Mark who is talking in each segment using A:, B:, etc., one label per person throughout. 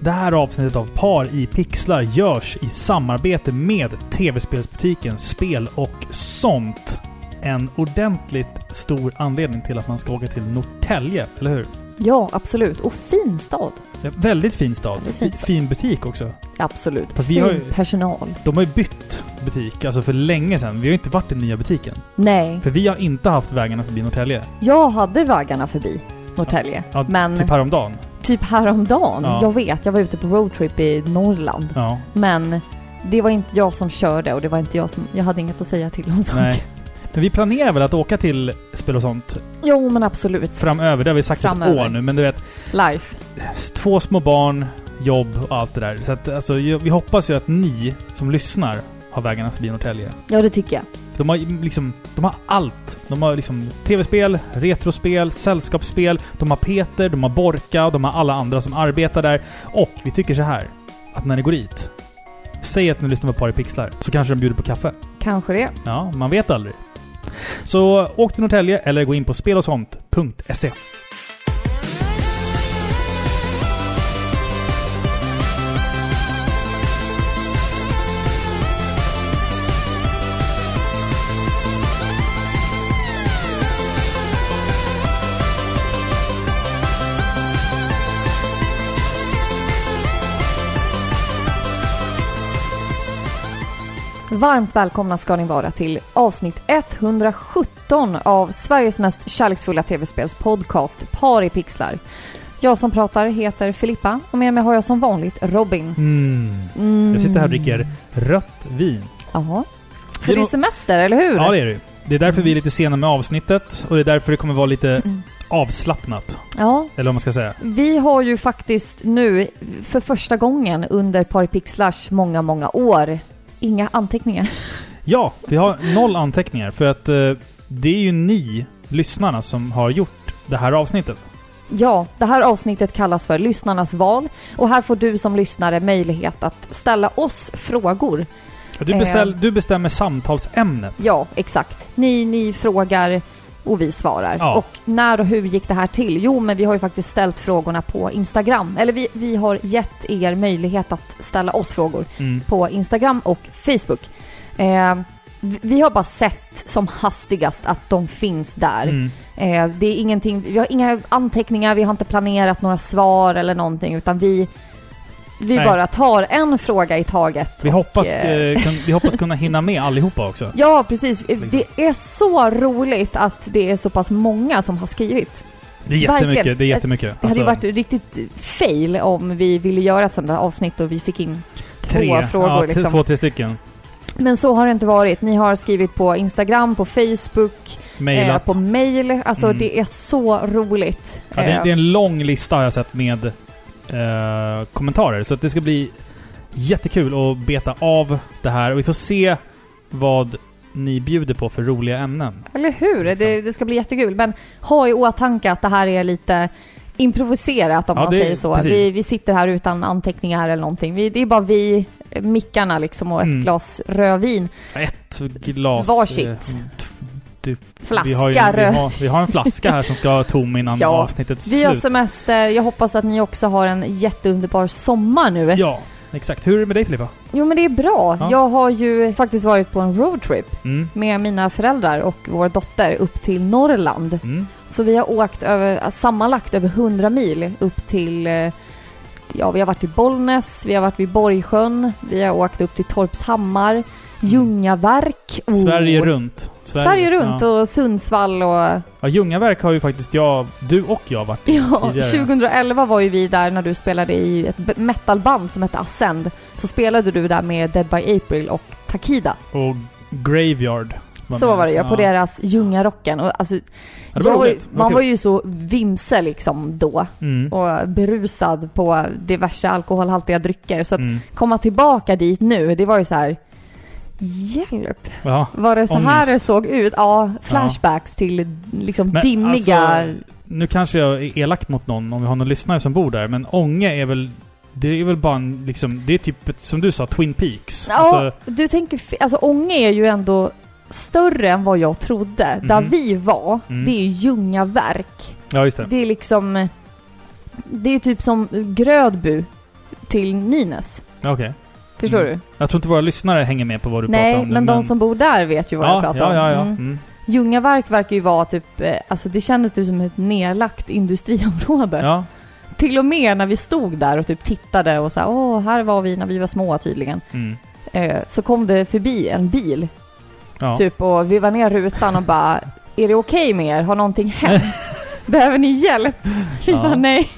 A: Det här avsnittet av Par i pixlar görs i samarbete med tv-spelsbutiken Spel och sånt. En ordentligt stor anledning till att man ska åka till Norrtälje, eller hur?
B: Ja, absolut. Och fin stad.
A: Ja, väldigt fin stad.
B: Väldigt fin
A: Fi-
B: stad.
A: Fin butik också.
B: Absolut.
A: Fast vi
B: fin
A: har ju-
B: personal.
A: De har ju bytt butik, alltså för länge sedan. Vi har ju inte varit i den nya butiken.
B: Nej,
A: För vi har inte haft vägarna förbi Norrtälje.
B: jag hade vaggarna förbi Norrtälje.
A: Ja,
B: men
A: Typ
B: typ,
A: häromdagen.
B: häromdagen,
A: Ja.
B: jag vet, jag var ute på roadtrip i Norrland.
A: Ja.
B: Men det var inte jag som körde och det var inte jag som... Jag hade inget att säga till om saker.
A: Nej. Men vi planerar väl att åka till spel och sånt
B: Jo, men absolut.
A: framöver. Det har vi sagt ett
B: Framöver.
A: år nu. Men du vet,
B: Life.
A: två små barn, jobb och allt det där. Så att, alltså, ju- vi hoppas ju att ni som lyssnar har vägarna förbi Norrtälje.
B: Ja, det tycker jag.
A: De har ju liksom, de har allt. De har liksom tv-spel, retrospel, sällskapsspel, de har Peter, de har Borka, de har alla andra som arbetar där. Och vi tycker så här, att när ni går dit, säg att ni lyssnar på Par i Pixlar, så kanske de bjuder på kaffe.
B: Kanske det.
A: Ja, man vet aldrig. Så åk till Norrtälje eller gå in på spelosont.se.
B: Varmt välkomna ska ni vara till avsnitt 117 av Sveriges mest kärleksfulla tv-spelspodcast Par i pixlar. Jag som pratar heter Filippa och med mig har jag som vanligt Robin.
A: Mm.
B: Mm.
A: Jag sitter här och dricker rött vin.
B: Jaha.
A: Det
B: För
A: är
B: det är
A: nog-
B: semester, eller hur?
A: Ja, det är det ju. Det är därför vi är lite sena med avsnittet och det är därför det kommer vara lite
B: Mm.
A: avslappnat.
B: Ja,
A: Eller vad man ska säga.
B: vi har ju faktiskt nu för första gången under Par i pixlars många, många år inga anteckningar.
A: Ja, vi har noll anteckningar för att eh, det är ju ni lyssnarna som har gjort det här avsnittet.
B: Ja, det här avsnittet kallas för Lyssnarnas val och här får du som lyssnare möjlighet att ställa oss frågor.
A: Du,
B: Eh.
A: beställ, du bestämmer samtalsämnet.
B: Ja, exakt. Ni, ni frågar och vi svarar.
A: Ja.
B: Och när och hur gick det här till? Jo, men vi har ju faktiskt ställt frågorna på Instagram. Eller vi, vi har gett er möjlighet att ställa oss frågor
A: Mm.
B: på Instagram och Facebook. Eh, vi- vi har bara sett som hastigast att de finns där.
A: Mm.
B: Eh, det är ingenting, vi har inga anteckningar, vi har inte planerat några svar eller någonting utan vi, vi
A: Nej.
B: bara tar en fråga i taget.
A: Vi, hoppas,
B: eh,
A: eh, kun, vi hoppas kunna hinna med allihopa också.
B: Ja, precis. Det är så roligt att det är så pass många som har skrivit.
A: Det är
B: Verkligen.
A: jättemycket. Det är jättemycket. Alltså,
B: Det hade ju varit riktigt fail om vi ville göra ett sånt där avsnitt och vi fick in två frågor
A: ja, t-
B: liksom.
A: Två, tre stycken.
B: Men så har det inte varit. Ni har skrivit på Instagram, på Facebook, eh,
A: Mejlat.
B: på mail. Alltså
A: Mm.
B: det är så roligt.
A: Ja, det,
B: Eh,
A: det är en lång lista har jag sett med eh, kommentarer. Så att det ska bli jättekul att beta av det här. Och vi får se vad ni bjuder på för roliga ämnen.
B: Eller hur?
A: Liksom.
B: Det, det ska bli jättekul. Men ha i åtanke att det här är lite improviserat om
A: Ja,
B: man
A: det-
B: säger så.
A: precis.
B: Vi, vi sitter här utan anteckningar eller någonting. Vi, det är bara vi, eh, mickarna liksom och ett
A: Mm.
B: glas rödvin.
A: Ett glas...
B: Varsitt.
A: eh, t-
B: Flaska
A: vi, har ju, vi,
B: röd.
A: har, vi har en flaska här som ska vara tom innan
B: Ja.
A: avsnittets
B: Vi har
A: slut.
B: semester. Jag hoppas att ni också har en jätteunderbar sommar nu.
A: Ja, exakt. Hur är det med dig Filippa?
B: Jo men det är bra.
A: Ja.
B: Jag har ju faktiskt varit på en roadtrip
A: Mm.
B: med mina föräldrar och vår dotter upp till Norrland.
A: Mm.
B: Så vi har åkt över, sammanlagt över 100 mil upp till, eh, ja vi har varit i Bollnäs, vi har varit vid Borgsjön, vi har åkt upp till Torpshammar, Ljungaverk. Oh.
A: Mm. Sverige runt.
B: Sverige, runt
A: Ja.
B: och Sundsvall och...
A: Ja, Ljungaverk har ju faktiskt jag, du och jag varit i
B: Ja,
A: tidigare.
B: 2011 var ju vi där när du spelade i ett b- metalband som hette Ascend. Så spelade du där med Dead by April och Takida.
A: Och Graveyard.
B: så
A: med
B: var det, ja,
A: också.
B: på deras Ljungarocken. Och alltså,
A: Ja, det var
B: jag var ju-
A: roligt. Det var
B: man
A: kul.
B: var ju så vimse liksom då.
A: Mm.
B: och berusad på diverse alkoholhaltiga drycker. Så att
A: Mm.
B: komma tillbaka dit nu, det var ju så här... Hjälp!
A: Ja.
B: Var det så
A: Ångest.
B: här det såg ut? Ja, flashbacks till liksom
A: Men
B: dimmiga...
A: alltså, nu kanske jag är elak mot någon om vi har någon lyssnare som bor där, men Ånge är väl... Det är väl bara en, liksom, det är typ ett, som du sa, Twin Peaks.
B: ja,
A: Alltså,
B: du tänker... f- Alltså Ånge är ju ändå större än vad jag trodde. Där
A: Mhm.
B: vi var,
A: Mm.
B: det är ju Ljungaverk.
A: ja just det.
B: Det är liksom... Det är typ som Grödby. till Nynäs.
A: Okej.
B: Förstår
A: Mm.
B: du?
A: Jag tror inte våra lyssnare hänger med på vad du pratar
B: Nej,
A: om. nu,
B: men de som bor där vet ju vad
A: ja,
B: jag pratar om.
A: Ja, ja, ja.
B: Mm.
A: Mm.
B: Ljungaverk verkar ju vara typ, eh, alltså det kändes ju som ett nedlagt industriområde.
A: ja.
B: Till och med när vi stod där och typ tittade och så här, åh, här var vi när vi var små tydligen.
A: Mm.
B: Eh, så kom det förbi en bil
A: ja.
B: typ och veva ner rutan och bara, är det okej med er? Har någonting hänt? Behöver ni hjälp? Vi
A: Ja.
B: bara, nej,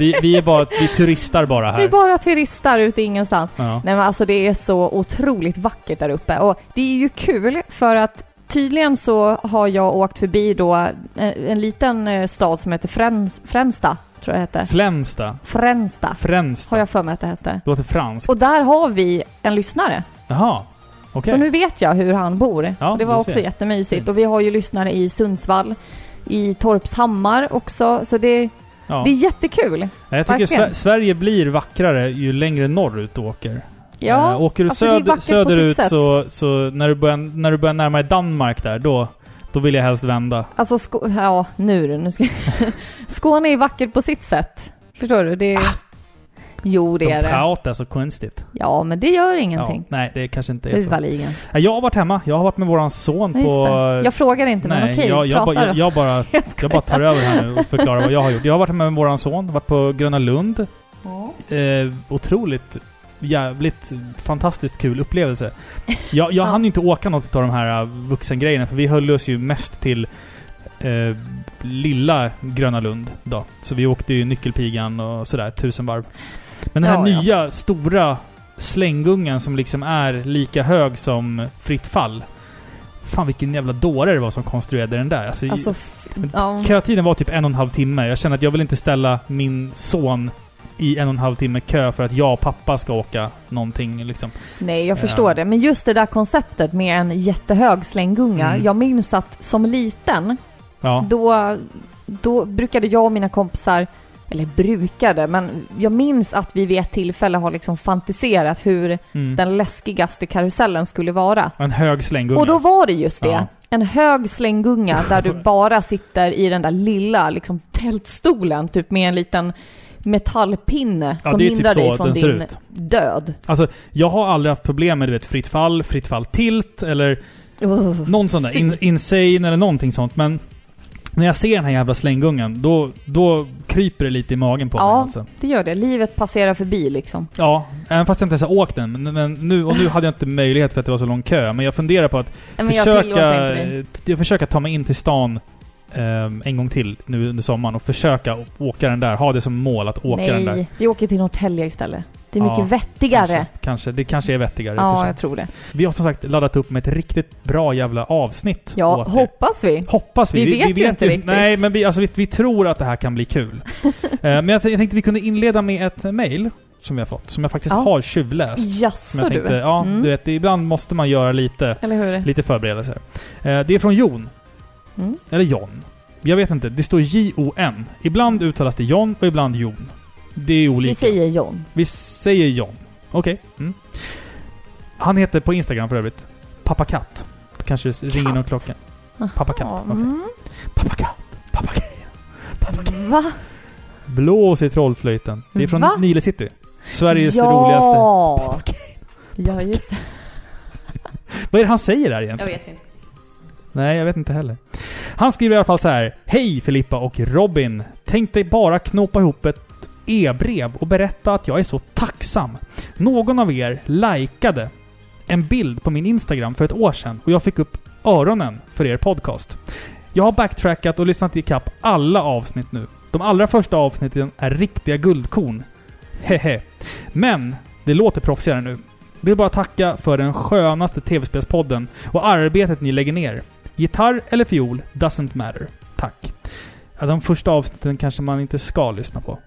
A: Vi, vi är bara vi turistar bara här.
B: vi är bara turister ute ingenstans.
A: ja.
B: Nej men alltså det är så otroligt vackert där uppe och det är ju kul för att tydligen så har jag åkt förbi då eh, en liten eh, stad som heter Fräns- Fränsta, tror jag hette.
A: Flänsta.
B: Fränsta,
A: Fränsta.
B: har jag för mig att det hette.
A: Det låter franskt.
B: Och där har vi en lyssnare.
A: Jaha. Okej.
B: Så nu vet jag hur han bor.
A: Ja,
B: det var
A: du
B: också
A: ser. Mm.
B: jättemysigt.
A: Fint.
B: Och vi har ju lyssnare i Sundsvall, i Torpshammar också. Så det,
A: Ja.
B: det är jättekul.
A: Nej, Jag tycker
B: verkligen.
A: Sve- Sverige blir vackrare ju längre norrut du åker.
B: Ja,
A: Eh, åker du
B: alltså det är
A: söd
B: vackert på
A: söderut
B: sitt sätt.
A: så, så när, du börjar, när du börjar närma dig Danmark där, då, då vill jag helst vända.
B: alltså Skå- ja, nu, du, nu ska Skåne är vackert på sitt sätt. Förstår du? Det är... Jo, det
A: Ah! De
B: är det.
A: pratar så konstigt.
B: Ja, men det gör ingenting.
A: nej, det kanske inte är så.
B: Huvaligen.
A: Nej, Jag har varit hemma. Jag har varit med våran son
B: Ja,
A: på...
B: just det. Jag frågar inte,
A: nej,
B: men okej,
A: jag, jag,
B: prata
A: ba- jag,
B: då.
A: jag, bara,
B: Jag
A: jag
B: skojar.
A: bara tar över här nu och förklarar vad jag har gjort. Jag har varit hemma med våran son, varit på Gröna Lund.
B: Ja.
A: Eh, otroligt jävligt fantastiskt kul upplevelse. Jag, jag
B: Ja.
A: hann ju inte åka något av de här eh, vuxengrejerna för vi höll oss ju mest till eh, lilla Gröna Lund då. Så vi åkte ju Nyckelpigan och sådär tusen varv. Men den här
B: Ja, ja.
A: nya stora slänggungan som liksom är lika hög som Fritt fall. Fan vilken jävla dåre det var som konstruerade den där. Alltså,
B: Alltså, f-
A: Men-
B: ja.
A: Kötiden var typ en och en halv timme. Jag känner att jag vill inte ställa min son i en och en halv timme kö för att jag och pappa ska åka någonting liksom.
B: Nej, jag
A: Eh.
B: förstår det. Men just det där konceptet med en jättehög slänggunga.
A: Mm.
B: Jag minns att som liten,
A: Ja.
B: då, då brukade jag och mina kompisar, eller brukade, men jag minns att vi vid ett tillfälle har liksom fantiserat hur
A: Mm.
B: den läskigaste karusellen skulle vara.
A: En hög slänggunga.
B: Och då var det just det.
A: Ja.
B: En hög slänggunga där du bara sitter i den där lilla liksom, tältstolen, typ med en liten metallpinne
A: Ja,
B: som
A: det är typ
B: hindrar
A: så
B: dig
A: att
B: från
A: den ser
B: din
A: ut.
B: död.
A: Alltså, jag har aldrig haft problem med du vet, fritt fall, fritt fall tilt eller
B: Ugh.
A: någon sån där. In, insane eller någonting sånt. Men när jag ser den här jävla slänggungan, då, då kryper det lite i magen på
B: Ja.
A: mig alltså.
B: Det gör det. Livet passerar förbi liksom.
A: Ja, även fast jag inte ens har åkt den. Men, men nu, och nu hade jag inte möjlighet för att det var så lång kö. Men jag funderar på att
B: Nej, Men jag tillåter inte
A: försöka,
B: dig.
A: jag försöker ta mig in till stan ehm, en gång till nu under sommaren och försöka å- åka den där. Ha det som mål att åka den där.
B: Nej, vi åker till Norrtälje istället. Det är
A: Ja,
B: mycket vettigare.
A: Kanske, kanske. Det kanske är vettigare. i och för
B: Ja,
A: sig.
B: jag tror det.
A: Vi har som sagt laddat upp med ett riktigt bra jävla avsnitt.
B: Ja,
A: åt er.
B: hoppas vi.
A: Hoppas vi.
B: Vi vet ju inte riktigt.
A: Nej, men vi, alltså, vi, vi tror att det här kan bli kul. Eh, men jag, t- jag tänkte vi kunde inleda med ett mail som vi har fått, som jag faktiskt
B: Ja.
A: har tjuvläst. Som
B: Jaså
A: jag
B: du?
A: tänkte, ja,
B: Mm.
A: du vet, ibland måste man göra lite
B: Eller hur?
A: Lite förberedelser. Eh, Det är från Jon.
B: Mm.
A: Eller Jon. Jag vet inte. Det står J-O-N. Ibland uttalas det Jon och ibland Jon. Det är olika.
B: Vi säger John.
A: Vi säger Jon. Okej. Mm. Han heter på Instagram för övrigt Pappa Katt. Då Kanske det ringer någon klocka. Pappa Katt.
B: Ja,
A: Okej.
B: mm.
A: Pappa Katt. Pappa Katt.
B: Va?
A: Blås i trollflöjten. Det är från
B: Mm. Va?
A: Nile City. Sveriges
B: ja.
A: roligaste.
B: Ja, just det.
A: Vad är det han säger där egentligen?
B: Jag vet inte.
A: Nej, jag vet inte heller. Han skriver i alla fall så här. Hej Filippa och Robin! Tänk dig bara knåpa ihop ett e-brev och berätta att jag är så tacksam. Någon av er likade en bild på min Instagram för ett år sedan och jag fick upp öronen för er podcast. Jag har backtrackat och lyssnat ikapp alla avsnitt nu. De allra första avsnitten är riktiga guldkorn. Hehe. Men det låter proffsigare nu. Vill bara tacka för den skönaste tv-spelspodden och arbetet ni lägger ner. Gitarr eller fiol, doesn't matter. Tack. Ja, de första avsnitten kanske man inte ska lyssna på.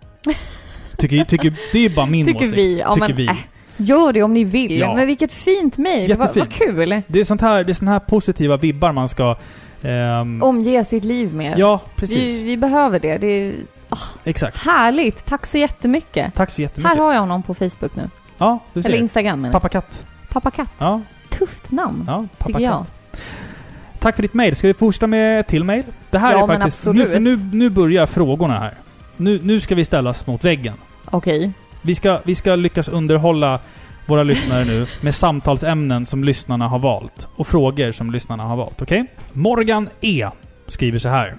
A: Tycker, tycker, det är bara min
B: Tycker
A: åsikt.
B: vi. Ja,
A: tycker
B: men,
A: vi.
B: äh. Gör det om ni vill.
A: Ja.
B: Men vilket fint mejl. Vad, vad
A: Jättefint. Mm.
B: kul.
A: Det är sånt här, det är såna här positiva vibbar man ska... ehm,
B: Omge sitt liv med.
A: ja,
B: vi,
A: precis.
B: vi behöver det. Det är
A: Exakt.
B: härligt. Tack så jättemycket.
A: Tack så
B: Här
A: jättemycket.
B: har jag honom på Facebook nu.
A: ja, du
B: Eller
A: ser.
B: Instagram menar jag.
A: Pappa Katt.
B: Pappa Katt.
A: Ja,
B: Tufft namn,
A: ja. Pappa
B: tycker jag.
A: Katt. Tack för ditt mejl. Ska vi fortsätta med ett till mejl? Det här
B: Ja,
A: är
B: men
A: faktiskt... Nu,
B: absolut.
A: för nu, nu börjar frågorna här. Nu, nu ska vi ställas mot väggen.
B: Okej.
A: Vi ska, vi ska lyckas underhålla våra lyssnare nu med samtalsämnen som lyssnarna har valt och frågor som lyssnarna har valt. Okej? Morgan E skriver så här.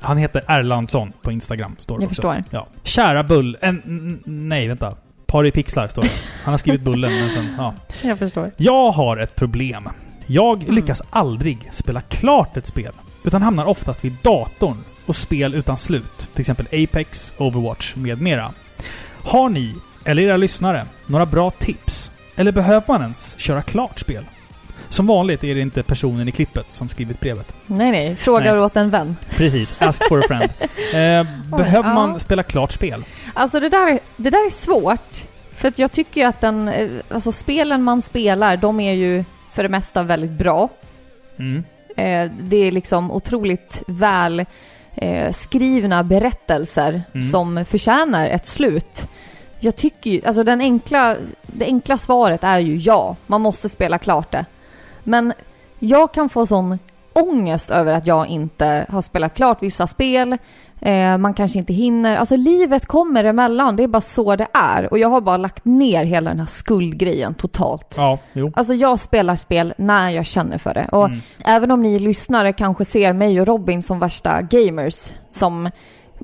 A: Han heter Erlandsson på Instagram. Står det
B: Jag
A: också.
B: förstår.
A: Ja. Kära Bull... En, n- nej, vänta. Par i pixlar står det. Han har skrivit Bullen, men sen... Ja.
B: Jag förstår.
A: Jag har ett problem. Jag
B: Mm.
A: lyckas aldrig spela klart ett spel, utan hamnar oftast vid datorn och spel utan slut. Till exempel Apex, Overwatch med mera. Har ni, eller era lyssnare, några bra tips? Eller behöver man ens köra klart spel? Som vanligt är det inte personen i klippet som skrivit brevet.
B: Nej, nej. Frågar
A: Nej.
B: åt en vän.
A: Precis, ask for a friend. Eh, behöver
B: ja.
A: man spela klart spel?
B: Alltså det där, det där är svårt. För att jag tycker ju att den, eh, alltså spelen man spelar, de är ju för det mesta väldigt bra.
A: Mm.
B: Eh, det är liksom otroligt väl eh, skrivna berättelser
A: Mm.
B: som förtjänar ett slut. Jag tycker ju, alltså den enkla, det enkla svaret är ju ja, man måste spela klart det. Men jag kan få sån ångest över att jag inte har spelat klart vissa spel. Eh, man kanske inte hinner. Alltså livet kommer emellan, det är bara så det är. Och jag har bara lagt ner hela den här skuldgrejen totalt.
A: Ja, jo.
B: Alltså jag spelar spel när jag känner för det. Och
A: Mm.
B: även om ni lyssnare kanske ser mig och Robin som värsta gamers, som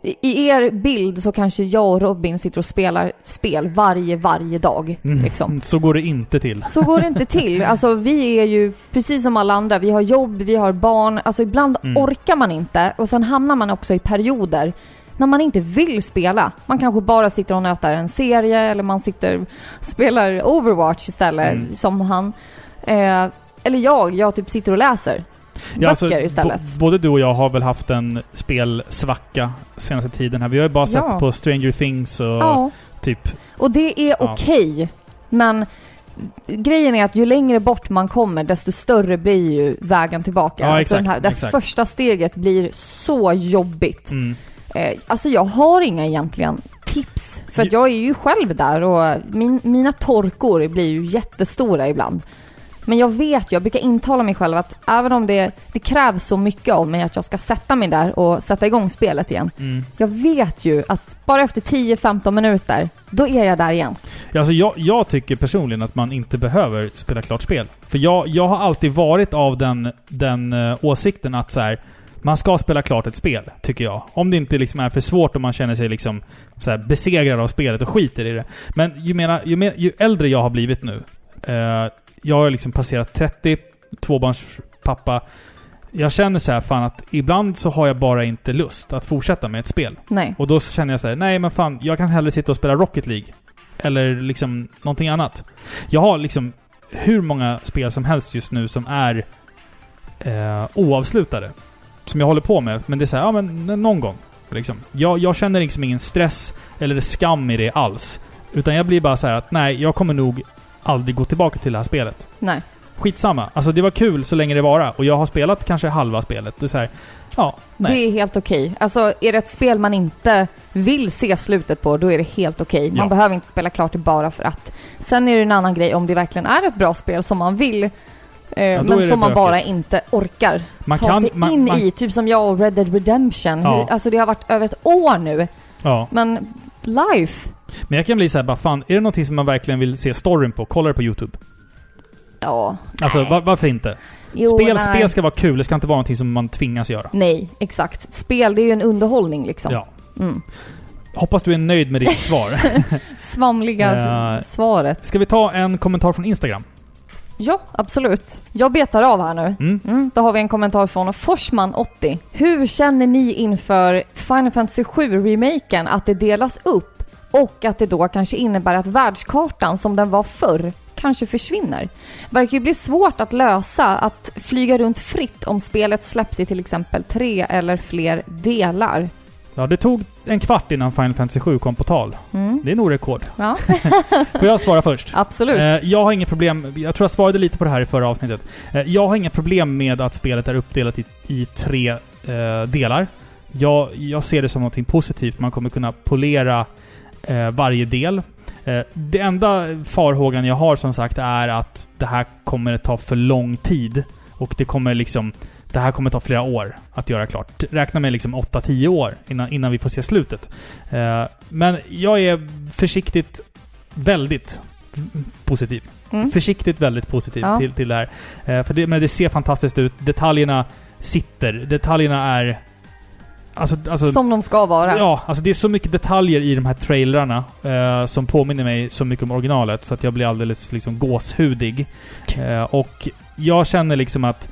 B: i- i er bild så kanske jag och Robin sitter och spelar spel varje, varje dag.
A: Mm.
B: Liksom.
A: Så går det inte till.
B: Så går det inte till. Alltså vi är ju precis som alla andra, vi har jobb, vi har barn. Alltså ibland
A: Mm.
B: orkar man inte och sen hamnar man också i perioder när man inte vill spela. Man kanske bara sitter och nötar en serie eller man sitter spelar Overwatch istället
A: Mm.
B: som han. Eh, eller jag, jag typ sitter och läser.
A: Ja, alltså,
B: böcker istället.
A: bo- både du och jag har väl haft en spelsvacka senaste tiden här. Vi har ju bara
B: Ja.
A: sett på Stranger Things och
B: Ja.
A: typ...
B: Och det är
A: Ja.
B: okej, men grejen är att ju längre bort man kommer desto större blir ju vägen tillbaka.
A: Ja,
B: alltså den
A: exakt,
B: här, det här
A: exakt.
B: första steget blir så jobbigt.
A: Mm.
B: Eh, alltså jag har inga egentligen tips, för att
A: Ju-
B: jag är ju själv där och min, mina torkor blir ju jättestora ibland. Men jag vet ju, jag brukar intala mig själv att även om det, det krävs så mycket av mig att jag ska sätta mig där och sätta igång spelet igen.
A: Mm.
B: Jag vet ju att bara efter 10-15 minuter, då är jag där igen.
A: Ja, Alltså, jag, jag tycker personligen att man inte behöver spela klart spel. För jag, jag har alltid varit av den, den eh, åsikten att så här, man ska spela klart ett spel, tycker jag. Om det inte liksom är för svårt och man känner sig liksom så här, besegrad av spelet och skiter i det. Men ju, mera, ju, mer, ju äldre jag har blivit nu. Eh, jag har liksom passerat 30, tvåbarnspappa. Jag känner så här, fan att ibland så har jag bara inte lust att fortsätta med ett spel.
B: Nej.
A: Och då så känner jag så här, nej men fan, jag kan hellre sitta och spela Rocket League. Eller liksom någonting annat. Jag har liksom hur många spel som helst just nu som är eh, oavslutade. Som jag håller på med. Men det är så här, ja men n- någon gång. Liksom. Jag, jag känner liksom ingen stress eller skam i det alls. Utan jag blir bara så här att nej, jag kommer nog aldrig gå tillbaka till det här spelet.
B: Nej.
A: Skitsamma. Alltså det var kul så länge det vara. Och jag har spelat kanske halva spelet. Det är så här, ja, nej.
B: Det är helt okej. Alltså, är det ett spel man inte vill se slutet på, då är det helt okej. Man
A: Ja.
B: behöver inte spela klart det bara för att. Sen är det en annan grej om det verkligen är ett bra spel som man vill, eh, men
A: då är
B: som
A: det
B: man
A: bökigt.
B: bara inte orkar
A: man
B: ta sig in i. Typ som jag och Red Dead Redemption.
A: Ja.
B: Hur, alltså det har varit över ett år nu,
A: Ja.
B: men life.
A: Men jag kan bli så här, bara fan, är det någonting som man verkligen vill se storyn på, kolla det på YouTube.
B: Ja.
A: Alltså va- varför inte?
B: Jo,
A: spel,
B: nej.
A: spel ska vara kul, det ska inte vara någonting som man tvingas göra.
B: Nej, exakt. Spel, det är ju en underhållning liksom.
A: Ja.
B: Mm.
A: Hoppas du är nöjd med ditt svar.
B: Svamliga
A: Ja.
B: s- svaret.
A: Ska vi ta en kommentar från Instagram?
B: Ja, absolut. Jag betar av här nu.
A: Mm.
B: Mm, då har vi en kommentar från Forsman80. Hur känner ni inför Final Fantasy 7-remaken att det delas upp och att det då kanske innebär att världskartan som den var förr kanske försvinner? Verkar ju bli svårt att lösa att flyga runt fritt om spelet släpps i till exempel tre eller fler delar.
A: Ja, det tog en kvart innan Final Fantasy 7 kom på tal.
B: Mm,
A: Det är nog rekord.
B: ja,
A: Får jag svara först?
B: absolut.
A: Eh, jag har inget problem, jag tror jag svarade lite på det här i förra avsnittet. Eh, jag har inga problem med att spelet är uppdelat i, i tre eh, delar. Jag, jag ser det som något positivt, man kommer kunna polera eh, varje del. Eh, det enda farhågan jag har som sagt är att det här kommer att ta för lång tid. Och det kommer liksom... det här kommer ta flera år att göra klart. Räkna med liksom 8-10 år innan, innan vi får se slutet. Eh, men jag är försiktigt väldigt positiv.
B: Mm.
A: Försiktigt väldigt positiv
B: Ja.
A: till, till det här. Eh, för det, men det ser fantastiskt ut. Detaljerna sitter. Detaljerna är... Alltså, alltså,
B: Som de ska vara.
A: Ja, alltså det är så mycket detaljer i de här trailrarna eh, som påminner mig så mycket om originalet så att jag blir alldeles liksom gåshudig. Eh, och jag känner liksom att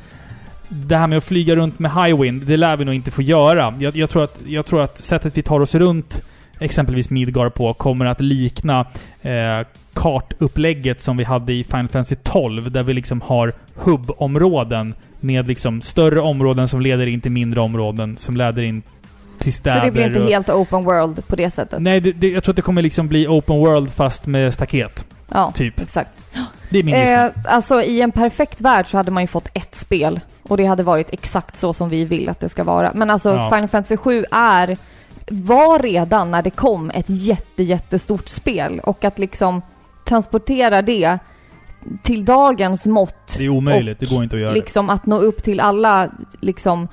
A: det här med att flyga runt med Highwind, det lär vi nog inte få göra. Jag, jag, tror, att, jag tror att sättet vi tar oss runt exempelvis Midgar på kommer att likna eh, kartupplägget som vi hade i Final Fantasy 12 där vi liksom har hubbområden med liksom större områden som leder in till mindre områden som leder in till städer.
B: Så det blir inte
A: och-
B: helt open world på det sättet.
A: Nej, det, det, jag tror att det kommer liksom bli open world fast med staket.
B: Ja,
A: Typ.
B: exakt.
A: Det är min gissning.
B: Eh, alltså i en perfekt värld så hade man ju fått ett spel och det hade varit exakt så som vi vill att det ska vara. Men alltså
A: Ja.
B: Final Fantasy 7 är, var redan när det kom ett jätte, jättestort spel och att liksom transportera det till dagens mått,
A: Det är omöjligt.
B: och
A: Det går inte att göra
B: liksom att nå upp till alla liksom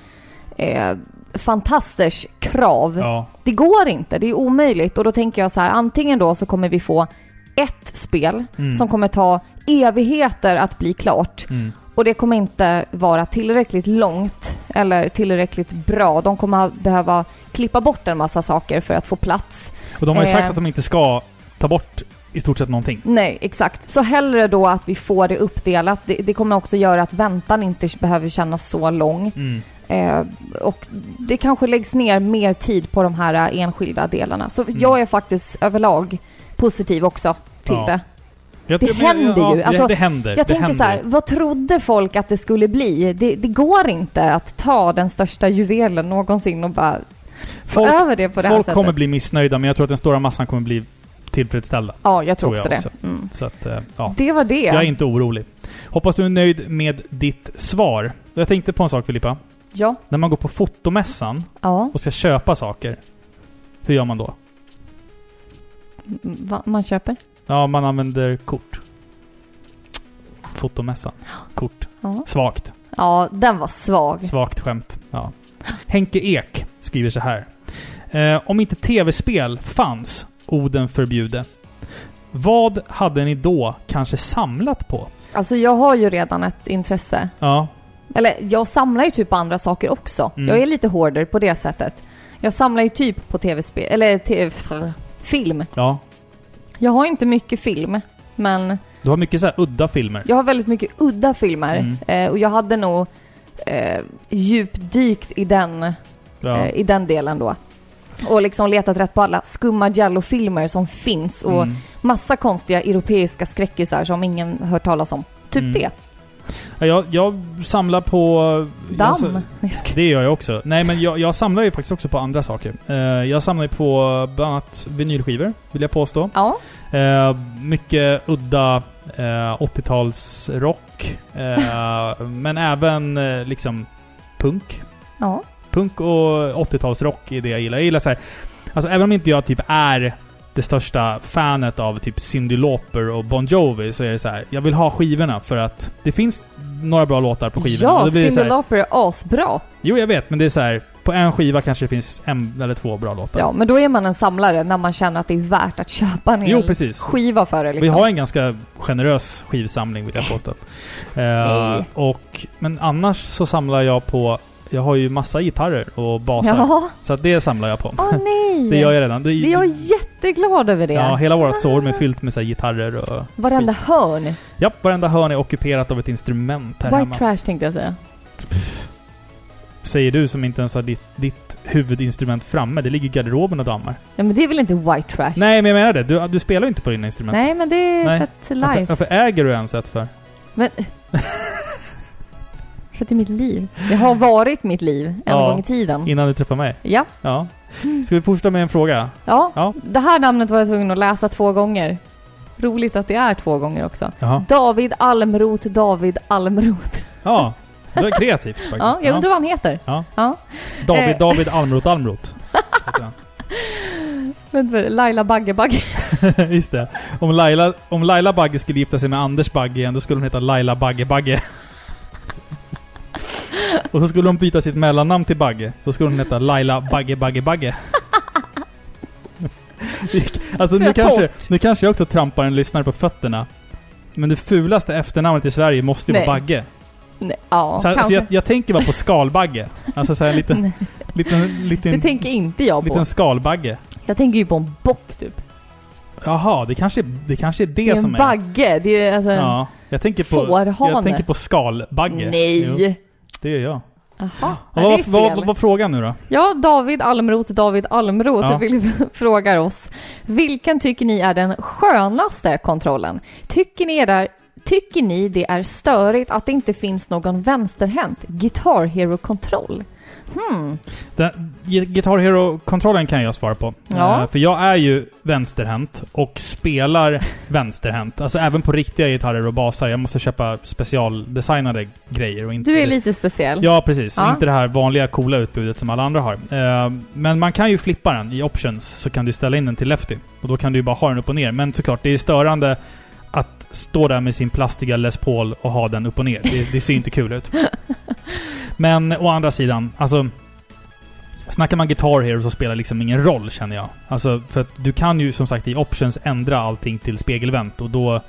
B: eh, fantasters krav.
A: det. Ja.
B: Det går inte, det är omöjligt. Och då tänker jag så här, antingen då så kommer vi få ett spel
A: Mm.
B: som kommer ta evigheter att bli klart.
A: Mm.
B: Och det kommer inte vara tillräckligt långt eller tillräckligt bra. De kommer ha- behöva klippa bort en massa saker för att få plats.
A: Och de har ju sagt
B: Eh.
A: att de inte ska ta bort i stort sett någonting.
B: Nej, exakt. Så hellre då att vi får det uppdelat. Det, det kommer också göra att väntan inte behöver kännas så lång.
A: Mm.
B: Eh, och det kanske läggs ner mer tid på de här eh, enskilda delarna. Så
A: Mm.
B: jag är faktiskt överlag positiv också till
A: Ja.
B: det.
A: Jag,
B: Det
A: jag-
B: händer ju.
A: Det,
B: Alltså,
A: det händer.
B: Jag
A: det
B: tänker
A: händer.
B: så här, vad trodde folk att det skulle bli? Det, det går inte att ta den största juvelen någonsin och bara få
A: Folk,
B: över det på det här
A: folk
B: sättet.
A: kommer bli missnöjda, men jag tror att den stora massan kommer bli tillfredsställda.
B: Ja, jag tror,
A: tror jag
B: också det. Mm.
A: Så att, eh, ja.
B: Det var det.
A: Jag är inte orolig. Hoppas du är nöjd med ditt svar. Jag tänkte på en sak Filippa.
B: Ja.
A: När man går på fotomässan
B: ja.
A: och ska köpa saker, hur gör man då?
B: Mm, Va, man köper.
A: Ja, man använder kort. Fotomässan. Kort.
B: Ja.
A: Svagt.
B: ja, den var svag.
A: Svagt skämt. Ja. Henke Ek skriver så här. Eh, om inte tv-spel fanns, Oden förbjude. Vad hade ni då kanske samlat på?
B: Alltså jag har ju redan ett intresse.
A: Ja.
B: Eller jag samlar ju typ på andra saker också.
A: Mm.
B: Jag är lite hårdare på det sättet. Jag samlar ju typ på tv-spel, eller TV, film.
A: ja.
B: Jag har inte mycket film, men
A: Du har mycket så här udda filmer.
B: Jag har väldigt mycket udda filmer
A: Mm.
B: eh, och jag hade nog eh, djupdykt i den,
A: Ja.
B: eh, i den delen då. Och liksom letat rätt på alla skumma Giallo-filmer som finns och
A: Mm.
B: massa konstiga europeiska skräckisar som ingen hört talas om. Typ
A: Mm.
B: det.
A: Ja, Jag, jag samlar på...
B: Damm.
A: Jag, sa- det gör jag också. Nej, men jag, jag samlar ju faktiskt också på andra saker. Eh, jag samlar ju på bland annat vinylskivor, vill jag påstå.
B: Ja,
A: Eh, mycket udda eh, 80-talsrock. Eh, men även eh, liksom punk.
B: ja.
A: Punk och 80-talsrock är det jag gillar. Jag gillar så här. Alltså även om inte jag typ är det största fanet av typ Cyndi Lauper och Bon Jovi så är det så här. Jag vill ha skivorna för att det finns några bra låtar på skivorna. och
B: ja
A: då blir det så
B: Cyndi
A: här,
B: Lauper är asbra.
A: jo, jag vet, men det är så här. På en skiva kanske det finns en eller två bra låtar.
B: Ja, men då är man en samlare när man känner att det är värt att köpa en
A: jo,
B: hel
A: precis.
B: skiva för det. Liksom.
A: Vi har en ganska generös skivsamling vill jag påstå. Eh,
B: Nej.
A: och, men annars så samlar jag på... Jag har ju massa gitarrer och basar.
B: Ja,
A: Så att det samlar jag på.
B: åh nej!
A: Det gör jag redan. Det,
B: Det är jag jätteglad över det.
A: ja, hela vårt sovrum är fyllt med så här gitarrer och...
B: Varenda hörn.
A: Ja, varenda hörn är ockuperat av ett instrument här
B: White
A: hemma.
B: trash tänkte jag säga.
A: Säger du som inte ens har ditt, ditt huvudinstrument framme. Det ligger i garderoben och dammar.
B: Ja, men det är väl inte white trash?
A: Nej, men jag menar det. Du, du spelar ju inte på dina instrument.
B: Nej, Mm. men det är
A: Nej.
B: ett
A: varför,
B: life.
A: varför äger du ens ett för?
B: För att det är mitt liv. Det har varit mitt liv en
A: Ja.
B: gång i tiden.
A: Innan du träffar mig?
B: Ja.
A: Ja.
B: Mm.
A: Ska vi fortsätta med en fråga?
B: ja.
A: Ja.
B: Det här namnet var jag tvungen att läsa två gånger. Roligt att det är två gånger också.
A: Jaha.
B: David Almroth, David Almroth.
A: Ja, det är kreativt faktiskt.
B: Ja, Eh. jag undrar vad han heter.
A: Ja. David, David Almroth Almroth. heter han.
B: Vänta, eh, Laila Baggebagge.
A: Just det. Om Laila, om Laila Bagge skulle gifta sig med Anders Bagge igen, då skulle hon heta Laila Bagge Bagge. Och så skulle hon byta sitt mellannamn till Bagge. Då skulle hon heta Laila Bagge Bagge Bagge. alltså
B: Får
A: nu
B: jag
A: kanske,
B: torrt?
A: nu kanske jag också trampar en lyssnare på fötterna. Men det fulaste efternamnet i Sverige måste ju vara
B: Nej.
A: Bagge.
B: Nej, ja,
A: Så, här-
B: kanske.
A: så jag, jag tänker bara på skalbagge. Alltså så här en liten,
B: Nej.
A: liten,
B: Det
A: liten,
B: tänker inte jag på.
A: liten skalbagge.
B: Jag tänker ju på en bock typ.
A: Jaha, det kanske, det kanske är det,
B: Det är en
A: som är...
B: bagge. Det är alltså en
A: Ja, jag tänker på,
B: fårhane.
A: jag tänker på skalbagge. Jo,
B: Nej!
A: det gör jag.
B: Jaha,
A: Ja,
B: nej, det är
A: vad,
B: fel.
A: vad, vad var frågan nu då?
B: Ja, David Almroth, David Almroth
A: Ja.
B: vill frågar oss. Vilken tycker ni är den skönaste kontrollen? Tycker ni, är, tycker ni det är störigt att det inte finns någon vänsterhänt Guitar Hero-kontroll? Hmm.
A: Den, Guitar Hero-kontrollen kan jag svara på.
B: Ja.
A: Eh, för jag är ju vänsterhänt och spelar vänsterhänt. Alltså även på riktiga gitarrer och basar. Jag måste köpa specialdesignade grejer och inte...
B: Du är lite speciell.
A: Ja, precis.
B: Alltså. Ja.
A: Inte det här vanliga coola utbudet som alla andra har. Eh, Men man kan ju flippa den i options, så kan du ställa in den till lefty. Och då kan du ju bara ha den upp och ner. Men såklart, det är störande att stå där med sin plastiga Les Paul och ha den upp och ner. Det, det ser ju inte kul ut. Men å andra sidan, alltså... Snackar man Guitar Hero så spelar det liksom ingen roll känner jag. Alltså, för att du kan ju som sagt i options ändra allting till spegelvänt och då...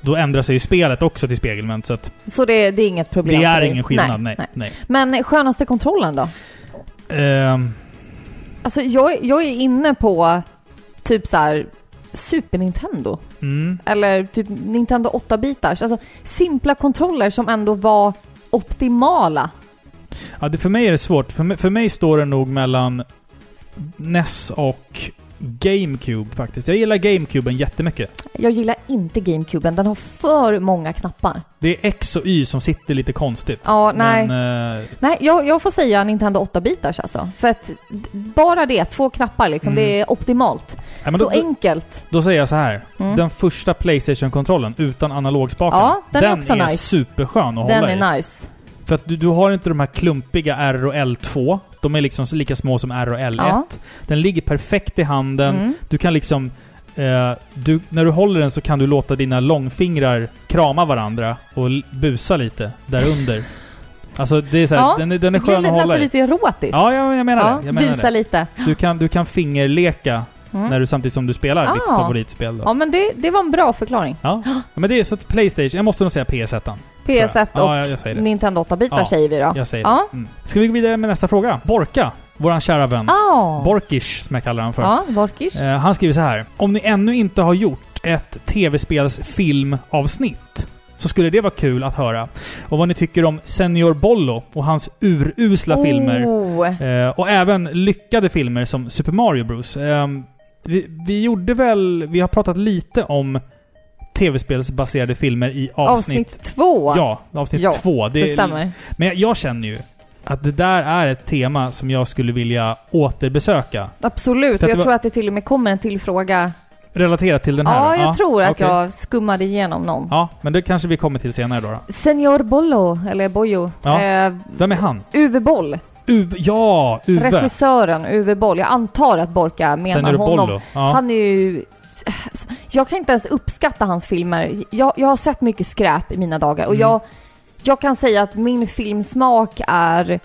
A: Då ändrar sig ju spelet också till spegelvänt så att
B: Så det, det är inget problem
A: det är
B: för dig?
A: ingen skillnad. Nej. nej.
B: Men skönaste kontrollen då?
A: Ehm,
B: Alltså jag, jag är inne på typ så här Super Nintendo.
A: mm.
B: Eller typ Nintendo 8-bitars. Alltså simpla kontroller som ändå var optimala.
A: ja, det, för mig är det svårt. För mig, för mig står det nog mellan NES och GameCube faktiskt. Jag gillar GameCuben jättemycket.
B: Jag gillar inte GameCuben, den har för många knappar.
A: Det är X och Y som sitter lite konstigt.
B: Ja, nej.
A: Men, eh,
B: Nej, jag, jag får säga Nintendo 8-bitars alltså. För att d- bara det, två knappar liksom,
A: Mm.
B: det är optimalt.
A: nej, men
B: Så
A: då, då,
B: enkelt.
A: då säger jag så här.
B: Mm.
A: Den första Playstation-kontrollen utan analogspaken.
B: Ja, den är också nice.
A: superskön att
B: Den
A: hålla i.
B: är nice.
A: För att du, du har inte de här klumpiga R och L2. De är liksom så lika små som R och L1.
B: Ja.
A: Den ligger perfekt i handen.
B: Mm.
A: Du kan liksom... Eh, du, när du håller den så kan du låta dina långfingrar krama varandra och l- busa lite där under. alltså det är så här,
B: Ja,
A: den, är- den är
B: Det
A: skön
B: blir
A: att
B: lite-
A: hålla
B: nästan
A: i.
B: lite erotiskt.
A: Ja, ja, jag menar
B: Ja,
A: det. Jag menar
B: busa
A: det.
B: lite.
A: Du, kan, du kan fingerleka
B: Mm.
A: när du, samtidigt som du spelar ditt
B: Ah.
A: favoritspel. Då.
B: Ja, men det, det var en bra förklaring.
A: Ja. Men det är så att Playstation... Jag måste nog säga PS1. tror jag.
B: PS1 och
A: Ja, jag, jag säger det.
B: Nintendo 8-bitar
A: Ja.
B: säger vi då.
A: Jag säger
B: Ja.
A: det. Mm. Ska vi gå vidare med nästa fråga? Borka, våran kära vän.
B: Ah.
A: Borkish, som jag kallar han för.
B: Ja, Borkish.
A: Eh, han skriver så här. Om ni ännu inte har gjort ett tv-spels filmavsnitt så skulle det vara kul att höra. Och vad ni tycker om Senior Bollo och hans urusla filmer.
B: Oh.
A: Eh, och även lyckade filmer som Super Mario Bros. Eh, vi, vi gjorde väl... Vi har pratat lite om tv-spelsbaserade filmer i avsnitt...
B: Avsnitt två.
A: Ja, avsnitt
B: Ja,
A: två.
B: det stämmer.
A: Men jag, jag känner ju att det där är ett tema som jag skulle vilja återbesöka. För
B: Absolut, och
A: att
B: jag
A: det var-
B: tror att det till och med kommer en till fråga.
A: Relaterat till den här
B: Ja,
A: då?
B: jag tror att
A: okej.
B: jag skummade igenom någon.
A: Ja, men det kanske vi kommer till senare då. då.
B: Senior Bollo, eller Bojo.
A: Ja.
B: Eh,
A: Vem är han?
B: Uwe Boll,
A: Uve? Ja, Uve!
B: regissören Uwe Boll. Jag antar att Borka menar
A: Sen är det
B: honom.
A: Bollo. Ja.
B: Han är ju... Jag kan inte ens uppskatta hans filmer. Jag, jag har sett mycket skräp i mina dagar och
A: Mm.
B: jag, jag kan säga att min filmsmak är...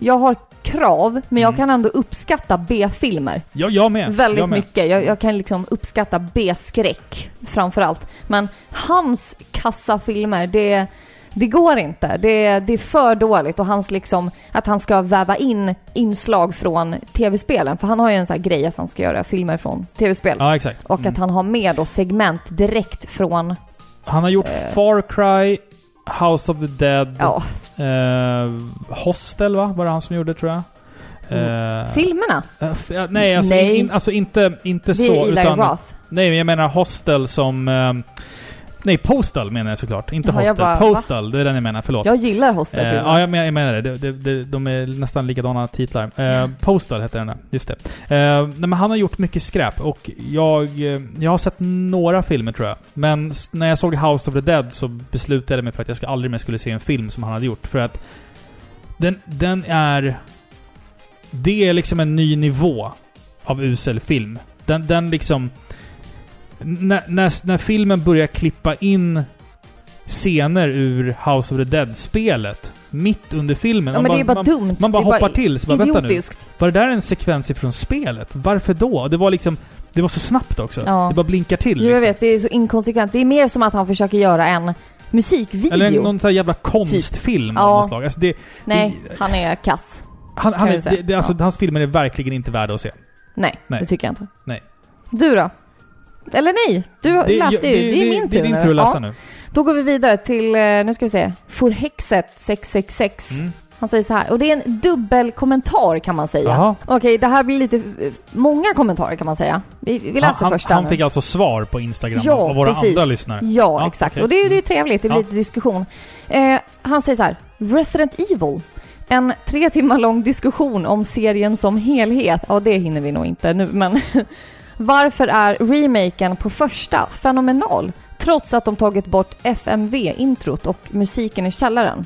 B: Jag har krav, men jag
A: Mm.
B: kan ändå uppskatta B-filmer.
A: Ja, jag med.
B: Väldigt
A: jag med.
B: mycket. Jag, jag kan liksom uppskatta B-skräck framförallt. Men hans kassa filmer, det, det går inte. Det, det är för dåligt. Och hans liksom, att han ska väva in inslag från tv-spelen. För han har ju en sån här grej att han ska göra filmer från tv-spel.
A: Ja, exakt.
B: Och
A: Mm.
B: att han har med då segment direkt från,
A: Han har gjort Far Cry, House of the Dead,
B: Eh. ja,
A: eh, Hostel va? Var det han som gjorde tror jag? Eh,
B: filmerna.
A: eh, f- ja, nej, alltså,
B: Mm. Nej.
A: In, alltså inte, inte
B: Det
A: så.
B: är Eli
A: Utan,
B: Roth.
A: Nej, men jag menar Hostel som... Eh, nej, Postal menar jag såklart. Inte
B: Jaha, jag
A: Hostel.
B: bara, va?
A: Postal, det är den jag menar. Förlåt.
B: Jag gillar Hostel.
A: Eh,
B: filmen.
A: ja, jag menar, jag menar det. De, de, de, de är nästan likadana titlar. Eh, Postal heter den där, just det. Eh, nej, men han har gjort mycket skräp och jag, eh, jag har sett några filmer tror jag. Men s- när jag såg House of the Dead så beslutade jag mig för att jag ska aldrig mer skulle se en film som han hade gjort. För att den, den är... Det är liksom en ny nivå av usel film. Den, den liksom... När, när, när filmen börjar klippa in scener ur House of the Dead-spelet mitt under filmen.
B: Ja,
A: man
B: men det är bara
A: man,
B: dumt.
A: man bara
B: det är
A: hoppar till. Så bara, vänta nu.
B: Idiotiskt.
A: Var det där en sekvens ifrån spelet? Varför då? Det var liksom... Det var så snabbt också.
B: Ja.
A: Det bara blinkar till.
B: Jo, jag
A: liksom.
B: vet. Det är så inkonsekvent. Det är mer som att han försöker göra en musikvideo.
A: Eller en- någon sån här jävla konstfilm
B: Ja.
A: av något slag. Alltså det,
B: Nej, han är kass.
A: han, han
B: Typ. Kan
A: är,
B: vi säga.
A: det, det, alltså, Hans filmer är verkligen inte värda att se.
B: Nej,
A: Nej.
B: det tycker jag inte.
A: Nej.
B: Du då? Eller nej, du
A: Det-
B: läste ju. Det, är min
A: Det
B: tur
A: är din
B: nu.
A: tur att läsa
B: Ja.
A: nu.
B: Då går vi vidare till, eh, nu ska vi se, Forhexet 666.
A: Mm.
B: Han säger så här, och det är en dubbel kommentar kan man säga.
A: Jaha.
B: Okej, det här blir lite eh, många kommentarer kan man säga. Vi, vi läser
A: han,
B: första
A: han
B: nu.
A: fick alltså svar på Instagram
B: Ja,
A: av våra
B: precis.
A: andra lyssnare.
B: Ja,
A: Ja,
B: exakt.
A: okej. Mm.
B: Och det, är- det är trevligt, det blir
A: Ja.
B: lite diskussion. Eh, han säger så här, Resident Evil. En tre timmar lång diskussion om serien som helhet. Ja, det hinner vi nog inte nu, men... Varför är remaken på första fenomenal? Trots att de tagit bort FMV-introt och musiken i källaren.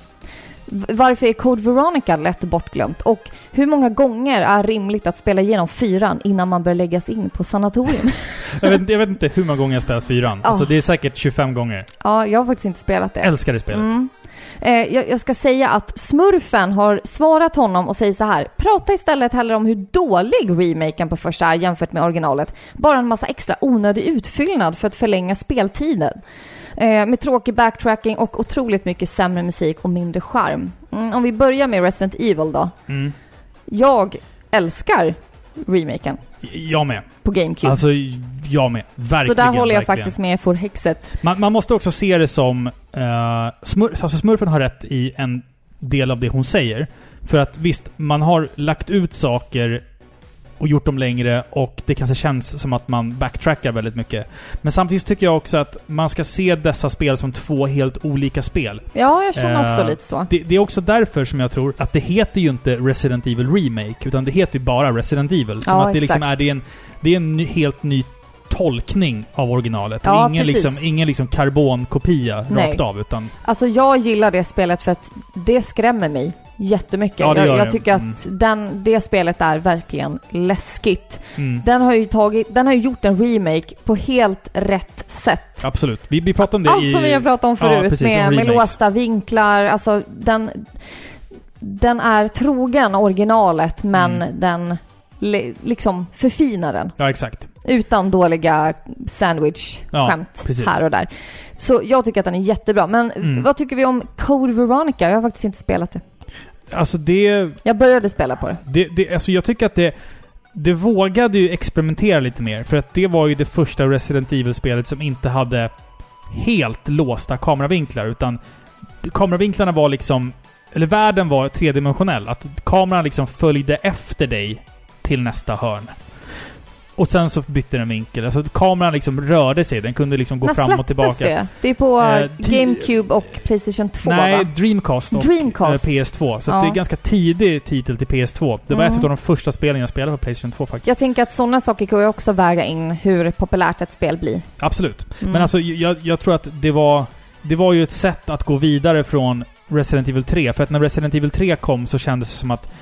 B: V- Varför är Code Veronica lätt bortglömt? Och hur många gånger är rimligt att spela igenom fyran innan man bör läggas in på sanatorium?
A: Jag vet, jag vet inte hur många gånger jag spelat fyran.
B: Ja.
A: Alltså det är säkert 25 gånger.
B: ja, jag har faktiskt inte spelat det.
A: Älskar det spelet.
B: Mm. Eh, jag, jag ska säga att smurfen har svarat honom och säger så här. Prata istället hellre om hur dålig remaken på första är jämfört med originalet. Bara en massa extra onödig utfyllnad för att förlänga speltiden. Eh, med tråkig backtracking och otroligt mycket sämre musik och mindre charm. Mm, om vi börjar med Resident Evil då.
A: Mm.
B: Jag älskar remaken
A: Jag med.
B: på GameCube.
A: Alltså, jag med. Verkligen.
B: så där håller jag
A: verkligen.
B: faktiskt med Forhexet.
A: Man, man måste också se det som... eh, smur, alltså smurfen har rätt i en del av det hon säger. För att visst, man har lagt ut saker och gjort dem längre och det kanske känns som att man backtrackar väldigt mycket. Men samtidigt tycker jag också att man ska se dessa spel som två helt olika spel.
B: Ja, jag känner också
A: Eh,
B: lite så.
A: Det, det är också därför som jag tror att det heter ju inte Resident Evil Remake, utan det heter ju bara Resident Evil. Som
B: Ja,
A: att det liksom
B: exakt.
A: är, det är en, det är en ny, helt ny tolkning av originalet. Det är
B: Ja,
A: ingen,
B: precis.
A: liksom, ingen liksom karbonkopia
B: Nej.
A: rakt av, utan...
B: Alltså jag gillar det spelet för att det skrämmer mig jättemycket.
A: Ja, det
B: jag,
A: gör
B: jag
A: det.
B: tycker att den, det spelet är verkligen läskigt.
A: Mm,
B: Den har ju tagit, den har ju gjort en remake på helt rätt sätt.
A: absolut. Vi, vi pratade om det
B: Allt
A: i...
B: som vi har pratat om förut
A: ja, precis,
B: med,
A: om
B: med
A: remakes.
B: låsta vinklar, alltså den, den är trogen originalet men
A: Mm.
B: den li- liksom förfinar den
A: Ja, exakt.
B: utan dåliga sandwich-skämt
A: precis.
B: här och där. Så jag tycker att den är jättebra. Men
A: Mm.
B: vad tycker vi om Code Veronica? Jag har faktiskt inte spelat det.
A: Alltså det...
B: Jag började spela på det.
A: Det, det, alltså jag tycker att det... Det vågade ju experimentera lite mer, för att det var ju det första Resident Evil-spelet som inte hade helt låsta kameravinklar, utan kameravinklarna var liksom... Eller världen var tredimensionell. Att kameran liksom följde efter dig till nästa hörn. Och sen så bytte den vinkel. Alltså kameran liksom rörde sig. Den kunde liksom gå
B: När
A: fram och
B: släpptes
A: tillbaka.
B: det? Det är på
A: Eh, ti-
B: GameCube och Playstation 2
A: Nej,
B: va?
A: Dreamcast och
B: Dreamcast.
A: eh, PS2. Så
B: Ja.
A: att det är ganska tidig titel till PS2. Det var
B: Mm.
A: ett av de första spelen jag spelade på Playstation 2 faktiskt.
B: Jag tänker att sådana saker kan ju också väga in hur populärt ett spel blir.
A: Absolut.
B: Mm.
A: Men alltså, jag, jag tror att det var... Det var ju ett sätt att gå vidare från Resident Evil 3. För att när Resident Evil 3 kom så kändes det som att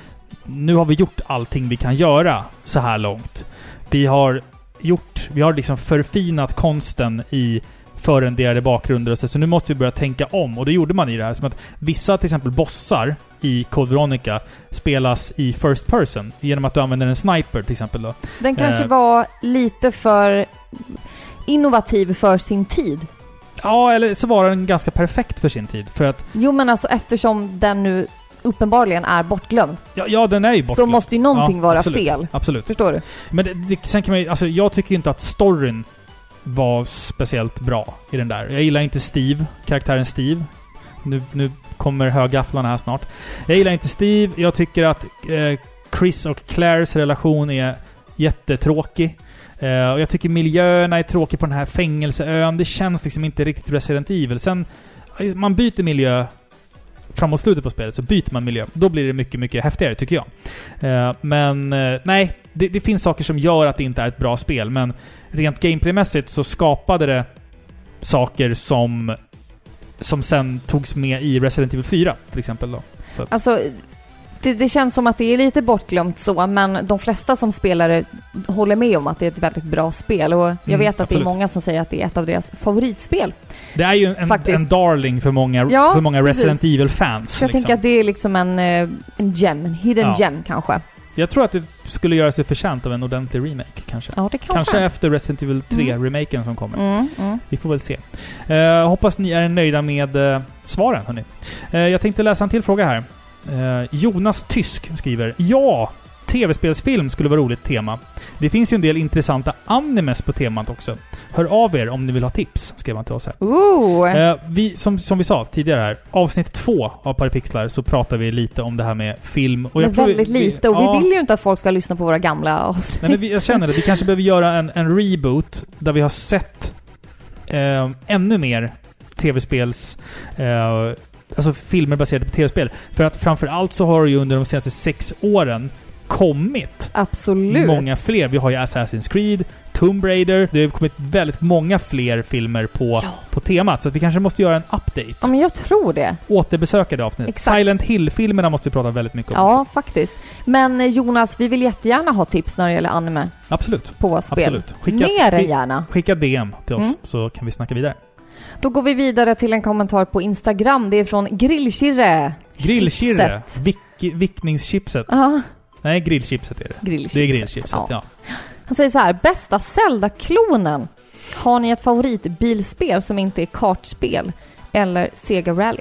A: nu har vi gjort allting vi kan göra så här långt. Vi har gjort... Vi har liksom förfinat konsten i förrenderade bakgrunder och så, så nu måste vi börja tänka om. Och det gjorde man i det här. Som att vissa till exempel bossar i Code Veronica spelas i First Person genom att du använder en sniper till exempel då.
B: Den kanske
A: eh.
B: var lite för innovativ för sin tid.
A: Ja, eller så var den ganska perfekt för sin tid. För att,
B: Jo men alltså eftersom den nu uppenbarligen är bortglömd,
A: ja, ja den är ju bortglömd.
B: så måste ju någonting
A: Ja,
B: vara
A: absolut.
B: fel.
A: Absolut.
B: Förstår du?
A: Men det, det, sen kan man ju, alltså jag tycker ju inte att storyn var speciellt bra i den där. Jag gillar inte Steve, karaktären Steve. Nu, nu kommer högafflarna här snart. Jag gillar inte Steve, jag tycker att eh, Chris och Claires relation är jättetråkig. Eh, och jag tycker miljöerna är tråkiga på den här fängelseön. Det känns liksom inte riktigt Resident Evil. Sen, eh, man byter miljö framåt slutet på spelet, så byter man miljö. Då blir det mycket, mycket häftigare tycker jag. Eh, Men eh, nej, det, det finns saker som gör att det inte är ett bra spel, men rent gameplaymässigt så skapade det saker som som sen togs med i Resident Evil 4 till exempel då. Så att,
B: Alltså, det, det känns som att det är lite bortglömt så, men de flesta som spelare håller med om att det är ett väldigt bra spel. Och jag
A: Mm,
B: vet att det är
A: absolut.
B: många som säger att det är ett av deras favoritspel.
A: Det är ju en,
B: Faktiskt.
A: en darling för många,
B: Ja,
A: för många
B: precis.
A: Resident Evil-fans.
B: Så jag tänker att det är liksom en, eh, en gem, en hidden
A: Ja.
B: gem kanske.
A: jag tror att det skulle göra sig förtjänt av en ordentlig remake, kanske.
B: Ja, det kanske.
A: Kanske efter Resident Evil 3-remaken som kommer.
B: Mm, mm.
A: Vi får väl se. Eh, hoppas ni är nöjda med eh, svaren, hörni. Eh, jag tänkte läsa en till fråga här. Eh, Jonas Tysk skriver Ja! Tv-spelsfilm skulle vara roligt tema. Det finns ju en del intressanta animes på temat också. Hör av er om ni vill ha tips, skrev han till oss här.
B: Ooh.
A: Eh, vi, som, som vi sa tidigare här, avsnitt två av Parapixlar så pratar vi lite om det här med film. Och
B: Men
A: tror vi-
B: väldigt
A: vi-
B: lite och
A: ja.
B: vi vill ju inte att folk ska lyssna på våra gamla avsnitt.
A: Nej, men vi, jag känner att vi kanske behöver göra en, en reboot där vi har sett eh, ännu mer tv-spels... Eh, alltså filmer baserade på tv-spel. För att framförallt så har det ju under de senaste sex åren kommit
B: Absolut.
A: många fler. Vi har ju Assassin's Creed, Tomb Raider. Det har kommit väldigt många fler filmer på,
B: Ja.
A: på temat. Så att vi kanske måste göra en update.
B: Ja, men jag tror det.
A: Återbesöka det avsnittet.
B: Exakt.
A: Silent Hill-filmerna måste vi prata väldigt mycket om.
B: Ja, faktiskt. Men eh, Jonas, vi vill jättegärna ha tips när det gäller anime
A: också. Absolut.
B: på våra spel.
A: Absolut. Skicka,
B: Mer än
A: skick-
B: gärna.
A: skicka DM till oss
B: Mm.
A: så kan vi snacka vidare.
B: Då går vi vidare till en kommentar på Instagram. Det är från Grillkirre.
A: Grillkirre.
B: Chipset.
A: Vick, vickningschipset.
B: Ja,
A: Nej, grillchipset är det.
B: grillchipset.
A: Det är grillchipset,
B: Ja.
A: ja.
B: Han säger så här, bästa Zelda-klonen. Har ni ett favoritbilspel som inte är kartspel eller Sega Rally?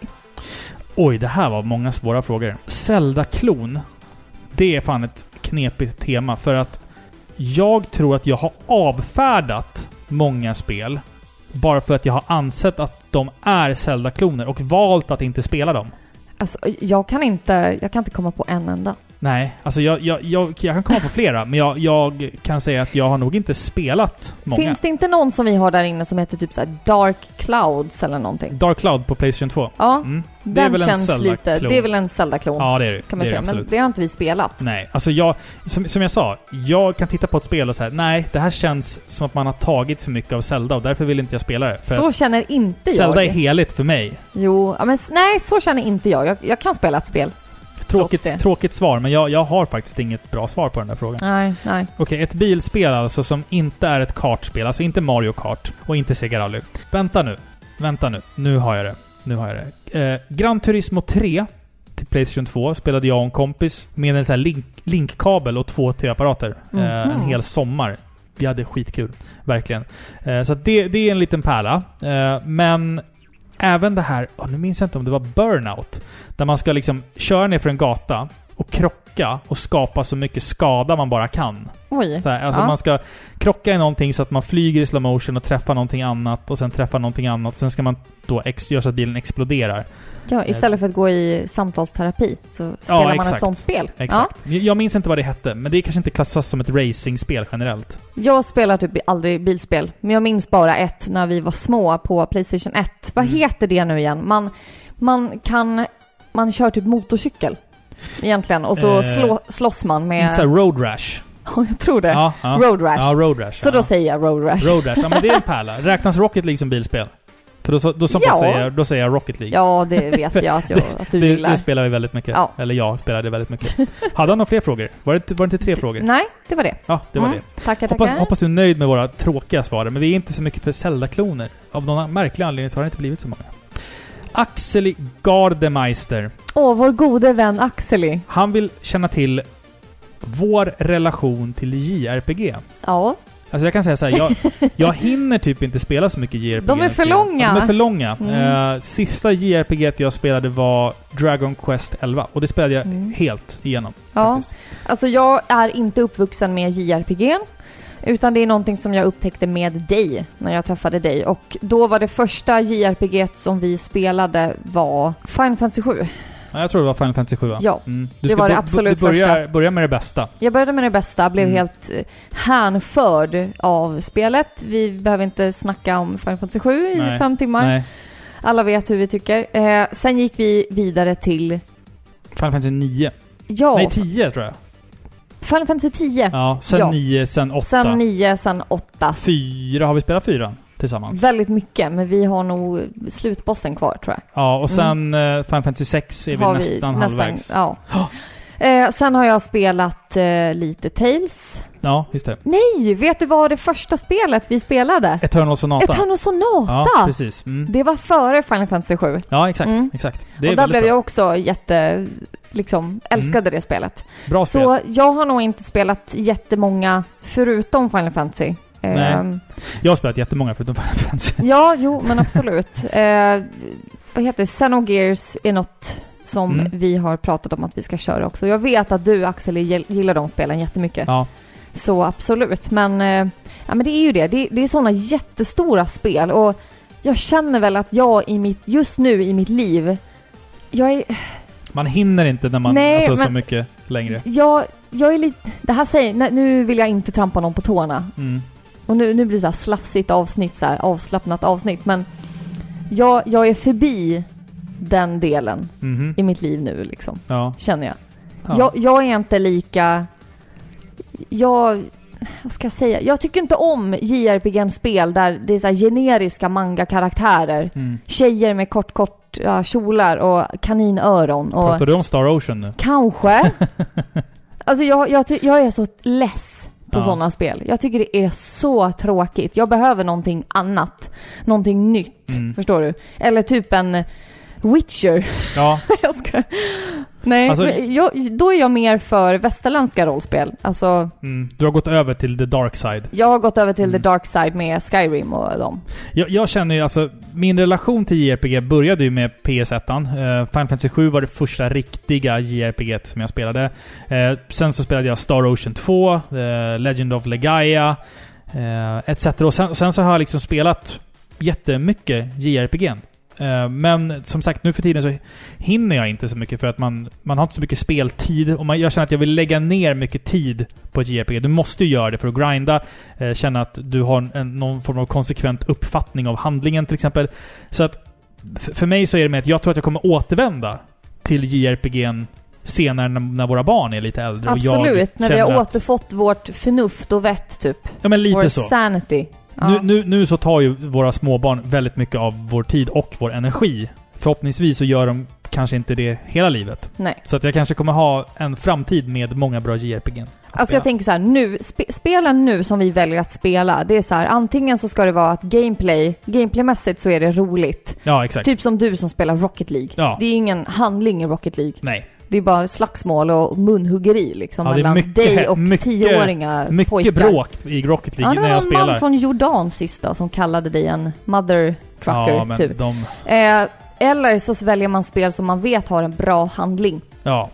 A: Oj, det här var många svåra frågor. Zelda-klon. Det är fan ett knepigt tema för att jag tror att jag har avfärdat många spel bara för att jag har ansett att de är Zelda-kloner och valt att inte spela dem.
B: Alltså, jag kan inte, jag kan inte komma på en enda.
A: Nej, alltså jag, jag, jag, jag kan komma på flera, men jag, jag kan säga att jag har nog inte spelat många.
B: Finns det inte någon som vi har där inne som heter typ så här Dark Clouds eller någonting?
A: Dark Cloud på Playstation 2.
B: Ja,
A: Mm.
B: den
A: Det är väl en
B: känns
A: Zelda-klon.
B: lite... Det är väl en Zelda-klon,
A: Ja, det är det.
B: kan man
A: det är
B: säga.
A: det
B: Men
A: absolut.
B: det har inte vi spelat.
A: Nej, alltså jag... Som, som jag sa, jag kan titta på ett spel och säga nej, det här känns som att man har tagit för mycket av Zelda och därför vill inte jag spela det. För
B: Så känner inte
A: att
B: jag.
A: Zelda är heligt för mig.
B: Jo, ja, men s- nej, så känner inte jag. Jag, jag kan spela ett spel. det.
A: Tråkigt, tråkigt svar, men jag, jag har faktiskt inget bra svar på den där frågan.
B: Nej, nej.
A: Okej, ett bilspel alltså som inte är ett kartspel, alltså inte Mario Kart och inte Sega Rally. Vänta nu, vänta nu. Nu har jag det. Nu har jag det. Eh, Gran Turismo 3 till Playstation 2 spelade jag och en kompis med en sån här link, linkkabel och två tv-apparater. Eh,
B: Mhm.
A: en hel sommar. Vi hade skitkul, verkligen. Eh, så att det, det är en liten pärla. Eh, men även det här, åh, nu minns jag inte om det var Burnout, där man ska liksom köra ner för en gata och krocka och skapa så mycket skada man bara kan.
B: Oj.
A: Så här, alltså
B: Ja.
A: man ska krocka i någonting så att man flyger i slow motion och träffar någonting annat och sen träffar någonting annat. Sen ska man då ex- göra så att bilen exploderar.
B: Ja, istället för att gå i samtalsterapi så spelar man ett
A: exakt.
B: sånt spel.
A: Exakt. Jag- Jag minns inte vad det hette, men det kanske inte klassas som ett racingspel generellt.
B: Ja. Jag spelar typ aldrig bilspel, men jag minns bara ett när vi var små på Playstation 1. Vad
A: Mm.
B: heter det nu igen? Man, man kan... Man kör typ motorcykel egentligen och så
A: Eh,
B: slå, slåss man
A: Inte
B: med...
A: såhär road rash.
B: Ja, jag tror det.
A: Ja, ja.
B: Road Rash.
A: Ja, road rash.
B: så
A: ja.
B: då säger jag Road Rash.
A: Road rash, ja men det är en pärla. Räknas Rocket League som bilspel? För då, så- då, som
B: Ja.
A: jag säger, då säger jag Rocket League.
B: Ja, det vet jag att, jag, att du
A: det,
B: gillar.
A: det spelar vi väldigt mycket.
B: Ja.
A: Eller jag spelade väldigt mycket. Hade han några fler frågor? Var det, inte- var det inte tre frågor?
B: Nej, det var det.
A: Ja, det var
B: Mm.
A: det.
B: Tackar, tackar.
A: Hoppas, hoppas du är nöjd med våra tråkiga svar, men vi är inte så mycket för Zelda-kloner. Av någon märklig anledning så har det inte blivit så många. Axel Gardemeister.
B: Åh, vår gode vän Axeli.
A: Han vill känna till vår relation till JRPG.
B: Ja,
A: Alltså jag kan säga så här, jag, jag hinner typ inte spela så mycket JRPG.
B: De är för
A: nu för tiden.
B: långa.
A: Ja, De är för långa.
B: Mm.
A: Eh, sista JRPG jag spelade var Dragon Quest 11 och det spelade jag
B: Mm.
A: helt igenom.
B: ja.
A: Faktiskt.
B: Alltså jag är inte uppvuxen med JRPG. Utan det är någonting som jag upptäckte med dig när jag träffade dig. Och då var det första JRPG som vi spelade var Final Fantasy 7.
A: Ja, jag tror det var Final Fantasy 7 va?
B: Ja,
A: Mm.
B: det
A: Du ska
B: var det
A: bo- bo-
B: absolut
A: du börjar,
B: första.
A: börjar med det bästa.
B: Jag började med det bästa, blev
A: Mm.
B: helt eh, hänförd av spelet. Vi behöver inte snacka om Final Fantasy 7 i
A: Nej.
B: fem timmar.
A: Nej,
B: Alla vet hur vi tycker. Eh, sen gick vi vidare till,
A: Final Fantasy 9.
B: ja,
A: Nej, 10 tror jag.
B: Final Fantasy 10.
A: Ja, sen
B: Ja.
A: 9, sen 8.
B: Sen 9, sen 8.
A: Fyra, har vi spelat fyran tillsammans?
B: Väldigt mycket, men vi har nog slutbossen kvar tror jag.
A: eh, Ja, och sen mm. Final Fantasy 6 är vi
B: har
A: nästan halvvägs.
B: Ja. Eh, sen har jag spelat eh, lite Tales.
A: Ja, just det.
B: Nej, vet du vad det första spelet vi spelade?
A: Eternal Sonata.
B: Eternal Sonata!
A: Ja, precis. Mm.
B: det var före Final Fantasy 7.
A: Ja, exakt.
B: Mm.
A: exakt. Det
B: Och
A: är
B: där
A: väldigt bra.
B: blev
A: Mm.
B: jag också jätte... Liksom, älskade det spelet.
A: Bra spel.
B: Så jag har nog inte spelat jättemånga förutom Final Fantasy. Eh,
A: Nej. Jag har spelat jättemånga förutom Final Fantasy.
B: Ja, jo, men absolut. eh, vad heter det? Xenogears är något som
A: Mm.
B: vi har pratat om att vi ska köra också. Jag vet att du, Axel, gill- gillar de spelen jättemycket.
A: Ja.
B: Så absolut, men, eh, ja, men det är ju det. Det, det är sådana jättestora spel och jag känner väl att jag i mitt, just nu i mitt liv, jag är,
A: Man hinner inte när man...
B: Nej,
A: alltså så
B: men-
A: mycket längre.
B: jag, jag är lite, det här säger, nej, nu vill jag inte trampa någon på tårna.
A: Mm.
B: Och nu, nu blir det så här slafsigt avsnitt, så här avslappnat avsnitt, men jag, jag är förbi den delen
A: Mhm.
B: i mitt liv nu liksom,
A: Ja.
B: känner jag.
A: ja.
B: Jag, jag är inte lika... Jag... Vad ska jag säga? Jag tycker inte om JRPG-spel där det är så här generiska manga-karaktärer.
A: Mm.
B: Tjejer med kort, kort ja, kjolar och kaninöron och...
A: Pratar du om Star Ocean nu?
B: Kanske. alltså jag, jag, ty- jag är så less på
A: Ja.
B: sådana spel. Jag tycker det är så tråkigt. Jag behöver någonting annat. Någonting nytt.
A: Mm.
B: Förstår du? Eller typ en Witcher.
A: Ja.
B: jag ska... Nej,
A: Alltså-
B: men jag, då är jag mer för västerländska rollspel. Alltså,
A: Mm. Du har gått över till the dark side.
B: jag har gått över till
A: Mm.
B: the dark side med Skyrim och dem.
A: Jag, jag känner ju alltså, min relation till JRPG började ju med PS1. Uh, Final Fantasy 7 var det första riktiga JRPG som jag spelade. Eh, sen så spelade jag Star Ocean 2, eh, Legend of Legaia, uh, etc. Och sen, sen så har jag liksom spelat jättemycket JRPG. Eh, Men som sagt, nu för tiden så hinner jag inte så mycket för att man, man har inte så mycket speltid. Och man, jag känner att jag vill lägga ner mycket tid på ett JRPG. Du måste ju göra det för att grinda, eh, känna att du har en, någon form av konsekvent uppfattning av handlingen till exempel. Så att f- för mig så är det med att jag tror att jag kommer återvända till JRPG'n senare när, när våra barn är lite äldre. och jag
B: Absolut, när vi har
A: känner att-
B: återfått vårt förnuft och vett typ.
A: Ja men lite
B: Vår
A: så.
B: sanity. Ja.
A: Nu, nu, nu så tar ju våra småbarn väldigt mycket av vår tid och vår energi. Förhoppningsvis så gör de kanske inte det hela livet.
B: Nej.
A: Så att jag kanske kommer ha en framtid med många bra JRPG. n.
B: Alltså jag tänker så här, nu, spe, spelen nu som vi väljer att spela, det är så här, antingen så ska det vara att gameplay, gameplaymässigt så är det roligt.
A: Ja, exakt.
B: Typ som du som spelar Rocket League.
A: Ja.
B: Det är ingen handling i Rocket League.
A: Nej.
B: Det är bara slagsmål och munhuggeri liksom
A: Ja, det är
B: mellan
A: mycket-
B: dig och
A: mycket-
B: tioåringar
A: Mycket
B: eh, pojkar.
A: bråk i Rocket
B: Ja,
A: League
B: det var
A: när jag
B: någon man
A: spelar.
B: från Jordan sist då som kallade dig en mother trucker
A: ja, men
B: typ.
A: de...
B: Eh, eller så väljer man spel som man vet har en bra handling.
A: Ja.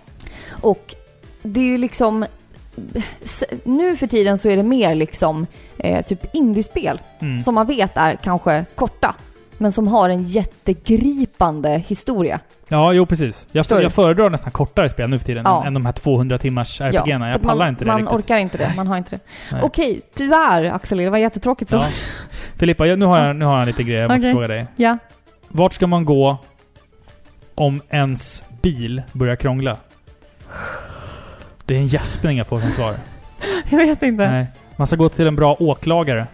B: Och det är ju liksom... s- Nu för tiden så är det mer liksom eh, typ indiespel
A: Mm.
B: som man vet är kanske korta men som har en jättegripande historia.
A: Ja, jo precis. Jag,
B: Förstår du?
A: jag föredrar nästan kortare spel nu för tiden
B: Ja.
A: än- än de här 200 timmars
B: Ja,
A: RPG.
B: för
A: jag
B: att
A: pallar
B: man,
A: inte det
B: Man
A: riktigt.
B: orkar inte det, man har inte det.
A: Nej.
B: Okej, tyvärr Axel, det var jättetråkigt så.
A: Ja.
B: Ja.
A: Filippa, jag- nu har jag, nu har jag lite grejer jag måste
B: Okej.
A: fråga dig. Vart ska man gå om ens bil börjar krångla? Det är en gäspning jag får som svar.
B: Jag vet inte.
A: Nej. Man ska gå till en bra åklagare.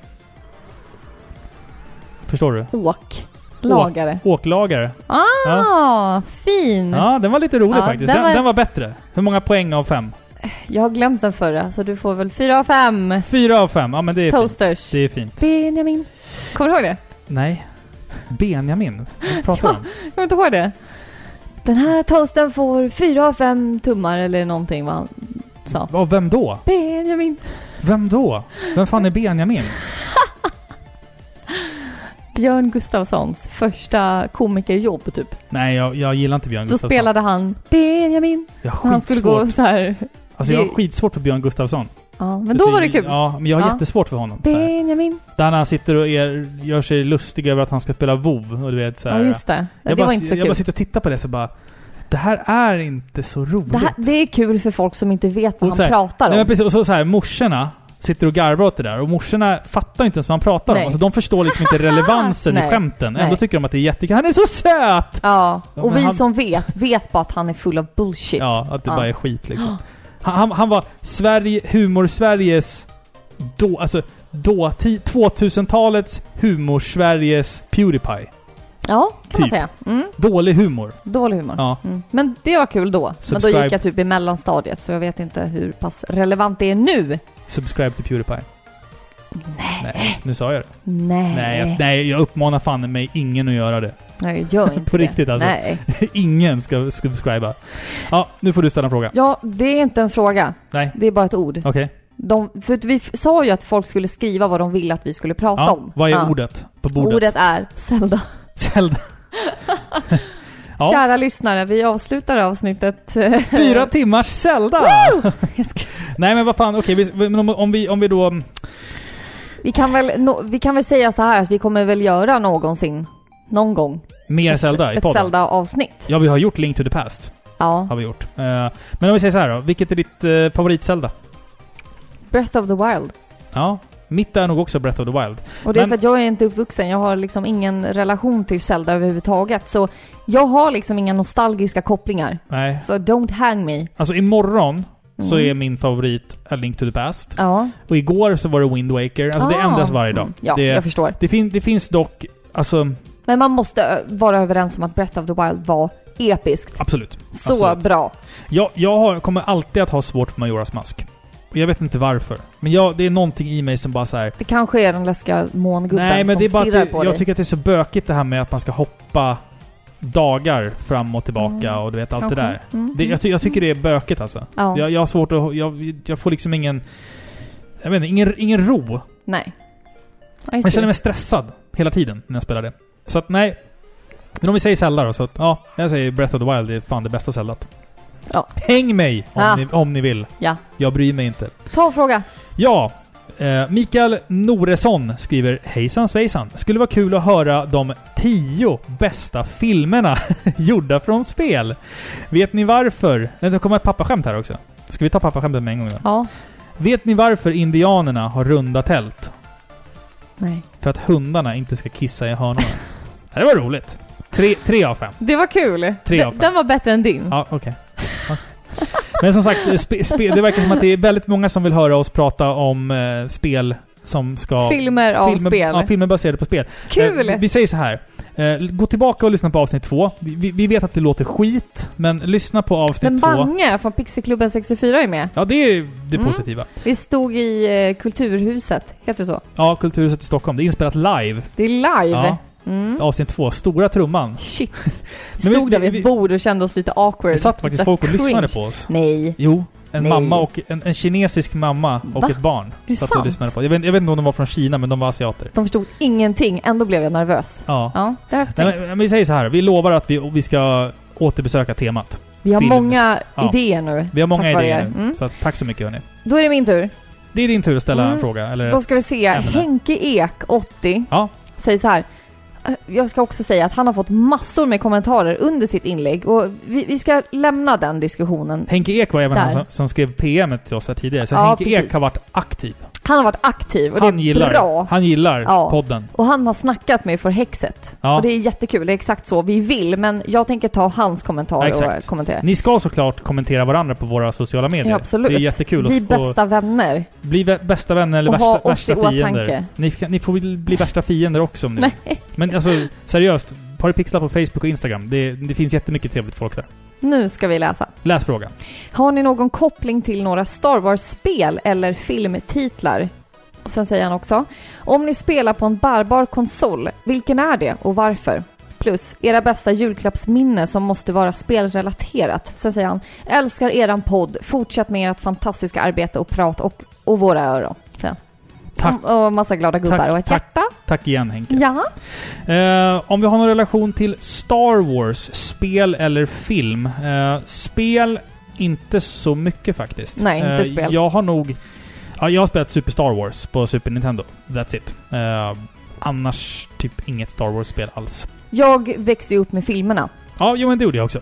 A: Förstår du?
B: Åk. Lagare.
A: Åklagare.
B: Ah, fin!
A: Ja, den var lite rolig
B: Ja,
A: faktiskt.
B: den
A: Den,
B: var-
A: den var bättre. Hur många poäng av fem?
B: Jag har glömt den förra, så du får väl fyra av fem
A: Fyra av fem. Ja, men det är fint.
B: toasters.
A: Det är fint.
B: Benjamin. Kommer du ihåg det?
A: Nej. Benjamin. Vad pratar du om?
B: Jag kommer inte ihåg det. Den här toasten får fyra av fem tummar eller någonting vad han sa.
A: Ja, vem då?
B: Benjamin.
A: Vem då? Vem fan är Benjamin?
B: Björn Gustafssons första komikerjobb typ.
A: Nej, jag, jag gillar inte Björn
B: Då
A: Gustafsson.
B: spelade han Benjamin.
A: Jag
B: Och
A: har
B: han skulle
A: skitsvårt.
B: gå så här.
A: Alltså jag har
B: Det-
A: skitsvårt för Björn Gustafsson.
B: Ja, men då
A: Så-
B: var det kul.
A: Ja, men jag har
B: Ja.
A: jättesvårt för honom. så här.
B: Benjamin.
A: Där när han sitter och är, gör sig lustig över att han ska spela WoW och du vet så här.
B: Ja, just det. Ja,
A: jag
B: Det
A: bara,
B: var inte så
A: Jag bara
B: kul.
A: sitter och tittar på det så bara... Det här är inte så roligt.
B: Det, här, det är kul för folk som inte vet vad
A: Och så
B: han
A: här- Nej,
B: pratar
A: men
B: om.
A: precis, och så, så här, morsorna sitter och garvar åt det där och morsorna fattar inte ens vad han pratar
B: Nej.
A: om. Alltså de förstår liksom inte relevansen i
B: Nej.
A: skämten. Ändå
B: Nej.
A: tycker de att det är jättekul. Han är så söt!
B: Ja,
A: Ja,
B: och
A: men
B: vi
A: han-
B: som vet, vet bara att han är full av bullshit.
A: Ja, att det
B: Ja.
A: bara är skit liksom. Han, han, han var Sverige, humor-Sveriges... Då, alltså, då, 2000-talets humor-Sveriges Pewdiepie.
B: Ja, kan man
A: Typ.
B: säga. Mm,
A: Dålig humor.
B: dålig humor.
A: Ja.
B: Mm. Men det var kul då. Men då
A: Subscribe.
B: gick jag typ i mellanstadiet så jag vet inte hur pass relevant det är nu.
A: Subscribe till Pewdiepie.
B: Nej.
A: Nej, nu sa jag det.
B: Nej.
A: Nej, jag, nej, jag uppmanar fan mig ingen att göra det.
B: Nej, gör inte
A: På
B: det.
A: riktigt, alltså.
B: Nej.
A: ingen ska subscriba. Ja, nu får du ställa en fråga.
B: Ja, det är inte en fråga.
A: Nej.
B: Det är bara ett ord.
A: Okej.
B: De, för att vi f- sa ju att folk skulle skriva vad de ville att vi skulle prata
A: Ja,
B: om.
A: vad är
B: Ja.
A: ordet på bordet?
B: Ordet är Zelda.
A: Zelda. Ja.
B: Kära lyssnare, vi avslutar avsnittet.
A: Fyra timmars Zelda!
B: Jag ska-
A: Nej men vad fan, okej, vi- men om, om, vi, om vi då...
B: vi, kan väl, nå- vi kan väl säga så här att vi kommer väl göra någonsin, någon gång,
A: Mer Zelda i
B: ett
A: podden.
B: Zelda-avsnitt.
A: Ja, vi har gjort Link to the Past.
B: Ja.
A: Har vi gjort. Eh, men om vi säger så här då. Vilket är ditt eh, favorit-Zelda?
B: Breath of the Wild.
A: Ja. Mitt är nog också Breath of the Wild.
B: Och det är
A: Men-
B: för att jag är inte uppvuxen, jag har liksom ingen relation till Zelda överhuvudtaget. Så jag har liksom inga nostalgiska kopplingar.
A: Nej.
B: Så don't hang me.
A: Alltså imorgon så
B: Mm.
A: är min favorit A Link to the Past.
B: Ja.
A: Och igår så var det Wind Waker. Alltså det
B: Ah.
A: ändras varje dag.
B: Mm. Ja,
A: det,
B: jag förstår.
A: det, fin, det finns dock... Alltså,
B: Men man måste ö, vara överens om att Breath of the Wild var episkt.
A: absolut.
B: Så
A: Absolut.
B: bra.
A: Jag, jag har, kommer alltid att ha svårt för Majoras mask. Och jag vet inte varför. Men jag, det är någonting i mig som bara så här.
B: Det kanske är den läskiga mångubben
A: Nej, men
B: som
A: det är bara
B: stirrar
A: att
B: på
A: det, jag
B: dig.
A: tycker att det är så bökigt det här med att man ska hoppa dagar fram och tillbaka
B: Mm.
A: och du vet allt
B: Kanske.
A: det där.
B: Mm.
A: Det, jag, ty- jag tycker det är bökigt alltså.
B: ja.
A: Jag, jag har svårt att... Jag, jag får liksom ingen... Jag vet inte, ingen, ingen ro.
B: Nej.
A: Jag känner mig stressad hela tiden när jag spelar det. Så att nej. Men om vi säger Zelda då, så att ja, jag säger Breath of the Wild är fan det bästa Zeldat.
B: Ja.
A: Häng mig om,
B: Ja.
A: ni, om ni vill.
B: Ja.
A: Jag bryr mig inte.
B: Ta en fråga.
A: Ja. Eh, Mikael Noresson skriver Hejsan svejsan. Skulle vara kul att höra de tio bästa filmerna gjorda från spel. Vet ni varför? Nej, Det kommer ett pappaskämt här också. Ska vi ta pappaskämtet med en gång? Då?
B: Ja.
A: Vet ni varför indianerna har runda tält?
B: Nej.
A: För att hundarna inte ska kissa i hörnorna. det var roligt. Tre, tre av fem.
B: Det var kul.
A: Tre av fem.
B: Den, den var bättre än din.
A: Ja, okej. Ja. Men som sagt, spe, spe, det verkar som att det är väldigt många som vill höra oss prata om eh, spel som ska...
B: Filmer av spel.
A: Ja, filmer baserade på spel.
B: Kul!
A: Eh, vi säger så här. Eh, gå tillbaka och lyssna på avsnitt två. Vi, vi, vi vet att det låter skit, men lyssna på avsnitt
B: Men
A: två.
B: Bange från Pixieklubben 64 är med.
A: Ja, det är det
B: Mm.
A: positiva.
B: Vi stod i eh, Kulturhuset, heter det så?
A: Ja, Kulturhuset i Stockholm. Det är inspelat live.
B: Det är live.
A: Ja,
B: Mm.
A: avsnitt två. Stora trumman.
B: Shit.
A: Men vi-
B: Stod där vid
A: vi-
B: ett bord och kände oss lite awkward.
A: Det satt faktiskt
B: Lite
A: folk och lyssnade
B: cringe.
A: på oss.
B: Nej.
A: Jo. En
B: Nej.
A: mamma och en, en kinesisk mamma och
B: Va?
A: ett barn.
B: det
A: satt
B: sant?
A: och lyssnade på. Jag vet, jag vet inte om de var från Kina, men de var asiater.
B: De förstod ingenting, ändå blev jag nervös.
A: Ja.
B: Ja, det har jag
A: Nej,
B: tänkt.
A: men, men vi säger så här. Vi lovar att vi, vi ska återbesöka temat.
B: Vi har
A: film-
B: många
A: Ja.
B: idéer nu.
A: Vi har många
B: Tack vare
A: idéer
B: er.
A: nu.
B: Mm.
A: Så att, tack så mycket hörni.
B: Då är det min tur.
A: Det är din tur att ställa
B: Mm.
A: en fråga. Eller
B: Då
A: ett-
B: ska vi se.
A: Eh, ämne.
B: Henke Ek, 80,
A: Ja.
B: säger så här. Eh, Jag ska också säga att han har fått massor med kommentarer under sitt inlägg och vi, vi ska lämna den diskussionen.
A: Henke Ek var även
B: Där.
A: han som, som skrev PM till oss här tidigare. Så
B: Ja,
A: Henke Ek
B: precis.
A: har varit aktiv.
B: Han har varit aktiv och
A: Han
B: det är
A: gillar,
B: bra.
A: han gillar
B: Ja.
A: podden.
B: Och han har snackat med för häxet.
A: Ja.
B: Och det är jättekul, det är exakt så vi vill. Men jag tänker ta hans kommentar
A: Ja,
B: och
A: exakt.
B: eh, kommentera.
A: Ni ska såklart kommentera varandra på våra sociala medier.
B: Ja, absolut.
A: Det är jättekul.
B: Vi är
A: att- och-
B: bästa vänner.
A: Bli vä- bästa vänner eller
B: Och ha
A: värsta,
B: oss i
A: värsta
B: åtanke.
A: fiender. Ni, kan- ni får väl bli värsta fiender också om ni
B: Nej.
A: vill. Men alltså, seriöst. Paripixlar på Facebook och Instagram. Det, det finns jättemycket trevligt folk där.
B: Nu ska vi läsa.
A: Läs frågan.
B: Har ni någon koppling till några Star Wars-spel eller filmtitlar? Och sen säger han också. Om ni spelar på en bärbar konsol, vilken är det och varför? Plus, era bästa julklappsminne som måste vara spelrelaterat. Sen säger han, älskar eran podd, fortsätt med ert fantastiska arbete och prat och, och våra öron. Sen.
A: Tack,
B: Och, och massa glada gubbar och ett
A: tack.
B: hjärta.
A: tack igen Henke.
B: Ja. Mm.
A: Eh, om vi har någon relation till Star Wars, spel eller film? Eh, spel, inte så mycket faktiskt. Eh,
B: Nej, inte spel.
A: Jag har nog... Ja, jag har spelat Super Star Wars på Super Nintendo. That's it. Eh, annars typ inget Star Wars-spel alls.
B: Jag växte ju upp med filmerna.
A: Ja, jo men det gjorde jag också.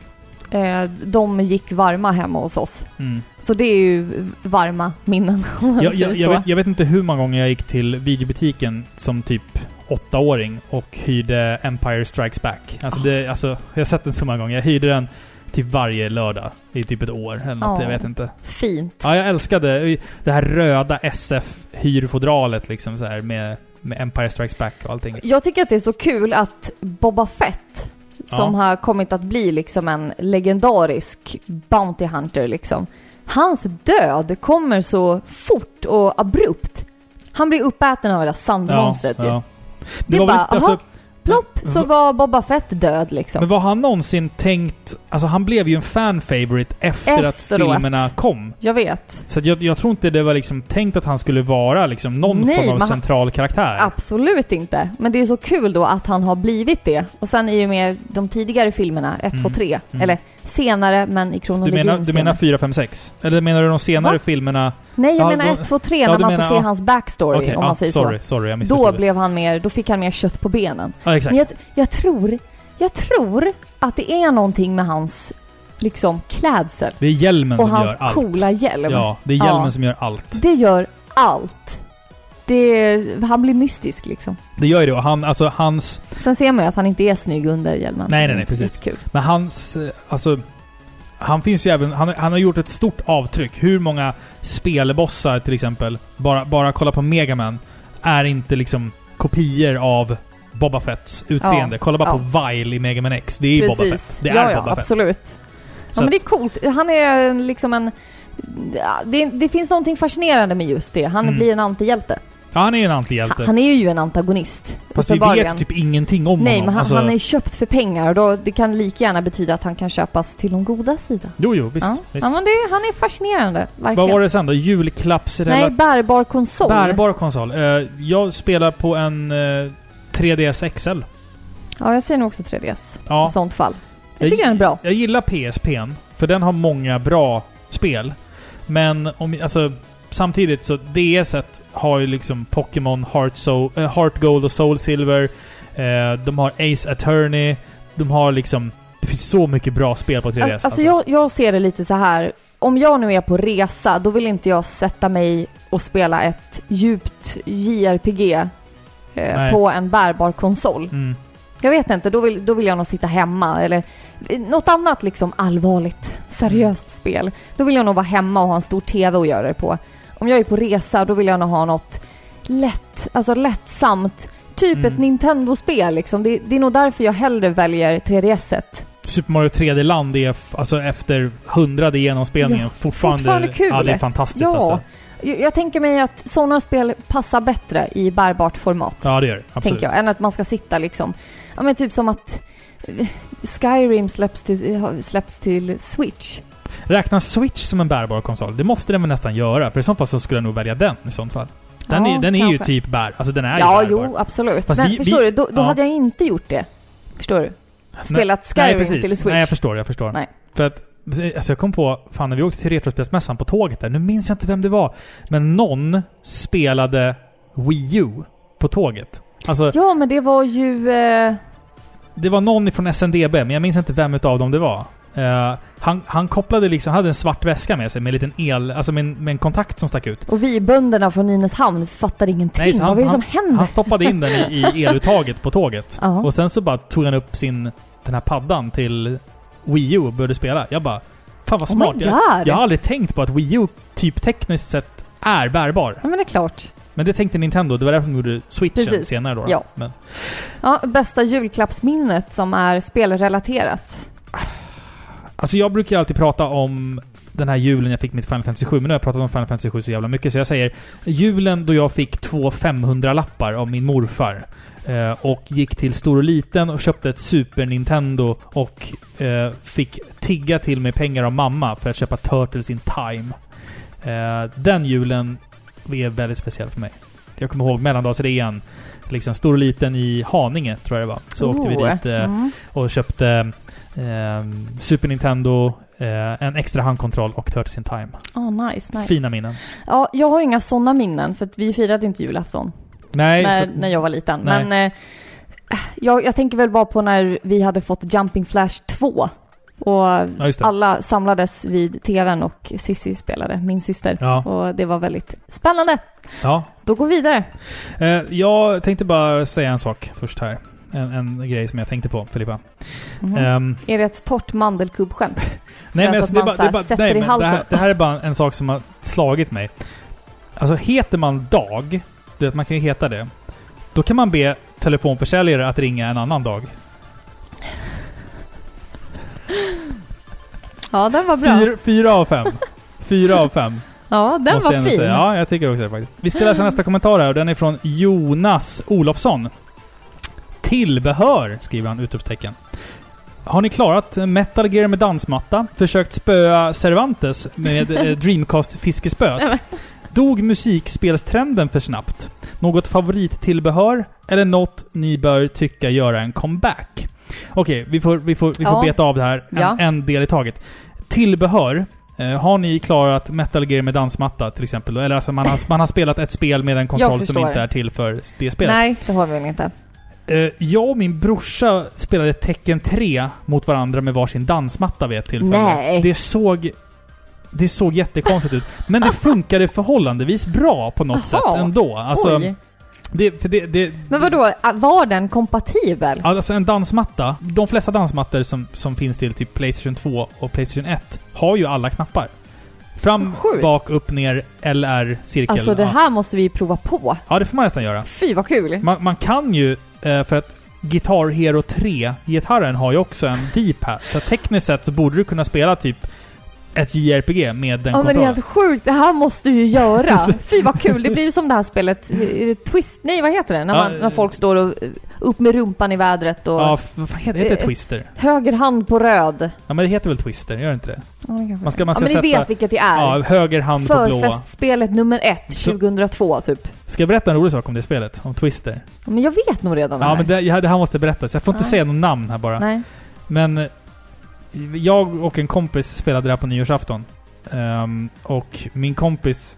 B: Eh, de gick varma hemma hos oss.
A: Mm.
B: Så det är ju varma minnen om man
A: jag,
B: säger
A: jag, jag,
B: så.
A: vet, jag vet inte hur många gånger jag gick till videobutiken som typ åttaåring och hyrde Empire Strikes Back. Alltså,
B: Ah.
A: det, alltså, jag har sett den så många gånger. Jag hyrde den till varje lördag i typ ett år eller något,
B: Ja.
A: jag vet inte.
B: Fint.
A: Ja, jag älskade det här röda SF-hyrfodralet liksom så här med med Empire Strikes Back och allting.
B: Jag tycker att det är så kul att Boba Fett, som har kommit att bli liksom en legendarisk Bounty Hunter liksom. Hans död kommer så fort och abrupt. Han blir uppäten av det där sandmonstret ju.
A: Det,
B: Det är
A: var väl,
B: bara,
A: inte- alltså,
B: aha. Plopp, så var Boba Fett död liksom.
A: men var han någonsin tänkt... Alltså han blev ju en fan favorite efter att
B: Efteråt.
A: filmerna kom.
B: Jag vet.
A: Så att jag, jag tror inte det var liksom tänkt att han skulle vara liksom någon
B: Nej,
A: form av
B: men han-
A: central karaktär.
B: Absolut inte. Men det är så kul då att han har blivit det. Och sen i och med de tidigare filmerna, 1,
A: Mm.
B: 2, 3.
A: Mm.
B: Eller senare, men i
A: Du
B: kronologin
A: menar, du menar
B: senare.
A: 4, 5, 6? Eller menar du de senare
B: Va?
A: filmerna?
B: Nej, jag
A: Ja,
B: menar
A: då-
B: 1, 2, 3
A: ja,
B: när
A: du
B: man
A: menar-
B: får se
A: ja.
B: hans backstory,
A: Okej,
B: om
A: ja,
B: man säger
A: sorry,
B: så.
A: sorry, jag missade
B: Då, blev han mer, då fick han mer kött på benen.
A: Ja, exakt.
B: Men jag, jag, tror, jag tror att det är någonting med hans liksom, klädsel
A: Det är hjälmen
B: och
A: som
B: hans
A: gör allt.
B: coola hjälm.
A: Ja, det är hjälmen
B: Ja.
A: som gör allt.
B: Det gör allt. Det, han blir mystisk liksom.
A: Det gör ju det. Och han, alltså hans...
B: Sen ser man ju att han inte är snygg under hjälmen.
A: Nej, nej, nej,
B: Det är
A: precis.
B: Kul.
A: Men hans... eh, Alltså... Han finns ju även... Han, han har gjort ett stort avtryck. Hur många spelbossar till exempel, bara, bara kolla på Megaman, är inte liksom kopior av Boba Fetts utseende. Kolla bara på Vile i Megaman X. Det är ju Boba Fett. Det
B: ja,
A: är
B: ja,
A: Boba Fett.
B: absolut.
A: Så
B: Ja, men
A: att-
B: det är coolt. Han är liksom en... ja, Det, det finns någonting fascinerande med just det. Han
A: Mm.
B: blir en antihjälte.
A: ja, han är ju en
B: Ha,
A: antihjälte.
B: han är ju en antagonist.
A: Fast vi
B: uppenbarligen.
A: vet typ ingenting om
B: Nej,
A: honom.
B: men han,
A: Alltså-
B: han är köpt för pengar och då, det kan lika gärna betyda att han kan köpas till de goda sida.
A: Jo, jo, visst.
B: ja.
A: visst.
B: ja, men det, han är fascinerande. Verkligen.
A: Vad var det sen då? Julklappsrelaterat?
B: Nej, bärbar konsol.
A: Bärbar konsol. Eh, jag spelar på en eh, 3DS XL.
B: Ja, jag säger nog också 3DS i
A: Ja,
B: sånt fall.
A: Jag-
B: Jag tycker den är bra.
A: jag gillar PSPn, för den har många bra spel. Men om, alltså, samtidigt så DS et har ju liksom Pokémon, Heart, so eh, Heart Gold och Soul Silver. Eh, de har Ace Attorney. De har liksom... Det finns så mycket bra spel på 3DS.
B: Alltså, jag, jag ser det lite så här. Om jag nu är på resa, då vill inte jag sätta mig och spela ett djupt JRPG eh,
A: Nej.
B: på en bärbar konsol.
A: Mm.
B: Jag vet inte, då vill, då vill jag nog sitta hemma eller eh, något annat liksom allvarligt, seriöst
A: Mm.
B: spel. Då vill jag nog vara hemma och ha en stor TV att göra det på. Om jag är på resa, då vill jag nog ha något lätt, alltså lättsamt. Typ
A: Mm.
B: ett Nintendo-spel liksom. Det, det är nog därför jag hellre väljer 3DS-et.
A: Super Mario 3D Land är, f- alltså efter hundrade genomspelningen,
B: Ja,
A: fortfarande...
B: fortfarande kul.
A: Ja, det är fantastiskt
B: Ja.
A: alltså.
B: Jag, jag tänker mig att sådana spel passar bättre i bärbart format.
A: Ja, det gör det. Absolut.
B: tänker jag, än att man ska sitta liksom... Ja men typ som att eh, Skyrim släpps till, har släppts till Switch.
A: Räknas Switch som en bärbar konsol? Det måste den väl nästan göra, för i så fall så skulle jag nog välja den i sånt fall. Den,
B: Ja,
A: är, den är ju
B: kanske.
A: typ bär... Alltså den är
B: Ja,
A: ju bärbar.
B: jo, absolut.
A: Fast
B: men
A: vi-
B: förstår
A: vi-
B: du, då, då
A: ja.
B: hade jag inte gjort det. Förstår du? Spelat
A: Nej,
B: Skyrim
A: precis.
B: till Switch.
A: Nej, jag förstår. Jag förstår.
B: Nej.
A: För att... Alltså jag kom på, fan när vi åkte till Retrospelsmässan på tåget där, nu minns jag inte vem det var. Men någon spelade Wii U på tåget. Alltså,
B: Ja, men det var ju... Eh,
A: det var någon från SNDB, men jag minns inte vem utav dem det var. Eh, han, han kopplade liksom, han hade en svart väska med sig med en liten el, alltså med en, med en kontakt som stack ut.
B: och vi bönderna från Nynäshamn fattar ingenting.
A: Nej, så han-
B: Vad är det som händer?
A: Han stoppade in den i, i eluttaget på tåget.
B: Ja.
A: Och sen så bara tog han upp sin, den här paddan till Wii U och började spela. Jag bara, fan vad
B: oh
A: smart.
B: my
A: jag,
B: god! Ja,
A: jag har aldrig tänkt på att Wii U typ tekniskt sett är bärbar.
B: men det är klart.
A: Men det tänkte Nintendo, det var därför de gjorde switchen
B: Precis.
A: senare då.
B: Ja.
A: Men,
B: Ja, bästa julklappsminnet som är spelrelaterat.
A: alltså jag brukar ju alltid prata om den här julen jag fick mitt Final Fantasy 7, men nu har jag pratat om Final Fantasy 7 så jävla mycket så jag säger julen då jag fick två 500-lappar av min morfar eh, och gick till stor och liten och köpte ett Super Nintendo och eh, fick tigga till mig pengar av mamma för att köpa Turtles in Time. Eh, den julen är väldigt speciell för mig. Jag kommer ihåg mellandagsrean, liksom stor och liten i Haninge tror jag det var. Så åkte vi
B: Oh.
A: dit. Eh,
B: Mm.
A: och köpte ehm, Super Nintendo, eh, en extra handkontroll och Turtles in Time.
B: Ah, nice, nice.
A: Fina minnen.
B: Ja, jag har inga sådana minnen, för att vi firade inte julafton.
A: Nej,
B: när,
A: så,
B: när jag var liten.
A: Nej.
B: Men eh, jag, jag tänker väl bara på när vi hade fått Jumping Flash 2. Och
A: Ja, just det.
B: alla samlades vid tvn och Sissi spelade, min syster.
A: Ja.
B: Och det var väldigt spännande.
A: ja.
B: Då går vi vidare.
A: Eh, jag tänkte bara säga en sak först här. En, en grej som jag tänkte på, Filippa.
B: Mhm.
A: Ehm,
B: Är det ett torrt mandelkubbskämt?
A: nej, men
B: att
A: alltså, det, är
B: man
A: bara-
B: så
A: det,
B: här
A: är bara- nej,
B: sätter i
A: men det, här,
B: halsen.
A: det här är bara en sak som har slagit mig. Alltså, heter man Dag, du vet, man kan ju heta det. Då kan man be telefonförsäljare att ringa en annan dag.
B: Ja, den var bra.
A: Fyra, fyra av fem. Fyra av fem.
B: Ja, den
A: måste
B: var
A: jag ändå
B: fin.
A: Säga. Ja, jag tycker också det faktiskt. Vi ska läsa nästa kommentar här och den är från Jonas Olofsson. Tillbehör, skriver han utropstecken. Har ni klarat Metal Gear med dansmatta? Försökt spöa Cervantes med eh,
B: Nej,
A: Dreamcast-fiskespöet?
B: men.
A: Dog musikspelstrenden för snabbt? Något favorittillbehör? Eller något ni bör tycka göra en comeback? Okej, vi får, vi får, vi får
B: Ja.
A: beta av det här en,
B: Ja.
A: en del i taget. Tillbehör. Eh, har ni klarat Metal Gear med dansmatta till exempel? då? Eller alltså man har, man har spelat ett spel med en kontroll som
B: förstår.
A: inte är till för det spelet.
B: Nej, det har vi väl inte.
A: Eh, jag och min brorsa spelade Tecken 3 mot varandra med varsin dansmatta vid ett tillfälle.
B: Nej.
A: Det såg... Det såg jättekonstigt ut. Men det funkade förhållandevis bra på något
B: Jaha.
A: sätt ändå. Alltså,
B: Oj.
A: det, för det, det,
B: Men vadå, äh, var den kompatibel?
A: Alltså en dansmatta. De flesta dansmattor som, som finns till typ Playstation 2 och Playstation 1 har ju alla knappar. Fram,
B: Sjukt.
A: bak, upp, ner, LR, cirkel.
B: Alltså det
A: ja.
B: här måste vi prova på.
A: ja, det får man nästan göra.
B: Fy vad kul!
A: Man, man kan ju, eh, för att Guitar Hero 3-gitarren har ju också en D-pad. Så tekniskt sett så borde du kunna spela typ ett JRPG med den
B: Ja men det
A: kontrollen.
B: är helt sjukt, det här måste du ju göra! Fy vad kul, det blir ju som det här spelet, är det Twist? Nej vad heter det? När, man,
A: Ja,
B: när folk står och eh, upp med rumpan i vädret och
A: Ja, f- vad fan heter det? Heter det
B: Eh,
A: Twister?
B: höger hand på röd.
A: Ja, men det heter väl Twister? Gör det inte det?
B: Ja, det kanske
A: Man ska- man ska
B: ja, men ni
A: sätta-
B: vet vilket det är.
A: Ja, höger hand på blå.
B: Förfestspelet nummer ett,
A: Så-
B: 2002 typ.
A: Ska jag berätta en rolig sak om det spelet? Om Twister?
B: Men jag vet nog redan
A: Ja,
B: här.
A: men det, ja, det här måste berättas. Jag får inte
B: Nej.
A: säga något namn här bara.
B: Nej.
A: Men eh, jag och en kompis spelade det här på nyårsafton. Ehm, och min kompis...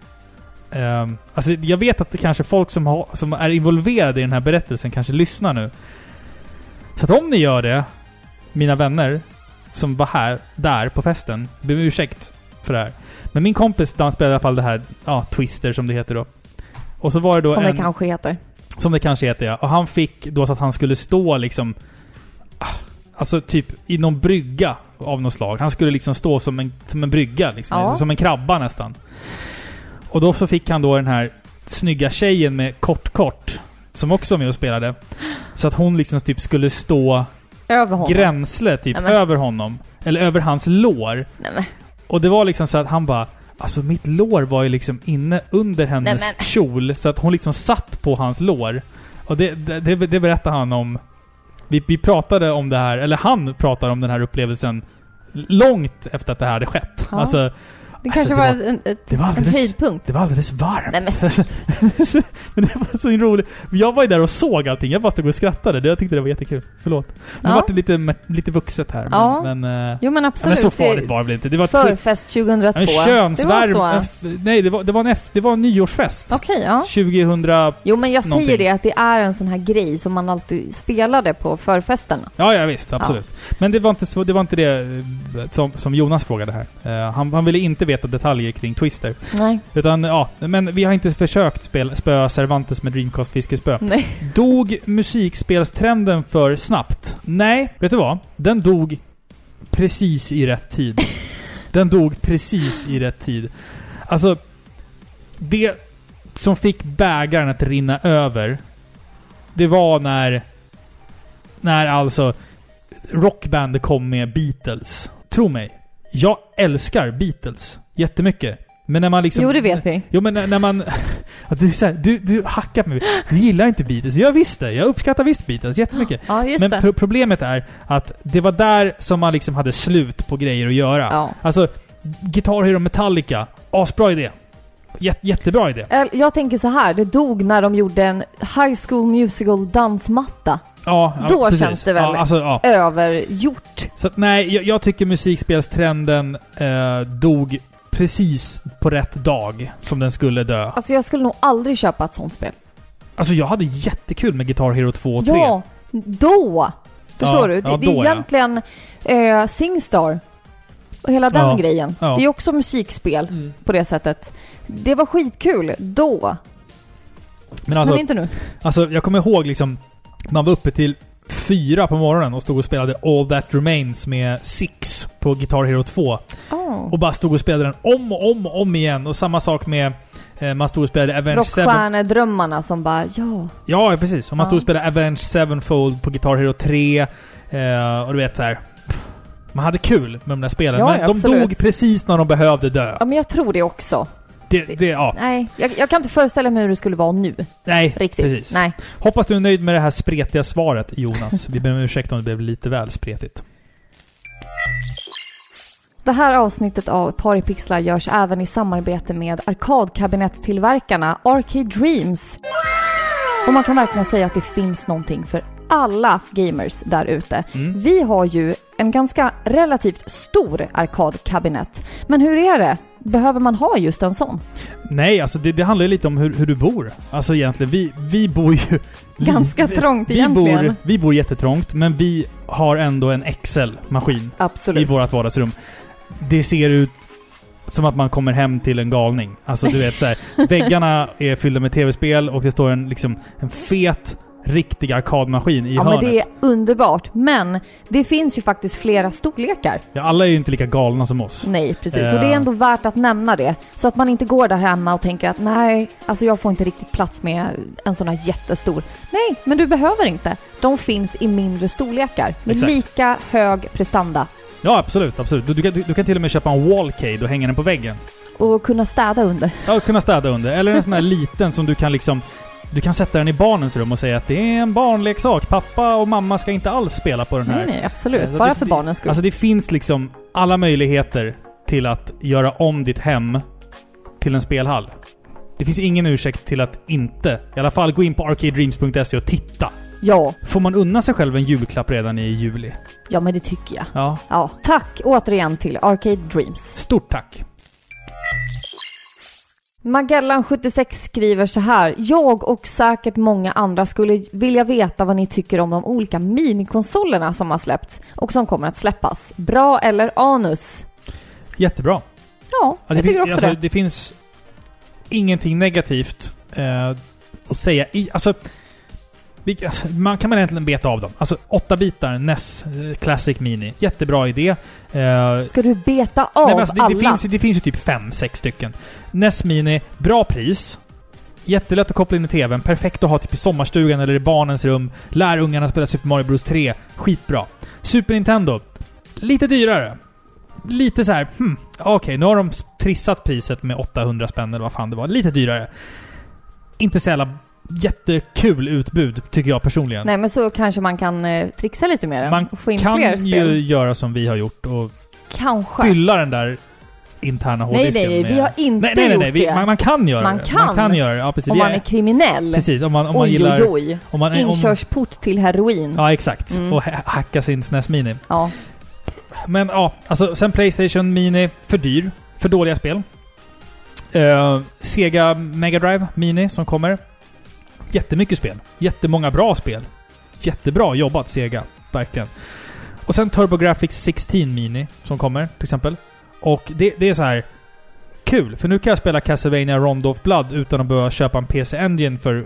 A: ehm, alltså jag vet att det kanske folk som, har, som är involverade i den här berättelsen kanske lyssnar nu. Så att om ni gör det, mina vänner som var här, där på festen, ber om ursäkt för det här. Men min kompis dan spelade i alla fall det här, ja, Twister som det heter då. Och så var det då
B: Som
A: en...
B: det kanske heter.
A: Som det kanske heter ja. Och han fick då så att han skulle stå liksom... ah, Alltså typ i någon brygga av något slag. Han skulle liksom stå som en, som en brygga liksom.
B: Ja.
A: Som en krabba nästan. Och då så fick han då den här snygga tjejen med kort-kort. Som också var med och spelade. Så att hon liksom typ skulle stå
B: Över honom.
A: gränsle typ
B: Nej, men-
A: över honom. Eller över hans lår.
B: Nej, men.
A: Och det var liksom så att han bara... Alltså mitt lår var ju liksom inne under hennes
B: Nej, men-
A: kjol. Så att hon liksom satt på hans lår. Och det, det, det, det berättade han om. Vi, vi pratade om det här, eller han pratade om den här upplevelsen långt efter att det här hade skett.
B: Ja.
A: Alltså,
B: Det kanske
A: Alltså, det
B: var, en, ett,
A: det var
B: en
A: alldeles,
B: höjdpunkt.
A: det var alldeles varmt.
B: Nej men
A: men det var så roligt. Jag var ju där och såg allting. Jag bara stod och skrattade. Det- Jag tyckte det var jättekul. Förlåt. Nu
B: Ja.
A: vart det lite, lite vuxet här. Men,
B: Ja.
A: men, eh,
B: Jo men
A: ja,
B: absolut.
A: men så
B: Det-
A: farligt var det väl inte. Det var typ- tw-
B: Förfest 2002.
A: en könsvärm...
B: Det var så.
A: en f- Nej, det var, det var en F, det var en nyårsfest.
B: Okej, ja.
A: 2000...
B: Jo men jag säger
A: Någonting.
B: det att det är en sån här grej som man alltid spelade på förfesterna.
A: Ja, ja visst. Absolut. Men det var inte, så, det, var inte det eh, som, som Jonas frågade här. Eh, han, han ville inte veta detaljer kring Twister.
B: Nej.
A: Utan ja, men vi har inte försökt spel, spöa Cervantes med Dreamcast fiskespö.
B: Nej.
A: Dog musikspelstrenden för snabbt? Nej, vet du vad? Den dog precis i rätt tid. Den dog precis i rätt tid. Alltså, det som fick bägaren att rinna över, det var när... När alltså Rockband kom med Beatles. Tro mig, jag älskar Beatles jättemycket. Men när man liksom...
B: Jo det vet vi.
A: Jo men när, när man... Att du, är så här, du, du hackar på mig. Du gillar inte Beatles. Jag visste Jag uppskattar visst Beatles jättemycket.
B: Ja just
A: Men
B: det.
A: pro- problemet är att det var där som man liksom hade slut på grejer att göra.
B: Ja.
A: Alltså, Guitar Hero Metallica. Asbra idé. Jät- jättebra idé.
B: Eller, Jag tänker så här, det dog när de gjorde en High School Musical dansmatta.
A: Ja, ja,
B: Då
A: precis.
B: känns det väl-
A: Ja, alltså, ja.
B: Övergjort.
A: Så att, nej, jag, jag tycker musikspelstrenden eh, dog precis på rätt dag som den skulle dö.
B: Alltså jag skulle nog aldrig köpa ett sånt spel.
A: Alltså jag hade jättekul med Guitar Hero 2 och 3.
B: Ja, då! Förstår
A: Ja,
B: du? Det,
A: ja,
B: det
A: då,
B: är
A: ja.
B: egentligen eh, Singstar och hela den
A: Ja,
B: grejen.
A: ja.
B: Det är också musikspel
A: Mm.
B: på det sättet. Det var skitkul då,
A: Men alltså,
B: men inte nu.
A: Alltså jag kommer ihåg liksom, man var uppe till fyra på morgonen och stod och spelade All That Remains med Six på Guitar Hero 2.
B: Oh.
A: Och bara stod och spelade den om och om och om igen. Och samma sak med Eh, Man stod och spelade Avenged Seven.
B: Rockstjärnedrömmarna som bara ja.
A: Ja, precis. Och man
B: Ja.
A: stod och spelade Avenged Sevenfold på Guitar Hero 3. Eh, och du vet så här. pff, Man hade kul med de där spelen.
B: Ja,
A: men
B: ja,
A: de
B: absolut.
A: dog precis när de behövde dö.
B: Ja men jag tror det också.
A: Det, det, ja.
B: Nej, jag, jag kan inte föreställa mig hur det skulle vara nu.
A: Nej,
B: Riktigt.
A: precis.
B: Nej.
A: Hoppas du är nöjd med det här spretiga svaret, Jonas. Vi ber om ursäkt om det blev lite väl spretigt.
B: Det här avsnittet av Paripixlar görs även i samarbete med arkadkabinettstillverkarna Arcade Dreams. Och man kan verkligen säga att det finns någonting för alla gamers där ute.
A: Mm.
B: Vi har ju en ganska relativt stor arkadkabinett. Men hur är det? Behöver man ha just en sån?
A: Nej, alltså det, det handlar ju lite om hur, hur du bor. Alltså egentligen, vi, vi bor ju...
B: Ganska
A: vi,
B: trångt
A: vi
B: egentligen.
A: bor, vi bor jättetrångt, men vi har ändå en Excel-maskin i
B: Absolut.
A: vårt vardagsrum. Det ser ut som att man kommer hem till en galning. Alltså du vet så här, väggarna är fyllda med tv-spel och det står en, liksom, en fet, riktig arkadmaskin i
B: Ja men
A: hörnet.
B: det är underbart. Men det finns ju faktiskt flera storlekar.
A: Ja, alla är ju inte lika galna som oss.
B: Nej, precis.
A: Eh.
B: Och det är ändå värt att nämna det. Så att man inte går där hemma och tänker att nej, alltså jag får inte riktigt plats med en sån här jättestor. Nej, men du behöver inte. De finns i mindre storlekar med
A: Exakt.
B: lika hög prestanda
A: Ja, absolut. absolut. Du, du, kan, du, du kan till och med köpa en wallcade och hänga den på väggen.
B: och kunna städa under.
A: Ja, och kunna städa under. Eller en sån här liten som du kan liksom... Du kan sätta den i barnens rum och säga att det är en barnleksak. Pappa och mamma ska inte alls spela på den här.
B: Nej, nej, absolut.
A: Alltså,
B: Bara
A: det-
B: för barnens skull.
A: Alltså det finns liksom alla möjligheter till att göra om ditt hem till en spelhall. Det finns ingen ursäkt till att inte, i alla fall gå in på arcadedreams.se och titta.
B: Ja,
A: Får man unna sig själv en julklapp redan i juli?
B: ja men det tycker jag.
A: Ja.
B: Ja, tack återigen till Arcade Dreams.
A: Stort tack!
B: Magellan76 skriver så här. Jag och säkert många andra skulle vilja veta vad ni tycker om de olika minikonsolerna som har släppts och som kommer att släppas. Bra eller anus?
A: Jättebra!
B: Ja, jag
A: finns,
B: tycker också
A: alltså,
B: det.
A: det finns ingenting negativt eh, att säga i... Alltså, vi, alltså, man kan man egentligen beta av dem. Alltså 8 bitar NES eh, Classic Mini. Jättebra idé. Eh,
B: Ska du beta av
A: Nej, men alltså, det,
B: alla?
A: det, finns, ju- det finns ju typ fem, sex stycken. NES Mini, bra pris. Jättelätt att koppla in i TVn. Perfekt att ha typ i sommarstugan eller i barnens rum. Lär ungarna spela Super Mario Bros 3. Skitbra. Super Nintendo. Lite dyrare. Lite så här, hmm, okej, nu har de trissat priset med 800 spänn eller vad fan det var. Lite dyrare. Inte så jävla jättekul utbud, tycker jag personligen.
B: Nej men så kanske man kan eh, trixa lite med den
A: Man
B: och få in
A: kan
B: fler
A: ju
B: spel.
A: göra som vi har gjort och
B: Kanske.
A: fylla den där interna
B: nej,
A: hårddisken
B: nej,
A: med...
B: vi har inte
A: Nej, nej, nej.
B: gjort
A: nej. Vi,
B: det.
A: man, man kan göra
B: Man
A: det. Man
B: kan.
A: kan göra det. Ja, precis.
B: om
A: Vi
B: man är kriminell.
A: precis, om man, om man
B: oj,
A: gillar...
B: oj, oj.
A: Om man, är- om,
B: Inkörsport till heroin. Ja.
A: ja, exakt.
B: Mm.
A: Och ha- hacka sin SNES Mini.
B: ja.
A: Men ja, alltså sen Playstation Mini, för dyr. För dåliga spel. Eh, Sega Mega Drive Mini som kommer. Jättemycket spel. Jättemånga bra spel. Jättebra jobbat Sega. Verkligen. Och sen TurboGrafx 16 Mini som kommer till exempel. Och det, det är så här kul, för nu kan jag spela Castlevania Rondo of Blood utan att behöva köpa en PC Engine för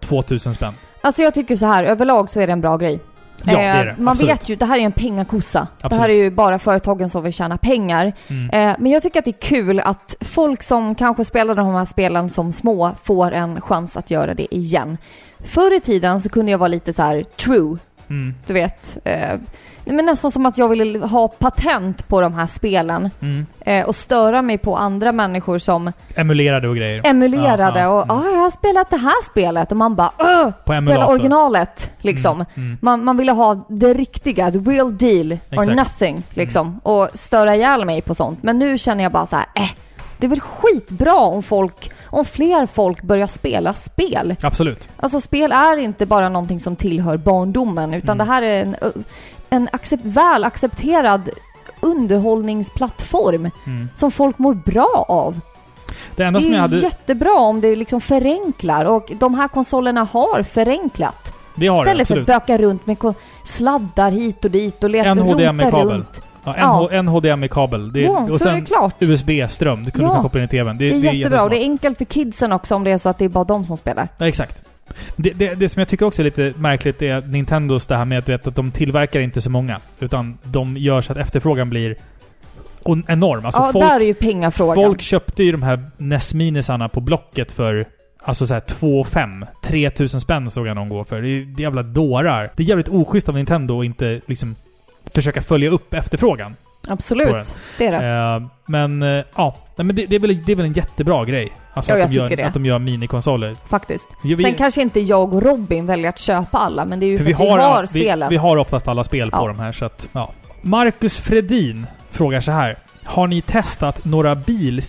A: 2000 spänn.
B: Alltså jag tycker så här, överlag så är det en bra grej.
A: Ja, det är det.
B: Eh, Man
A: Absolut.
B: vet ju, det här är en pengakossa. Det här är
A: Absolut.
B: ju bara företagen som vill tjäna pengar.
A: Mm.
B: Eh, Men jag tycker att det är kul att folk som kanske spelade de här spelen som små får en chans att göra det igen. Förr i tiden så kunde jag vara lite så här true,
A: Mm.
B: du vet. Eh, Men nästan som att jag ville ha patent på de här spelen
A: Mm.
B: eh, och störa mig på andra människor som
A: Emulerade och
B: Eh,
A: grejer. Ja,
B: emulerade
A: ja,
B: och
A: mm.
B: ah, jag har spelat det här spelet och man bara Åh,
A: På
B: spela
A: emulator.
B: originalet liksom.
A: Mm. Mm.
B: Man, man ville ha det riktiga, the real deal or
A: Exakt. Mm.
B: nothing liksom. Och störa ihjäl mig på sånt. Men nu känner jag bara så här, eh, det är väl skitbra om folk, om fler folk börjar spela spel.
A: Absolut.
B: Alltså spel är inte bara någonting som tillhör barndomen
A: Mm.
B: utan det här är en, ö, en accept, väl accepterad underhållningsplattform
A: Mm.
B: som folk mår bra av.
A: Det enda som
B: Det
A: jag
B: är
A: hade...
B: jättebra om det liksom förenklar och de här konsolerna har förenklat.
A: Det har det,
B: Istället för att
A: absolut.
B: böka runt med ko- sladdar hit och dit och leta
A: NHDMI
B: rota
A: kabel.
B: runt.
A: Ja,
B: Ja.
A: NH, NHDMI-kabel. Det,
B: Ja,
A: och
B: så är det
A: sen
B: klart.
A: USB-ström. Det kunde
B: Ja.
A: du kan koppla in i TVn.
B: Det är jättebra och det är
A: jättesmart.
B: enkelt för kidsen också om det är så att det är bara de som spelar.
A: Ja, exakt. Det, det, det som jag tycker också är lite märkligt är Nintendos det här med att, du vet, att de tillverkar inte så många. Utan de gör så att efterfrågan blir on- enorm. Alltså
B: ja,
A: folk,
B: där är ju pengafrågan.
A: folk köpte ju de här NES-minisarna på Blocket för alltså såhär 2 5 3000 spänn såg jag någon gå för. Det är ju jävla dårar. Det är jävligt oschysst av Nintendo att inte liksom försöka följa upp efterfrågan. på den.
B: Absolut, det är det.
A: Eh, men eh, ja, Nej, men det, det, är väl, det är väl en jättebra grej. Alltså
B: Ja,
A: att,
B: jag
A: de gör,
B: tycker det.
A: att de gör minikonsoler.
B: Faktiskt.
A: Eh, Vi,
B: Sen kanske inte jag och Robin väljer att köpa alla, men det är ju för,
A: vi
B: att vi har,
A: alla-
B: spelen.
A: Vi, vi har oftast alla spel på
B: Ja.
A: de här, så att, ja. Marcus Fredin frågar så här. Har ni testat några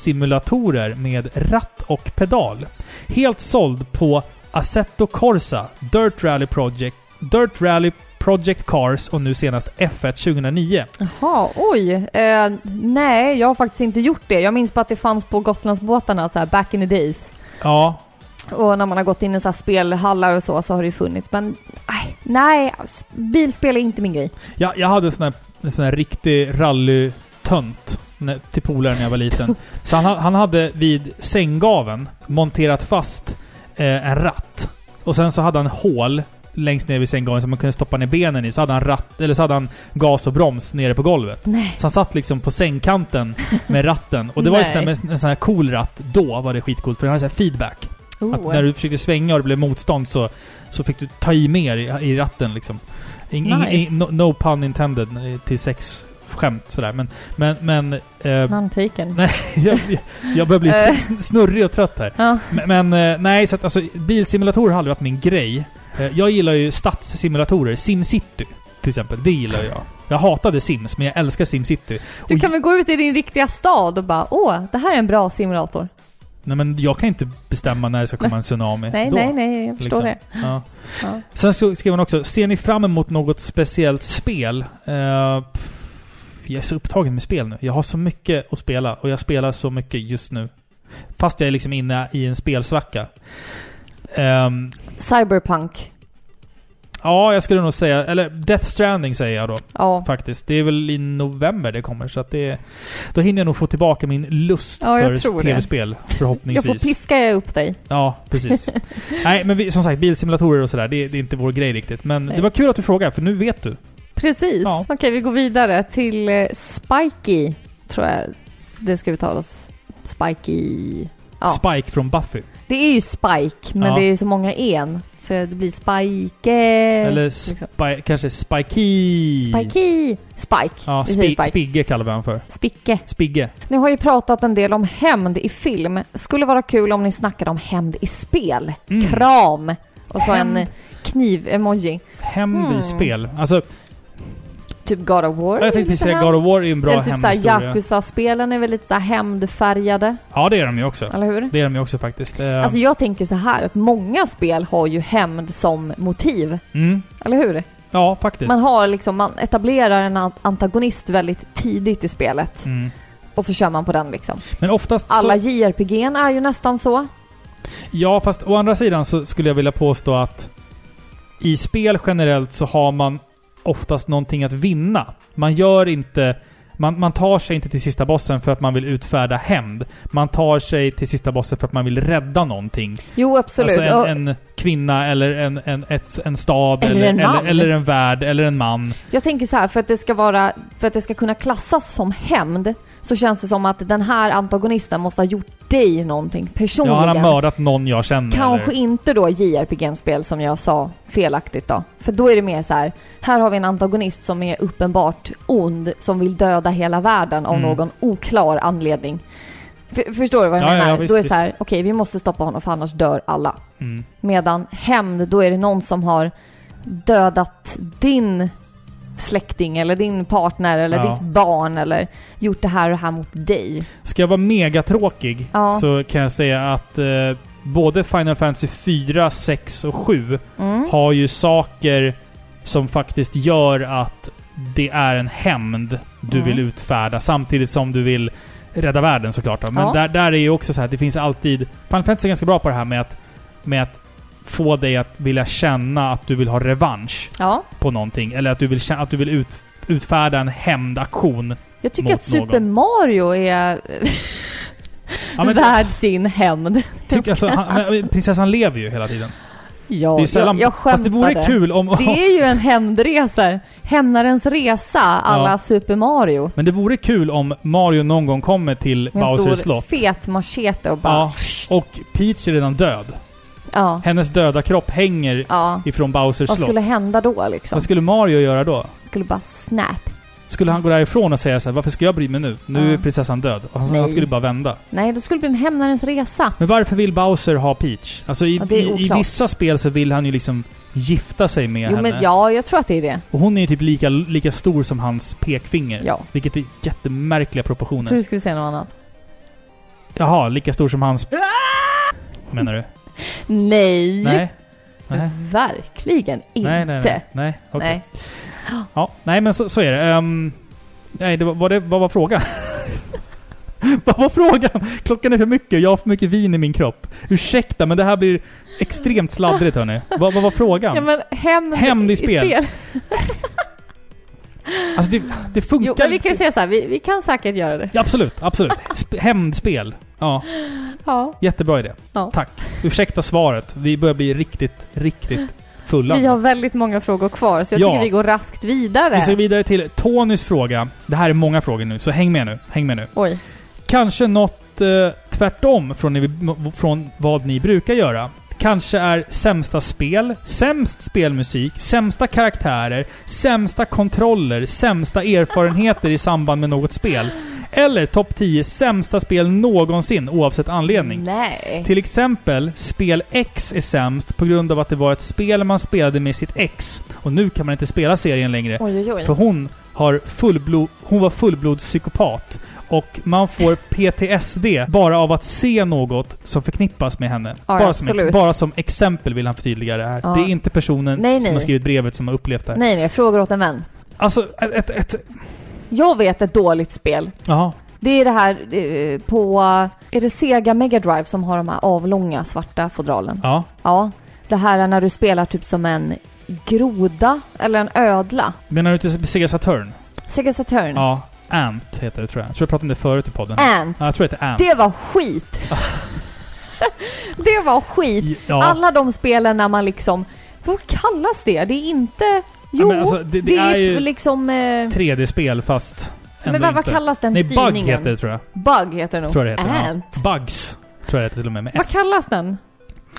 A: bilsimulatorer med ratt och pedal? Helt såld på Assetto Corsa, Dirt Rally Project, Dirt Rally Project Cars och nu senast F1 2009.
B: Jaha, oj. Eh, nej, jag har faktiskt inte gjort det. Jag minns bara att det fanns på Gotlandsbåtarna så här back in the days.
A: Ja,
B: Och när man har gått in i så här spelhallar och så, så har det ju funnits. Men nej, nej, s- bilspel är inte min grej.
A: Jag, jag hade en sån här, en sån här riktig rallytönt när- till polaren när jag var liten. Så han, ha- han hade vid sänggaven monterat fast eh, en ratt. Och sen så hade han hål längst ner vid sänggaven som man kunde stoppa ner benen i. Så hade han, ratt, eller så hade han gas och broms nere på golvet.
B: Nej.
A: Så han satt liksom på sängkanten med ratten. Och det var ju sån där,
B: Nej.
A: med en sån här cool ratt. Då var det skitcoolt för den hade så här feedback. Att
B: Oh.
A: när du försökte svänga och det blev motstånd så, så fick du ta i mer i, i ratten liksom. In,
B: Nice.
A: in, in, no, no pun intended eh, till sex skämt sådär. Men, men, men eh,
B: Antiken.
A: Nej. jag, jag- jag börjar bli
B: Eh.
A: sn- snurrig och trött här.
B: Ja,
A: Men, men eh, nej, så att alltså bilsimulatorer har aldrig varit min grej. Eh, Jag gillar ju stadssimulatorer. Simcity till exempel. Det gillar jag. Jag hatade Sims, men jag älskar Simcity.
B: du
A: Och-
B: kan väl gå ut i din riktiga stad och bara åh, det här är en bra simulator.
A: Nej men jag kan inte bestämma när det ska komma en tsunami.
B: Nej,
A: Då.
B: nej, nej, jag förstår
A: liksom. Ja.
B: Ja.
A: Sen så skrev hon också, ser ni fram emot något speciellt spel? Eh, pff, jag är så upptagen med spel nu. Jag har så mycket att spela och jag spelar så mycket just nu. Fast jag är liksom inne i en spelsvacka. Ehm,
B: det. Cyberpunk.
A: ja, jag skulle nog säga, eller Death Stranding säger jag då
B: Ja.
A: faktiskt. Det är väl i november det kommer så att det... Då hinner jag nog få tillbaka min lust
B: Ja, jag tror
A: för
B: det.
A: tv-spel
B: Jag får
A: förhoppningsvis.
B: piska upp dig.
A: Ja, precis. Nej, men vi, som sagt, bilsimulatorer och sådär, det, det är inte vår grej riktigt. Men
B: Nej.
A: det var kul att du frågade, för nu vet du.
B: Precis.
A: Ja.
B: Okej, vi går vidare till eh, Spiky, tror jag det ska uttalas. Spiky. Ja.
A: Spike från Buffy.
B: Det är ju Spike, men
A: Ja.
B: det är ju så många en. Så det blir Spike...
A: Eller
B: liksom.
A: spi, kanske Spikey.
B: Spikey. Spike.
A: Ja,
B: Vi säger
A: spi,
B: Spike.
A: Spigge kallar vi honom för.
B: Spicke.
A: Spigge.
B: Ni har ju pratat en del om hämnd i film. Skulle vara kul om ni snackade om hämnd i spel.
A: Mm.
B: Kram! Och så en
A: Hämnd.
B: kniv-emoji.
A: Hämnd
B: Mm.
A: i spel. Alltså,
B: Typ God of War.
A: jag tänkte precis säga God of War är ju en bra
B: Eller typ såhär
A: hämndhistoria.
B: Yakuza-spelen är väl lite såhär hämndfärgade,
A: ja, det är de ju också.
B: eller hur?
A: Det är de ju också faktiskt. Eh,
B: Alltså jag tänker så här att många spel har ju hämnd som motiv,
A: mm.
B: eller hur?
A: Ja, faktiskt.
B: Man har liksom, man etablerar en an- antagonist väldigt tidigt i spelet
A: Mm.
B: och så kör man på den liksom.
A: Men oftast så...
B: Alla JRPG'n är ju nästan så.
A: Ja, fast å andra sidan så skulle jag vilja påstå att i spel generellt så har man oftast någonting att vinna. Man gör inte... Man, man tar sig inte till sista bossen för att man vill utfärda hämnd. Man tar sig till sista bossen för att man vill rädda någonting.
B: Jo absolut.
A: Alltså
B: Och
A: en, en kvinna eller en, en, ett, en stab
B: Eller
A: eller,
B: en man.
A: eller, eller en värld eller en man.
B: Jag tänker så här, för att det ska vara, för att det ska kunna klassas som hämnd så känns det som att den här antagonisten måste ha gjort dig någonting
A: Ja, han har
B: personligen.
A: mördat någon jag känner.
B: Kanske
A: eller-
B: inte då JRPG-spel som jag sa felaktigt då. För då är det mer så här, här har vi en antagonist som är uppenbart ond, som vill döda hela världen av
A: Mm.
B: någon oklar anledning. F- förstår du vad jag
A: Ja, ja,
B: menar?
A: ja, visst,
B: då är det
A: visst.
B: så här, okej vi måste stoppa honom för annars dör alla.
A: Mm.
B: Medan hämnd, då är det någon som har dödat din släkting eller din partner eller
A: Ja.
B: ditt barn eller gjort det här och det här mot dig.
A: Ska jag vara megatråkig
B: Ja.
A: så kan jag säga att eh, både Final Fantasy 4, 6 och 7
B: Mm.
A: har ju saker som faktiskt gör att det är en hämnd du
B: Mm.
A: vill utfärda samtidigt som du vill rädda världen såklart. då. Men
B: Ja.
A: där, där är ju också så här, det finns alltid... Final Fantasy är ganska bra på det här med att, med att få dig att vilja känna att du vill ha revansch
B: Ja.
A: på någonting. Eller att du vill, känna, att du vill ut, utfärda en hämndaktion.
B: Jag tycker
A: Mot
B: att Super
A: någon.
B: Mario är eh,
A: Ja, men-
B: värd sin hämnd.
A: Tycker, alltså, han, men prinsessan lever ju hela tiden.
B: Ja,
A: det är sällan...
B: jag, jag
A: Fast det
B: skämtade.
A: vore kul om...
B: Det är ju en hämndresa. Hämnarens resa alla
A: Ja.
B: Super Mario.
A: Men det vore kul om Mario någon gång kommer till
B: Med en
A: Bowsers
B: stor
A: slott.
B: fet machete och bara...
A: Ja, och Peach är redan död.
B: Ja.
A: Hennes döda kropp hänger
B: ja.
A: ifrån Bowsers
B: Vad
A: slott.
B: skulle hända då liksom?
A: Vad skulle Mario göra då?
B: Skulle bara snap.
A: Skulle han gå därifrån och säga så här, varför ska jag bry mig nu? Nu
B: Ja.
A: är prinsessan död. Och han,
B: Nej.
A: han skulle bara vända.
B: Nej, då skulle det bli en hämnarens resa.
A: Men varför vill Bowser ha Peach? Alltså i,
B: Ja, det är
A: i, i
B: oklart.
A: vissa spel så vill han ju liksom gifta sig med
B: Jo
A: henne.
B: men ja, jag tror att det är det.
A: Och hon är ju typ lika, lika stor som hans pekfinger.
B: Ja.
A: Vilket är jättemärkliga proportioner.
B: Jag tror du skulle säga något annat.
A: Jaha, lika stor som hans...
B: Ah!
A: Menar du?
B: Nej.
A: Nej? Nej.
B: Verkligen inte.
A: Nej, nej, nej. Nej, okej.
B: Nej.
A: Ja, nej men så, så är det. Ehm, nej, det var, var det, vad var frågan? vad var frågan? Klockan är för mycket, jag har för mycket vin i min kropp. Ursäkta, men det här blir extremt sladdrigt hörni. Vad, vad var frågan?
B: Ja, men hämnd,
A: Hämnd i spel. Alltså det, det funkar
B: Jo, men vi kan ju säga så här, vi, vi kan säkert göra det.
A: Ja, absolut, absolut. Sp- hämndspel. Ja,
B: Ja.
A: jättebra idé.
B: Ja.
A: Tack. Ursäkta svaret. Vi börjar bli riktigt, riktigt fulla.
B: Vi har väldigt många frågor kvar, så jag
A: Ja.
B: tycker vi går raskt vidare.
A: Vi ska vidare till Tonys fråga. Det här är många frågor nu, så häng med nu. Häng med nu.
B: Oj.
A: Kanske något eh, tvärtom från, ni, från vad ni brukar göra. Kanske är sämsta spel, sämst spelmusik, sämsta karaktärer, sämsta kontroller, sämsta erfarenheter i samband med något spel. Eller topp 10 sämsta spel någonsin oavsett anledning.
B: Nej.
A: Till exempel, spel X är sämst på grund av att det var ett spel man spelade med sitt ex. Och nu kan man inte spela serien längre.
B: Oj, oj,
A: För
B: oj.
A: hon, har fullblod, hon var fullblodspsykopat. Och man får PTSD bara av att se något som förknippas med henne.
B: Ja,
A: bara, som
B: absolut.
A: ex, bara som exempel vill han förtydliga det här.
B: Ja.
A: Det är inte personen
B: Nej,
A: som
B: nej.
A: har skrivit brevet som har upplevt det här.
B: Nej, nej, frågor åt en vän.
A: Alltså, ett... ett, ett
B: Jag vet ett dåligt spel.
A: jaha.
B: Det är det här eh, på... Är det Sega Mega Drive som har de här avlånga svarta fodralen?
A: Ja.
B: Ja. Det här är när du spelar typ som en groda eller en ödla.
A: Menar du inte Sega Saturn?
B: Sega Saturn.
A: Ja. Ant heter det tror jag. Jag tror jag pratade om det förut i podden.
B: Ant.
A: Ja, jag tror att det är Ant.
B: Det var skit. det var skit.
A: Ja.
B: Alla de spelen när man liksom... Vad kallas det? Det är inte... Jo,
A: men alltså,
B: det, är, ju liksom... Eh,
A: 3D-spel fast ändå
B: men vad, vad
A: inte.
B: kallas den
A: Nej,
B: styrningen?
A: Bug heter det tror jag.
B: Bug heter det nog.
A: Tror jag det heter.
B: Ant.
A: Ja. Bugs tror jag det heter till och med med
B: Vad
A: S.
B: kallas den?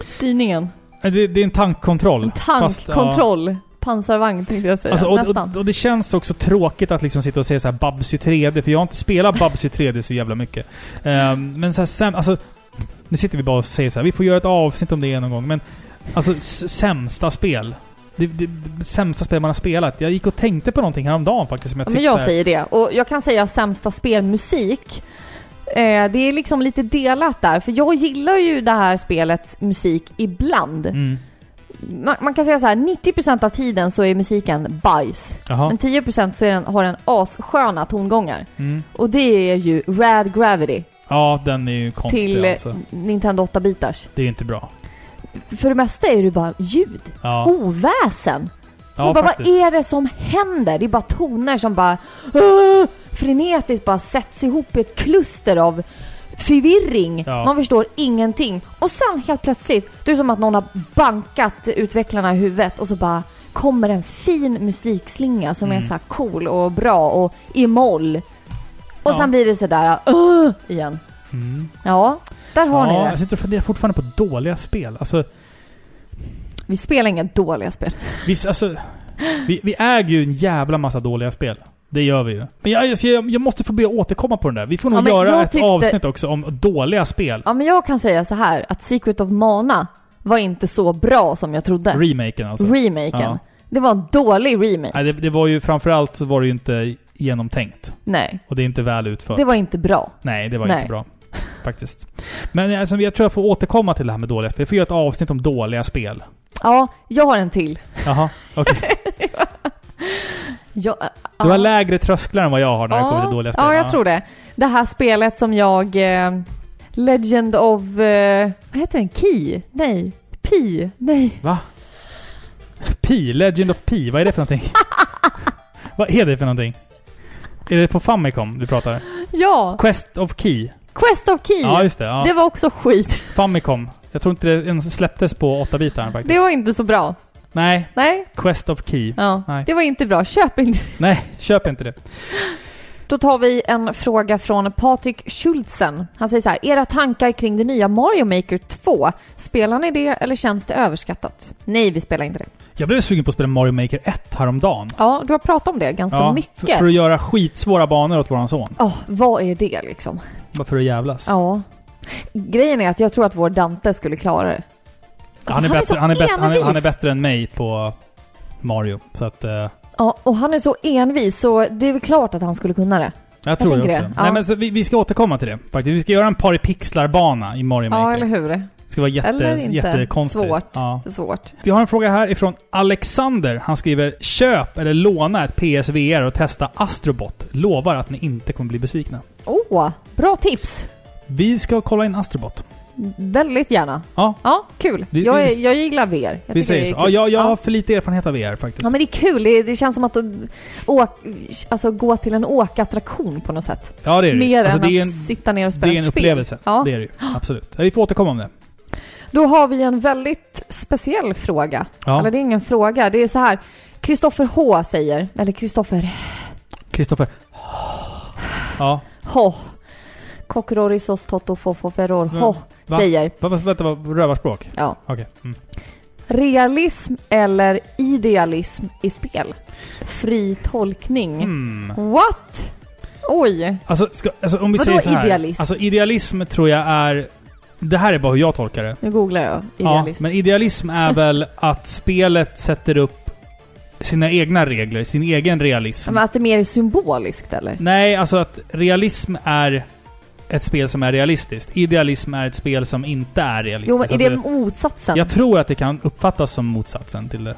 B: Styrningen?
A: Det, det är en tankkontroll.
B: En
A: Fast, ja.
B: tankkontroll? Pansarvagn tänkte jag säga.
A: Alltså, och,
B: Nästan.
A: och, och det känns också tråkigt att liksom sitta och säga så här Babs i 3D, för jag har inte spelat Babs i 3D så jävla mycket. Ehm, men så här, säm, alltså, nu sitter vi bara och säger så här, vi får göra ett avsnitt om det någon gång, men alltså s- sämsta spel. Det, det, det sämsta spel man har spelat. Jag gick och tänkte på någonting häromdagen faktiskt som jag
B: Ja,
A: tyckte
B: men
A: så
B: jag
A: här,
B: säger det. Och jag kan säga sämsta spelmusik. Eh, det är liksom lite delat där, för jag gillar ju det här spelets musik ibland.
A: Mm,
B: Man, man kan säga så här, 90% av tiden så är musiken bajs.
A: jaha.
B: Men 10% så är den, har den assköna tongångar.
A: Mm.
B: Och det är ju Rad Gravity
A: Ja, den är ju konstig
B: till eh,
A: alltså.
B: Nintendo 8-bitars.
A: Det är ju inte bra.
B: För det mesta är det bara ljud.
A: Ja,
B: Oväsen!
A: ja
B: och Oh, bara, vad
A: faktiskt.
B: är det som händer? Det är bara toner som bara "Åh!" frenetiskt bara sätts ihop i ett kluster av förvirring.
A: Ja.
B: Man förstår ingenting. Och sen helt plötsligt, det är som att någon har bankat utvecklarna i huvudet och så bara kommer en fin musikslinga som är
A: Mm.
B: så här cool och bra och i moll. Och
A: Ja.
B: sen blir det sådär uh, igen.
A: Mm.
B: Ja, där har
A: ja,
B: ni
A: Jag
B: det.
A: sitter och funderar fortfarande på dåliga spel. Alltså,
B: Vi spelar inga dåliga spel.
A: vi, alltså, vi, vi äger ju en jävla massa dåliga spel. Det gör vi ju. Men jag, alltså, jag, jag måste få be att återkomma på den där. Vi får nog
B: Ja, men
A: göra
B: jag
A: ett
B: tyckte-
A: avsnitt också om dåliga spel.
B: Ja, men jag kan säga så här att Secret of Mana var inte så bra som jag trodde.
A: Remaken alltså.
B: Remaken.
A: Ja.
B: Det var en dålig remake.
A: Nej, det, det var ju framförallt så var det ju inte genomtänkt.
B: Nej,
A: Och det är inte väl utfört.
B: det var inte bra.
A: Nej, det var
B: Nej.
A: inte bra. Faktiskt. Men alltså, jag tror jag får återkomma till det här med dåliga spel. Vi får göra ett avsnitt om dåliga spel.
B: Ja, jag har en till.
A: Jaha, okej.
B: Jag,
A: Du har lägre trösklar än vad jag har när det kommer till dåliga spel.
B: Ja, jag tror det. Det här spelet som jag... Eh, Legend of... Eh, vad heter den? Key? Nej. Pi? Nej.
A: Pi, Legend of Pi, vad är det för någonting? vad är det för någonting? Är det på Famicom du pratar?
B: Ja!
A: Quest of Key?
B: Quest of Key!
A: Ja, just det. Ja.
B: Det var också skit.
A: Famicom. Jag tror inte det ens släpptes på 8-bitar faktiskt.
B: Det var inte så bra.
A: Nej,
B: Nej,
A: Quest of Key.
B: ja.
A: Nej.
B: det var inte bra. Köp inte.
A: Nej, köp inte det.
B: Då tar vi en fråga från Patrik Schultzen. Han säger så här. Era tankar kring det nya Mario Maker 2. Spelar ni det eller känns det överskattat? Nej, vi spelar inte det.
A: Jag blev sugen på att spela Mario Maker 1 häromdagen.
B: Ja, du har pratat om det ganska
A: för,
B: mycket.
A: för att göra skitsvåra banor åt våran son.
B: Ja, vad är det liksom?
A: Bara för att jävlas.
B: Ja. Grejen är att jag tror att vår Dante skulle klara det. Alltså,
A: han, är bättre,
B: så
A: han, är bättre, han, är,
B: envis.
A: han är bättre än mig på Mario. Så att... eh,
B: Ja, och han är så envis så det är väl klart att han skulle kunna det.
A: jag tror det också.
B: tänker det. Ja.
A: Nej, men så, vi, vi ska återkomma till det faktiskt. Vi ska göra en par i pixlar-bana i Mario
B: Ja,
A: Maker.
B: eller hur?
A: Det ska vara jätte,
B: Eller inte.
A: jättekonstigt.
B: Svårt.
A: Ja.
B: Det är svårt.
A: Vi har en fråga här ifrån Alexander. Han skriver “Köp eller låna ett PSVR och testa Astrobot. Lovar att ni inte kommer bli besvikna.”
B: Åh, bra tips!
A: Vi ska kolla in Astrobot.
B: Väldigt gärna.
A: Ja.
B: Ja, kul.
A: Vi-
B: jag, är,
A: vi-
B: jag gillar VR. Jag tycker
A: Vi
B: det
A: säger
B: är
A: så.
B: kul.
A: Ja, jag jag har
B: ja.
A: för lite erfarenhet av VR faktiskt.
B: ja, men det är kul. Det, det känns som att du åk, alltså, gå till en åkattraktion på något sätt.
A: Ja, det är det ju.
B: Mer
A: Alltså,
B: än
A: det är
B: att
A: en,
B: sitta ner och
A: det
B: spela
A: är en
B: ett spel.
A: upplevelse.
B: Ja.
A: Det är det ju. Absolut. Ja, Vi får återkomma om det.
B: Då har vi en väldigt speciell fråga. Eller
A: Ja.
B: det är ingen fråga. Det är så här. Kristoffer H säger, eller Kristoffer
A: Kristoffer. Ja.
B: H. Cockrorissos toto fofo ferror H
A: Va?
B: säger.
A: Va, va, vänta, vad- rövarspråk?
B: Ja.
A: Okej. Mm.
B: Realism eller idealism i spel? Fri tolkning.
A: Mm.
B: What? Oj.
A: Alltså, ska, alltså om vi
B: Vadå
A: säger så här.
B: idealism?
A: Alltså idealism tror jag är... Det här är bara hur jag tolkar det.
B: Nu googlar jag idealism.
A: Ja, men idealism är väl att spelet sätter upp sina egna regler, sin egen realism.
B: men... att det mer är symboliskt eller?
A: Nej, alltså att realism är ett spel som är realistiskt. Idealism är ett spel som inte är realistiskt.
B: Jo, men är det
A: alltså,
B: motsatsen?
A: jag tror att det kan uppfattas som motsatsen till det.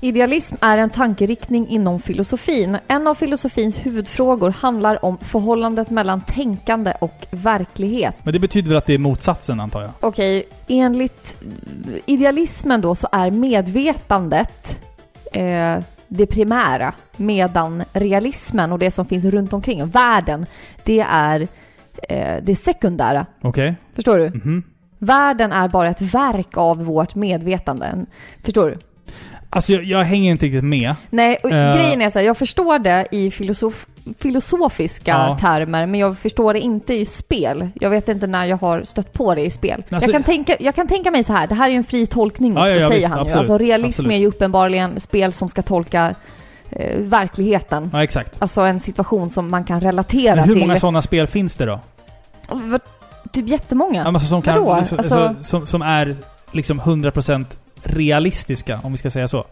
B: Idealism är en tankeriktning inom filosofin. En av filosofins huvudfrågor handlar om förhållandet mellan tänkande och verklighet.
A: Men det betyder väl att det är motsatsen, antar jag?
B: Okej, enligt eh, idealismen då så är medvetandet eh, det primära medan realismen och det som finns runt omkring världen, det är eh, det sekundära.
A: Okej?
B: Förstår du?
A: Mhm.
B: Världen är bara ett verk av vårt medvetande. Förstår du?
A: Alltså, jag, jag hänger inte riktigt med.
B: Nej, och
A: Eh.
B: grejen är så här, jag förstår det i filosof filosofiska
A: Ja.
B: termer, men jag förstår det inte i spel. Jag vet inte när jag har stött på det i spel.
A: Alltså-
B: jag, kan tänka, jag kan tänka mig så här, det här är ju en fri tolkning
A: Ja,
B: också,
A: ja, ja,
B: säger
A: visst,
B: han
A: absolut,
B: ju. Alltså realism
A: absolut.
B: är ju uppenbarligen spel som ska tolka eh, verkligheten.
A: Ja, exakt.
B: Alltså en situation som man kan relatera
A: Men hur
B: till.
A: många sådana spel finns det då?
B: Vad- Typ jättemånga.
A: Ja, men Alltså, som, kan,
B: Vadå?
A: liksom,
B: Alltså-
A: alltså, som, som är liksom 100% realistiska, om vi ska säga så.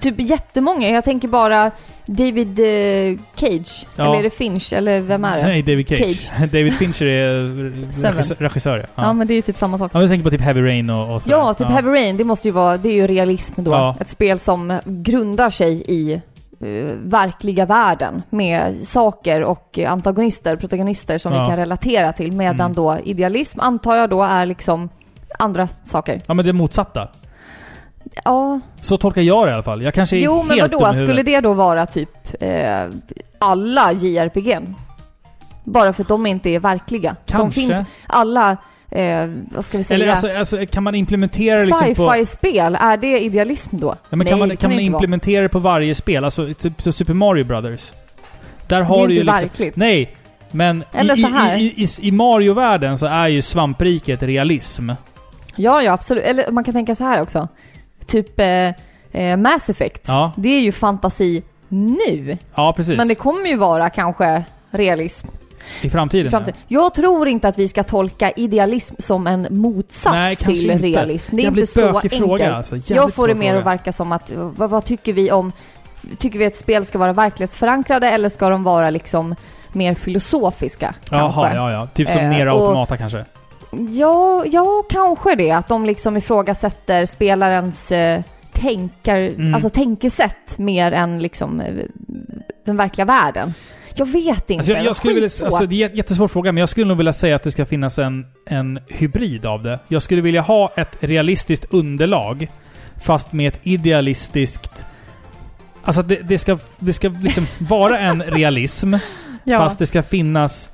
B: Typ jättemånga. Jag tänker bara David eh, Cage.
A: Ja.
B: Eller är det Finch? Eller vem är det?
A: Nej, David Cage. David Fincher är eh,
B: Seven.
A: regissör, regissör ja.
B: Ja.
A: ja.
B: men det är ju typ samma sak.
A: Ja, men jag tänker på typ Heavy Rain och, och sådär.
B: Ja, typ Heavy Rain, det måste ju vara, det är ju realism då.
A: Ja.
B: Ett spel som grundar sig i eh, verkliga världen med saker och eh, antagonister, protagonister som
A: Ja.
B: vi kan relatera till. Medan
A: Mm.
B: då idealism antar jag då är liksom andra saker.
A: Ja, men det är motsatta.
B: Ja,
A: Så tolkar jag det i alla fall. Jag kanske är
B: jo men
A: helt
B: vadå,
A: dum i huvudet.
B: skulle det då vara typ eh, alla JRPG? Bara för att de inte är verkliga.
A: Kanske.
B: De finns alla, eh, vad ska vi säga?
A: Eller alltså, alltså, kan man implementera det liksom på...
B: Sci-fi-spel, är det idealism då?
A: Ja, men kan man,
B: det
A: kan man
B: det inte vara.
A: implementera det på varje spel? Alltså, typ så Super Mario Brothers. Där har
B: det är
A: du
B: ju
A: ju
B: inte
A: liksom...
B: verkligt.
A: Nej! Men i,
B: Eller så här.
A: i, i, i, i Mario-världen så är ju svampriket realism.
B: Ja, ja absolut. Eller man kan tänka så här också. Typ eh, eh, Mass Effect.
A: Ja,
B: Det är ju fantasi nu.
A: ja precis.
B: Men det kommer ju vara kanske realism
A: I framtiden.
B: i framtiden. Jag tror inte att vi ska tolka idealism som en motsats
A: Nej, kanske
B: till
A: inte.
B: realism. Det är inte
A: Jävligt
B: så
A: bökig
B: enkelt.
A: fråga alltså. Jävligt
B: Jag får det
A: svår
B: mer
A: fråga.
B: att verka som att, vad, vad tycker vi om, tycker vi att spel ska vara verklighetsförankrade eller ska de vara liksom mer filosofiska?
A: Jaha,
B: kanske?
A: ja, ja. Typ som
B: Eh,
A: Nera
B: och-
A: Automata kanske.
B: Ja, ja, kanske det. Att de liksom ifrågasätter spelarens eh, tänkar,
A: Mm.
B: alltså tänkesätt mer än liksom eh, den verkliga världen. Jag vet inte.
A: Alltså, jag, jag skulle vilja,
B: Skitsvårt.
A: alltså, det är en jättesvår fråga, men jag skulle nog vilja säga att det ska finnas en, en hybrid av det. Jag skulle vilja ha ett realistiskt underlag, fast med ett idealistiskt... Alltså att det, det ska, det ska liksom vara en realism,
B: ja.
A: fast det ska finnas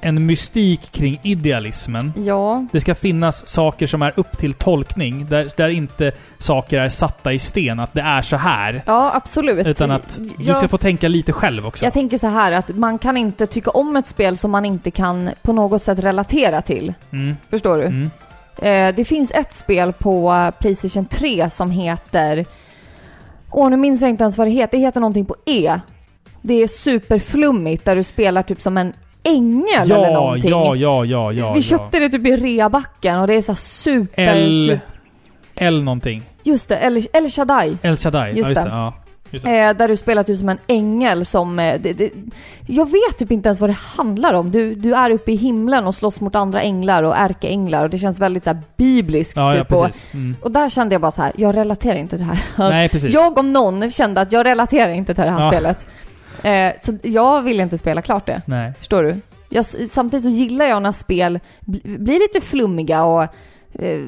A: en mystik kring idealismen.
B: Ja,
A: Det ska finnas saker som är upp till tolkning, där, där inte saker är satta i sten, att det är så här.
B: ja absolut.
A: Utan att du
B: jag,
A: ska få tänka lite själv också.
B: jag tänker så här att man kan inte tycka om ett spel som man inte kan på något sätt relatera till.
A: Mm,
B: Förstår du?
A: mm.
B: Eh, det finns ett spel på eh, Playstation 3 som heter... Åh, nu minns jag inte ens vad det heter. Det heter någonting på E. Det är superflummigt där du spelar typ som en ängel eller
A: Ja,
B: någonting.
A: ja, ja, ja, ja.
B: Vi
A: ja.
B: köpte det typ i reabacken och det är så här super...
A: L... L någonting.
B: Just det, El, El Shaddai.
A: El Shaddai.
B: Just
A: ja, just det.
B: det.
A: Ja. Just det.
B: Eh, där du spelar typ som en ängel som... Eh, det, det, jag vet typ inte ens vad det handlar om. Du, du är uppe i himlen och slåss mot andra änglar och ärkeänglar och det känns väldigt så här bibliskt.
A: Ja, ja,
B: typ, och,
A: precis. Mm.
B: och där kände jag bara så här, jag relaterar inte till det här.
A: Nej, precis.
B: Jag om någon kände att jag relaterar inte till det här
A: Ja.
B: spelet. Eh, så jag vill inte spela klart det.
A: Nej.
B: Förstår du? Jag, samtidigt så gillar jag när spel bl- blir lite flummiga och eh,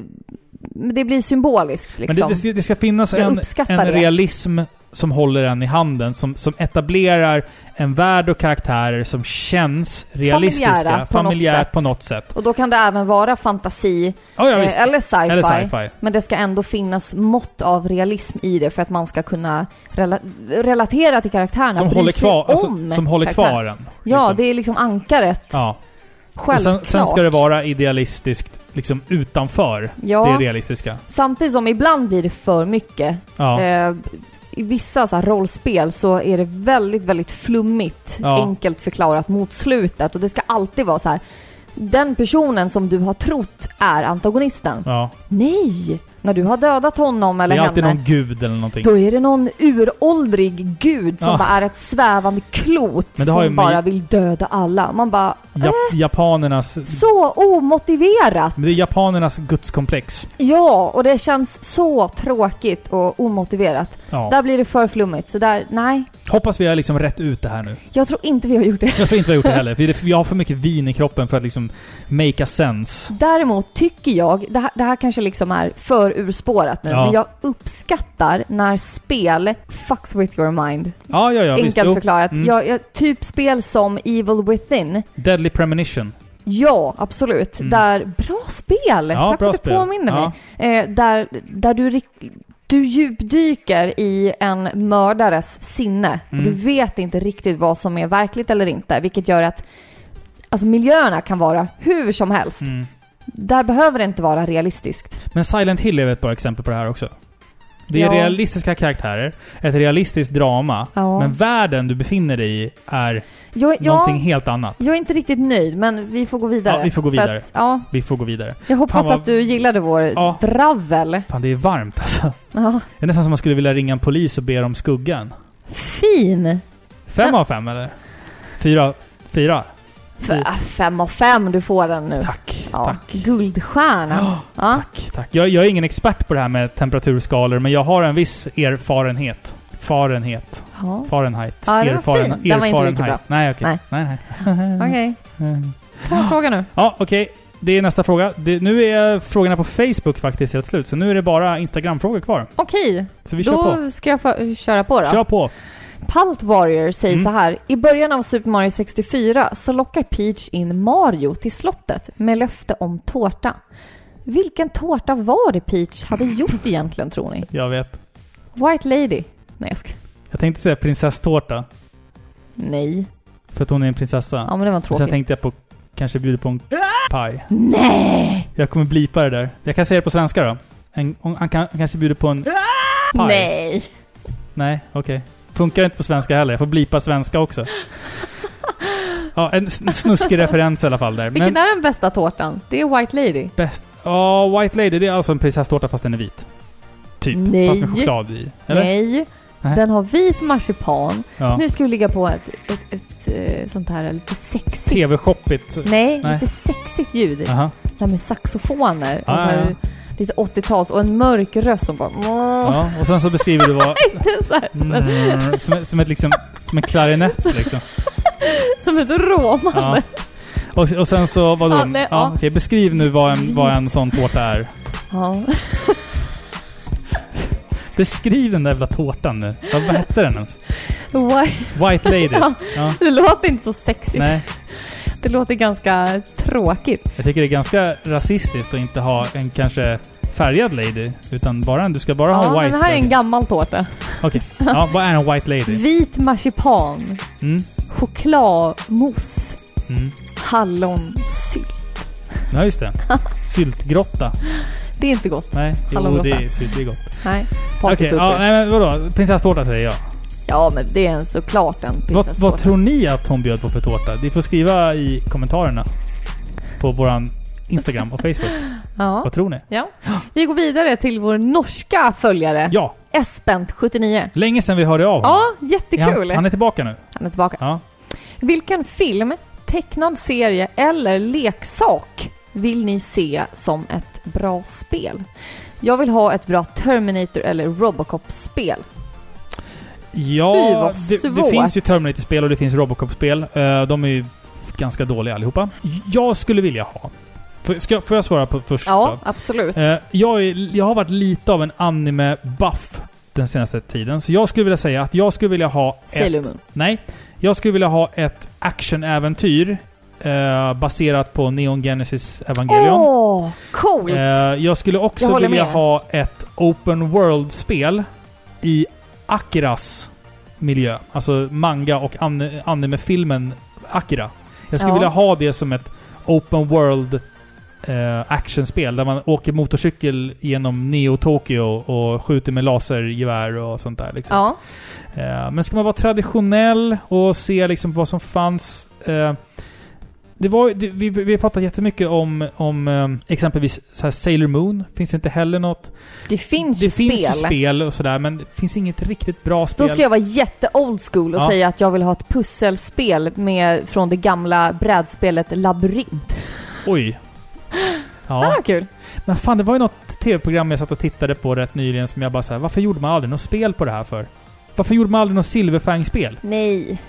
B: men det blir symboliskt
A: Men
B: liksom.
A: det, det, det ska finnas
B: Jag
A: en,
B: uppskattar
A: en
B: det.
A: realism som håller en i handen, som, som etablerar en värld och karaktärer som känns realistiska,
B: Familjära på något
A: familjärt
B: sätt.
A: på något sätt.
B: Och då kan det även vara fantasi
A: Ja, ja,
B: eh,
A: visst.
B: eller sci-fi.
A: Eller sci-fi.
B: men det ska ändå finnas mått av realism i det för att man ska kunna rela- relatera till karaktärerna.
A: Som
B: bry
A: håller,
B: sig
A: kvar, alltså,
B: om
A: som håller
B: karaktärerna.
A: kvar en.
B: Ja,
A: liksom.
B: det är liksom ankaret.
A: Ja. Och
B: Självklart.
A: sen, sen ska det vara idealistiskt liksom utanför
B: ja.
A: det realistiska.
B: Samtidigt som ibland blir det för mycket.
A: Ja.
B: Eh, I vissa så här rollspel så är det väldigt, väldigt flummigt,
A: Ja.
B: enkelt förklarat mot slutet. Och det ska alltid vara så här. Den personen som du har trott är antagonisten.
A: ja.
B: Nej! När du har dödat honom
A: Det
B: eller
A: är alltid
B: henne,
A: någon gud eller någonting.
B: då är det någon uråldrig gud som
A: Ja.
B: bara är ett svävande klot
A: Men det har ju
B: som
A: med-
B: bara vill döda alla. Man bara,
A: Ja, japanernas...
B: så omotiverat!
A: Men det är japanernas gudskomplex.
B: Ja, och det känns så tråkigt och omotiverat.
A: Ja.
B: Där blir det för flummigt, så där, nej.
A: Hoppas vi har liksom rätt ut det här nu.
B: Jag tror inte vi har gjort det.
A: Jag tror inte vi har gjort det heller. för det- Jag har för mycket vin i kroppen för att liksom make a sense.
B: Däremot tycker jag, det här, det här kanske liksom är för urspårat nu,
A: Ja.
B: men jag uppskattar när spel fucks with your mind.
A: Ja, ja, ja. Visst.
B: Enkelt
A: Jo.
B: förklarat.
A: Mm.
B: Jag, jag, typ spel som Evil Within.
A: Deadly premonition.
B: Ja, absolut.
A: Mm.
B: Där, bra spel!
A: Ja,
B: Tack för
A: bra
B: att du
A: spel.
B: påminner
A: Ja.
B: mig. Eh, där där du, rik- du djupdyker i en mördares sinne.
A: Mm.
B: Och du vet inte riktigt vad som är verkligt eller inte, vilket gör att alltså, miljöerna kan vara hur som helst.
A: Mm.
B: Där behöver det inte vara realistiskt.
A: Men Silent Hill är väl ett bra exempel på det här också. Det är
B: Ja.
A: realistiska karaktärer, ett realistiskt drama,
B: Ja.
A: men världen du befinner dig i är
B: Jag,
A: någonting
B: jag,
A: helt annat.
B: jag är inte riktigt nöjd, men vi får gå vidare.
A: Ja, vi får gå
B: För
A: vidare.
B: Att, ja,
A: Vi får gå vidare.
B: jag hoppas
A: Fan vad-
B: att du gillade vår
A: Ja.
B: dravel.
A: Fan, det är varmt alltså.
B: Ja.
A: Det är nästan som man skulle vilja ringa en polis och be om skuggan.
B: Fin!
A: Fem
B: Men-
A: av fem eller? Fyra? Fyra?
B: F-
A: Mm.
B: fem av fem, du får den nu.
A: Tack.
B: Ja, Ah.
A: Tack.
B: Guldstjärna.
A: Ja,
B: ja.
A: Tack, tack. Jag, jag är ingen expert på det här med temperaturskalor, men jag har en viss erfarenhet. Farenhet.
B: ja.
A: Fahrenheit.
B: Ja, den var
A: Erfaren-
B: fin. Den var inte riktigt
A: erfarenheit. Nej, okej.
B: Nej.
A: Nej, nej.
B: Okej,
A: Mm.
B: ta en fråga nu.
A: Ja, okej. Det är nästa fråga. Det, nu är frågorna på Facebook faktiskt helt slut, så nu är det bara Instagram-frågor kvar.
B: Okej,
A: Så vi kör på.
B: då ska jag för- köra på då.
A: Kör på.
B: Palt Warrior säger
A: Mm.
B: så här. I början av Super Mario 64 så lockar Peach in Mario till slottet med löfte om tårta. Vilken tårta var det Peach hade gjort egentligen tror ni?
A: Jag vet.
B: White Lady? Nej, jag ska...
A: Jag tänkte säga prinsesstårta,
B: Nej.
A: för att hon är en prinsessa.
B: Ja, men det var
A: Och sen
B: tråkigt.
A: tänkte jag på kanske bjuda på en paj.
B: Nej!
A: Jag kommer blipa det där. Jag kan säga det på svenska då. En, hon- han kan, han kanske bjuder på en...
B: Ah!
A: Paj.
B: Nej!
A: Nej, okej. Funkar inte på svenska heller. Jag får blipa svenska också. Ja, en sn- snuskig referens i alla fall där.
B: Vilken
A: Men
B: är den bästa tårtan? Det är White Lady.
A: bäst... Ja, White Lady, det är alltså en prinsesstårta fast den är vit. Typ.
B: Nej.
A: Fast med choklad i. Eller?
B: Nej.
A: Nej.
B: Den har vit marsipan.
A: Ja.
B: Nu ska vi ligga på ett, ett, ett, eh, sånt här lite sexigt...
A: TV-shoppigt.
B: Nej,
A: Nej.
B: lite sexigt ljud.
A: Aha.
B: Så här med saxofoner. och
A: Ah,
B: så här, Lite 80-tals och en mörk röst som bara...
A: Ja, och sen så beskriver du vad...
B: så här, som, ett,
A: Mm, som, ett- som ett liksom... Som en klarinett liksom.
B: som ett råman.
A: Ja. Och, och sen så, vadå?
B: Ja, nej,
A: ja,
B: ja.
A: okej, beskriv nu vad en, vad en sån tårta är.
B: Ja.
A: Beskriv den där jävla tårtan nu. Vad, vad hette den ens?
B: Why?
A: White Lady.
B: Ja.
A: Ja.
B: Det låter inte så sexigt.
A: Nej. rasistiskt.
B: Det låter ganska tråkigt.
A: Jag tycker det är ganska rasistiskt att inte ha en kanske färgad lady. Utan bara en, du ska bara ha
B: ja,
A: en
B: men
A: white
B: det här är en
A: lady.
B: gammal tårta.
A: Okej, ja, vad är en white lady?
B: Vit marsipan,
A: Mm,
B: chokladmousse,
A: mm.
B: hallonsylt.
A: Ja, just det. Syltgrotta.
B: Det är inte gott.
A: Nej, jo,
B: Hallongrotta.
A: det är, sylt, det är gott.
B: Nej.
A: Okej,
B: Partypooper.
A: ja, nej, men vadå? Prinsesstårta säger jag.
B: ja, men det är en såklart en
A: Vad, vad
B: prinsesstårta.
A: tror ni att hon bjöd på för tårta? Ni får skriva i kommentarerna på våran Instagram och Facebook.
B: Ja.
A: Vad tror ni?
B: ja. Vi går vidare till vår norska följare.
A: Ja,
B: Espent79.
A: länge sedan vi hörde av honom.
B: Ja, jättekul.
A: han, han är tillbaka nu.
B: han är tillbaka.
A: Ja.
B: Vilken film, tecknad serie eller leksak vill ni se som ett bra spel? Jag vill ha ett bra Terminator eller Robocop-spel. Fy,
A: Ja,
B: vad
A: det, det
B: svårt.
A: finns ju Terminator-spel och det finns Robocop-spel. Eh, de är ju ganska dåliga allihopa. Jag skulle vilja ha... Får, ska, får jag svara på först
B: Ja,
A: då?
B: absolut.
A: Eh, jag, är, jag har varit lite av en anime-buff den senaste tiden. Så jag skulle vilja säga att jag skulle vilja ha...
B: Sailor
A: ett,
B: Moon.
A: Nej. Jag skulle vilja ha ett actionäventyr eh, baserat på Neon Genesis Evangelion.
B: Åh, coolt!
A: Eh, jag skulle också
B: Jag håller
A: vilja
B: med.
A: ha ett open world-spel i Akiras miljö. Alltså manga och an- anime-filmen Akira. Jag skulle
B: Ja.
A: vilja ha det som ett open world eh, actionspel där man åker motorcykel genom Neo-Tokyo och skjuter med lasergevär och sånt där. Liksom.
B: ja,
A: Eh, Men ska man vara traditionell och se liksom vad som fanns... eh, Det var, ju- det, vi, vi pratade jättemycket om, om eh, exempelvis så här Sailor Moon. Finns inte heller något.
B: det finns
A: Det
B: ju
A: finns ju
B: spel.
A: spel och sådär, men det finns inget riktigt bra spel.
B: Då ska jag vara jätte old school och
A: Ja.
B: säga att jag vill ha ett pusselspel med, från det gamla brädspelet Labyrint.
A: Oj.
B: Ja.
A: Ja,
B: Ah, kul!
A: men fan det var ju något tv-program jag satt och tittade på rätt nyligen som jag bara såhär, varför gjorde man aldrig något spel på det här för? Varför gjorde man aldrig något Silverfang-spel?
B: Nej, nej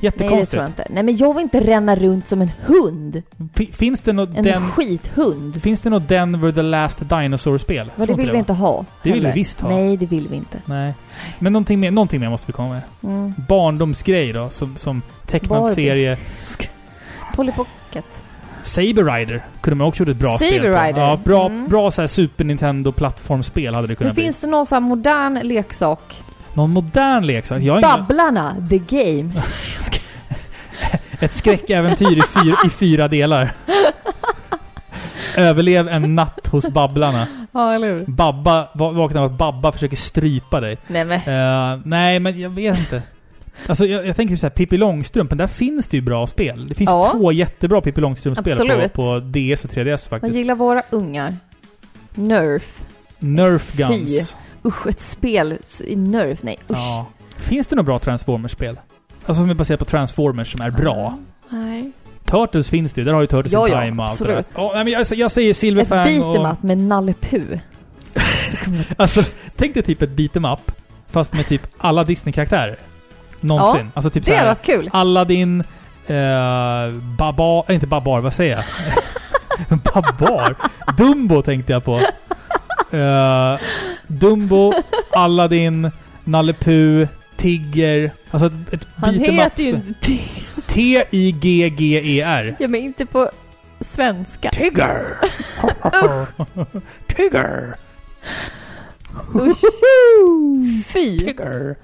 B: det
A: Jättekonstigt.
B: tror jag inte. Nej men jag vill inte ränna runt som en hund.
A: Fi- finns det något
B: En
A: den...
B: skithund.
A: Finns det något Denver the Last Dinosaur-spel? Tror
B: Men det
A: inte
B: vill vi
A: va?
B: inte ha.
A: Det vill vi
B: heller.
A: visst ha.
B: Nej, det vill vi inte.
A: Nej. Men någonting mer, någonting mer måste vi komma med.
B: Mm.
A: Barndomsgrej då, som, som tecknad
B: Barbie.
A: serie.
B: Polly Pocket.
A: Saber Rider kunde man också gjort ett bra
B: Saber
A: spel på.
B: Rider.
A: Ja, bra,
B: Mm.
A: bra så här Super Nintendo-plattformsspel hade det
B: Men
A: kunnat bli.
B: finns det någon sån här modern leksak?
A: Någon modern leksak? Jag har ingen,
B: Babblarna, the game.
A: ett skräckäventyr i, fyra, i fyra delar. Överlev en natt hos Babblarna.
B: ja, eller hur?
A: Babba, va- vakna av att Babba försöker strypa dig.
B: Nej men,
A: Eh, nej, men jag vet inte. Alltså jag, jag tänker så här, Pippi Långstrump, men där finns det ju bra spel. Det finns
B: Ja.
A: två jättebra Pippi Långstrump-spel på,
B: Absolut.
A: på DS och 3DS
B: man
A: faktiskt.
B: gillar våra ungar. Nerf.
A: Nerf Guns.
B: Usch, ett spel i Nerf. Nej, usch.
A: Ja. Finns det några bra Transformers-spel? Alltså som är baserat på Transformers som är bra.
B: Nej.
A: Turtles finns det ju, där har ju Turtles
B: Ja,
A: in
B: ja,
A: Time och allt det där.
B: absolut.
A: Ja, nej, men jag, jag säger
B: Ett
A: Silverfang och... Typ
B: beat med Nalle Puh.
A: Alltså, tänk dig typ ett beat'em up, fast med typ alla Disney-karaktärer. Någonsin. Alltså typ
B: Det
A: såhär...
B: hade varit kul.
A: Aladdin, eh, Babar, eh, inte Babar, vad säger jag? babar? Dumbo tänkte jag på. Eh, Dumbo, Aladdin, Nalle Puh, Tigger. Alltså ett, ett
B: Han
A: beat 'em up-
B: heter ju inte
A: T-I-G-G-E-R.
B: Ja, men inte på svenska.
A: E Tigger! Tigger!
B: Usch. Fy.
A: Tigger!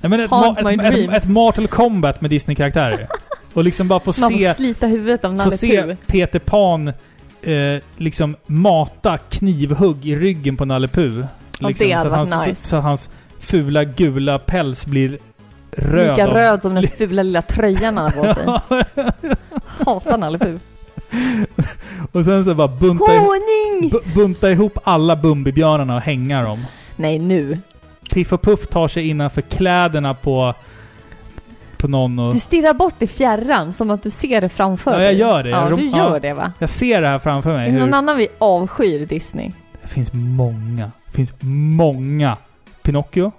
A: Nej, men ett,
B: Haunt
A: ma-
B: my
A: ett, ett,
B: dreams.
A: ett Mortal Kombat med Disney-karaktärer. Och liksom bara få
B: Man
A: se
B: får slita huvudet av
A: Få
B: Nalle Puh.
A: se Peter Pan eh, liksom mata knivhugg i ryggen på Nalle Puh.
B: Ja,
A: Liksom,
B: det hade
A: så, att
B: varit
A: hans,
B: nice.
A: så, så att hans fula gula päls blir röd.
B: Lika
A: av-
B: röd som den fula lilla tröjan han har på sig. Hatar Nalle Puh.
A: och sen så bara bunta, ihop,
B: Honung!
A: bu- bunta ihop alla Bumbibjörnarna och hänga dem.
B: Nej, nu.
A: Piff och Puff tar sig innanför kläderna på, på någon och...
B: Du stirrar bort i fjärran som att du ser det framför
A: Ja,
B: dig.
A: jag gör det.
B: Ja,
A: Jag-
B: du
A: ja.
B: gör det va?
A: Jag ser det här framför
B: Är
A: mig.
B: det
A: Hur,
B: någon annan vi avskyr Disney?
A: Det finns många. Det finns många. Pinocchio?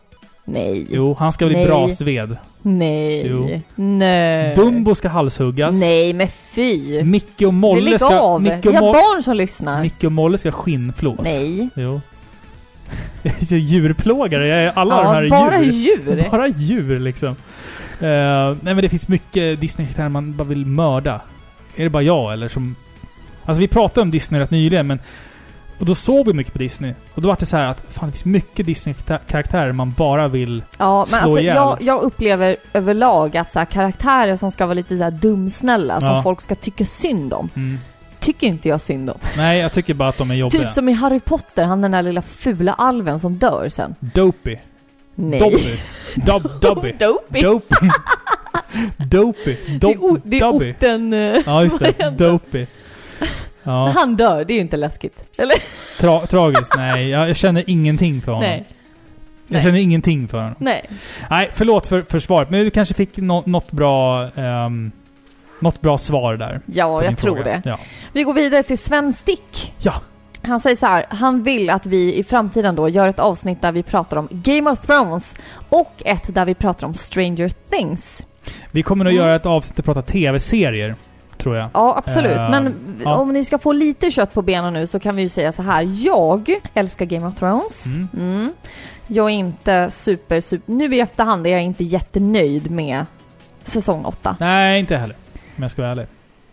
B: Nej.
A: Jo, han ska bli
B: Nej.
A: brasved.
B: Nej.
A: Jo.
B: Nej.
A: Dumbo ska halshuggas.
B: Eh, Nej, men fy.
A: Micke och
B: Vi
A: Molle
B: lägger
A: ska...
B: av. Vi
A: Micke och,
B: har
A: Mo-
B: barn som lyssnar.
A: Micke och Molle ska skinnflås.
B: Nej.
A: Jo. Jag är djurplågare. Jag är, alla de här är
B: Ja, bara
A: djur.
B: djur.
A: Bara djur liksom. Eh, nej men det finns mycket Disney-karaktärer man bara vill mörda. Är det bara jag eller som... Alltså vi pratade om Disney rätt nyligen men... Och då såg vi mycket på Disney. Och då var det så här att fan det finns mycket Disney-karaktärer man bara vill...
B: Ja, men
A: Slå
B: alltså,
A: ihjäl.
B: jag, jag upplever överlag att så här, karaktärer som ska vara lite så här dumsnälla, som
A: Ja.
B: folk ska tycka synd om,
A: Mm.
B: tycker inte jag synd om.
A: Nej, jag tycker bara att de är jobbiga.
B: Typ som i Harry Potter, han den där lilla fula alven som dör sen.
A: Dopey.
B: Nej.
A: Dobby. Dob, Dobby.
B: Dopey.
A: Dopey. Dopey.
B: Det är, o-
A: Dob,
B: det är
A: Dobby.
B: orten... eh,
A: Ja, just
B: Vad
A: det.
B: heter
A: Dopey. Ja,
B: Han dör, det är ju inte läskigt. Eller?
A: tra tragiskt. Nej, jag jag känner ingenting för honom.
B: Nej.
A: Jag
B: nej.
A: känner ingenting för honom.
B: Nej.
A: Nej, förlåt för, för svaret. Men du kanske fick nå- något bra... Um, något bra svar där. på
B: Ja,
A: din
B: jag tror
A: fråga.
B: det.
A: Ja.
B: Vi går vidare till Sven Stick.
A: Ja.
B: Han säger så här, han vill att vi i framtiden då gör ett avsnitt där vi pratar om Game of Thrones och ett där vi pratar om Stranger Things.
A: Vi kommer att
B: Mm.
A: göra ett avsnitt och prata tv-serier, tror jag.
B: Ja, absolut.
A: Eh,
B: Men
A: ja.
B: om ni ska få lite kött på benen nu så kan vi ju säga så här. Jag älskar Game of Thrones.
A: Mm.
B: Mm. Jag är inte super, super... Nu i efterhand är jag inte jättenöjd med säsong 8.
A: Nej, inte heller. Om jag ska vara ärlig.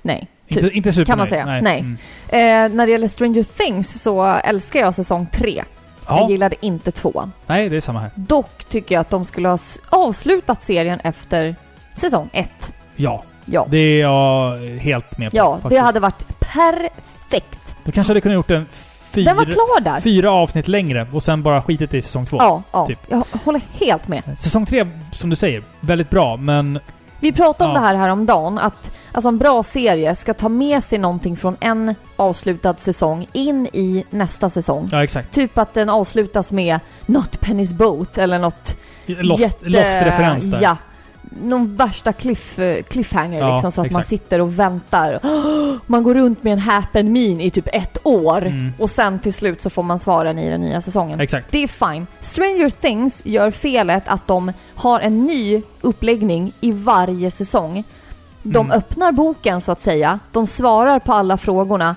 B: Nej. Typ.
A: Inte, inte supernöjd.
B: kan man säga. Nej.
A: Mm.
B: Eh, när det gäller Stranger Things så älskar jag säsong 3. Jag
A: Ja,
B: gillade inte tvåan.
A: nej, det är samma här.
B: Dock tycker jag att de skulle ha s- avslutat serien efter säsong 1.
A: Ja,
B: Ja,
A: det är jag helt med på.
B: ja det
A: faktiskt.
B: hade varit perfekt.
A: Då kanske hade kunnat gjort en fyra,
B: Den var klar där.
A: fyra avsnitt längre och sen bara skitit i säsong två.
B: Ja, ja.
A: typ.
B: jag håller helt med.
A: Säsong tre, som du säger, väldigt bra, men
B: Vi pratade om
A: Ja.
B: det här häromdagen, att alltså, en bra serie ska ta med sig någonting från en avslutad säsong in i nästa säsong.
A: ja exakt.
B: Typ att den avslutas med Not Penny's Boat eller något
A: Lost,
B: jätte...
A: lost referens där.
B: Ja. Någon värsta cliff, eh, cliffhanger
A: Ja,
B: liksom, så att man
A: exakt.
B: sitter och väntar. Man går runt med en happen min i typ ett år
A: Mm.
B: och sen till slut så får man svaren i den nya säsongen.
A: Exakt.
B: Det är fine. Stranger Things gör felet att de har en ny uppläggning i varje säsong. De
A: Mm.
B: öppnar boken så att säga, de svarar på alla frågorna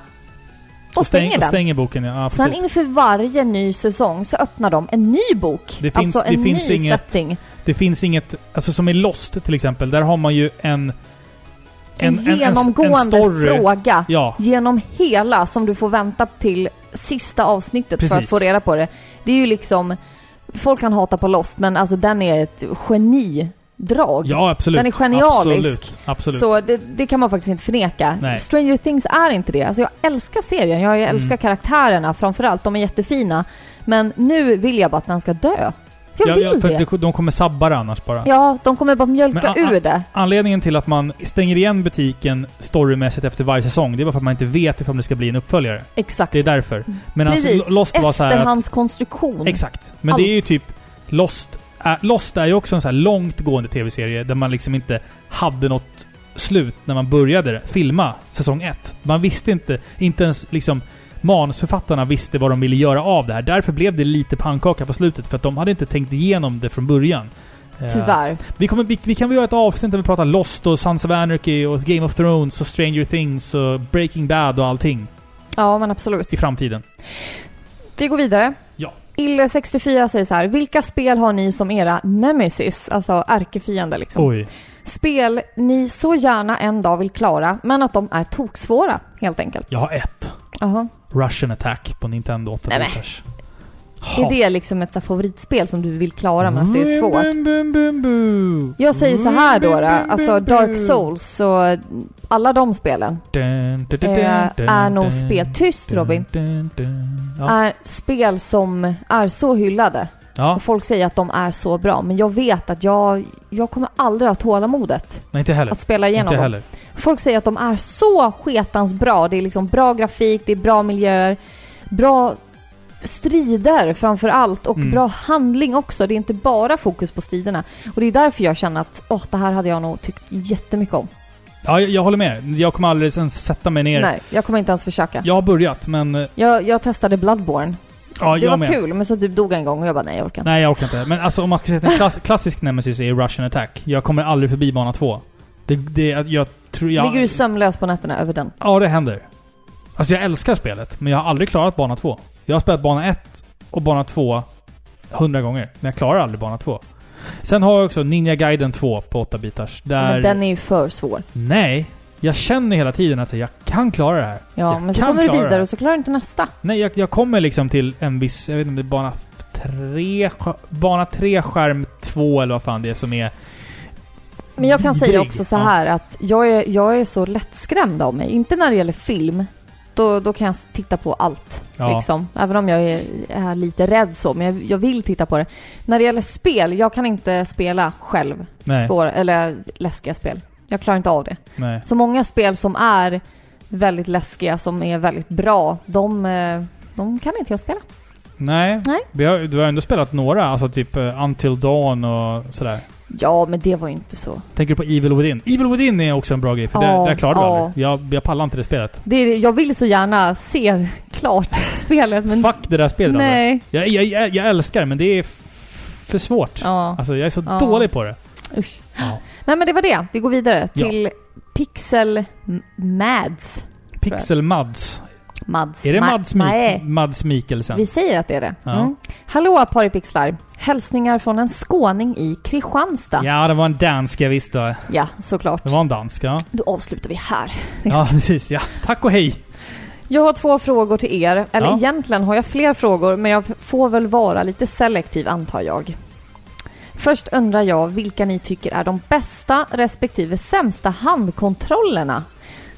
B: och, stänger
A: och
B: den.
A: stänger boken, ja. ja
B: Sen
A: precis.
B: inför varje ny säsong så öppnar de en ny bok.
A: Det finns-
B: alltså
A: det
B: en
A: finns
B: ny
A: inget-
B: setting.
A: Det finns inget, alltså som i Lost till exempel, där har man ju en...
B: En, genomgående fråga
A: Ja,
B: genom hela som du får vänta till sista avsnittet för
A: Precis.
B: att få reda på det. Det är ju liksom... Folk kan hata på Lost, men alltså den är ett genidrag.
A: ja absolut.
B: Den är genialisk.
A: Absolut, absolut.
B: Så det, det kan man faktiskt inte förneka.
A: Nej. Mm.
B: Stranger Things är inte det. Alltså jag älskar serien, jag älskar karaktärerna framförallt, de är jättefina. Men nu vill jag bara att den ska dö. Jag
A: Ja,
B: vill
A: ja, för
B: det.
A: det- De kommer sabba det annars bara.
B: Ja, de kommer bara mjölka
A: Men, ah,
B: ur det.
A: Anledningen till att man stänger igen butiken storymässigt efter varje säsong, det är bara för att man inte vet ifall det ska bli en uppföljare.
B: Exakt.
A: Det är därför. Men
B: Precis.
A: alltså, Lost var så här att,
B: Efterhandskonstruktion.
A: Exakt. Men
B: Allt.
A: det är ju typ... Lost är, Lost är ju också en så här långtgående tv-serie där man liksom inte hade något slut när man började filma säsong ett. Man visste inte, inte ens liksom manusförfattarna visste vad de ville göra av det här. Därför blev det lite pannkaka på slutet, för att de hade inte tänkt igenom det från början. Eh,
B: Tyvärr.
A: Vi, kommer, vi, vi kan väl göra ett avsnitt där vi pratar Lost och Sons of Anarchy och Game of Thrones och Stranger Things och Breaking Bad och allting
B: Ja, men absolut.
A: i framtiden.
B: Vi går vidare.
A: Ja.
B: Ille64 säger så här, vilka spel har ni som era nemesis, alltså ärkefiende liksom?
A: Oj.
B: Spel ni så gärna en dag vill klara, men att de är toksvåra helt enkelt.
A: Jag har ett.
B: Jaha.
A: Russian Attack på Nintendo 8
B: Nej, men.
A: bitars.
B: Är det liksom ett så här, favoritspel som du vill klara men att det är svårt?
A: Boom, boom, boom, boom.
B: Jag säger så här då,
A: Boom,
B: då
A: boom,
B: alltså
A: boom,
B: Dark
A: boom.
B: Souls och alla de spelen
A: Dun, dun, dun,
B: eh,
A: dun,
B: är
A: dun,
B: nog
A: dun,
B: spel, tyst
A: dun,
B: Robin,
A: dun, dun. Ja.
B: är spel som är så hyllade.
A: ja,
B: Och folk säger att de är så bra, men jag vet att jag, jag kommer aldrig ha tålamodet
A: nej inte heller.
B: att spela igenom
A: Inte
B: dem.
A: heller.
B: Folk säger att de är så sketans bra. Det är liksom bra grafik, det är bra miljöer, bra strider framför allt och
A: Mm.
B: bra handling också. Det är inte bara fokus på striderna. Och det är därför jag känner att åh, det här hade jag nog tyckt jättemycket om.
A: Ja, jag, jag håller med. Jag kommer aldrig ens sätta mig ner.
B: Nej, jag kommer inte ens försöka.
A: Jag har börjat, men... eh,
B: Jag, jag testade Bloodborne.
A: Ja,
B: Det
A: jag
B: var
A: med.
B: kul, men så typ dog jag en gång och jag bara nej, jag orkar inte.
A: Nej, jag orkar inte. Men alltså om man ska säga att en klass, klassisk nemesis är Russian Attack. Jag kommer aldrig förbi bana två. Det, det, jag tror... Jag,
B: Ligger du sömnlös på nätterna över den?
A: Ja, det händer. Alltså jag älskar spelet, men jag har aldrig klarat bana 2. Jag har spelat bana 1 och bana 2 hundra gånger, men jag klarar aldrig bana 2. Sen har jag också Ninja Gaiden 2 på 8 bitars. Där...
B: Men den är ju för svår.
A: Nej! Jag känner hela tiden att så, jag kan klara det här.
B: Ja,
A: jag
B: men så
A: kan
B: kommer du
A: klara det
B: vidare
A: här.
B: och så klarar du inte nästa.
A: Nej, jag, jag kommer liksom till en viss... Jag vet inte om det är bana 3... Bana 3, skärm 2 eller vad fan det är som är...
B: Men jag kan säga
A: vidrig.
B: också så
A: Ja.
B: här att jag är, jag är så lättskrämd av mig. Inte när det gäller film. Då, då kan jag titta på allt.
A: Ja.
B: Liksom. Även om jag är, är lite rädd så, men jag, jag vill titta på det. När det gäller spel, jag kan inte spela själv.
A: Nej,
B: Svåra, eller läskiga spel. Jag klarar inte av det.
A: nej.
B: Så många spel som är väldigt läskiga, som är väldigt bra, de, eh, de kan inte jag spela.
A: Nej.
B: Nej.
A: Vi har, du har ändå spelat några, alltså typ eh, Until Dawn och sådär.
B: Ja, men det var ju inte så.
A: Tänker du på Evil Within? Evil Within är också en bra grej, för
B: Ja,
A: där, där klarade
B: ja.
A: du aldrig. Jag, jag pallar inte det spelet.
B: Det är, jag vill så gärna se klart spelet, men...
A: Fuck det där spelet alltså.
B: nej.
A: Jag, jag, jag, jag älskar det, men det är f- för svårt.
B: Ja,
A: Alltså jag är så
B: Ja.
A: dålig på det.
B: usch.
A: Ja.
B: Nej, men det var det. Vi går vidare
A: Ja.
B: till Pixel M- Mads.
A: Pixel Mads.
B: Mads.
A: Är det
B: Ma-
A: Mads, Mik-
B: Nej.
A: Mads Mikkelsen?
B: Vi säger att det är det.
A: Ja.
B: Mm. Hallå Paripixlar! Hälsningar från en skåning i Kristianstad.
A: Ja, det var en dansk, jag visste.
B: Ja, såklart.
A: Det var en dansk, ja.
B: Då avslutar vi här.
A: Ja, precis. Ja. Tack och hej.
B: Jag har två frågor till er. Eller
A: Ja.
B: egentligen har jag fler frågor, men jag får väl vara lite selektiv antar jag. Först undrar jag vilka ni tycker är de bästa respektive sämsta handkontrollerna?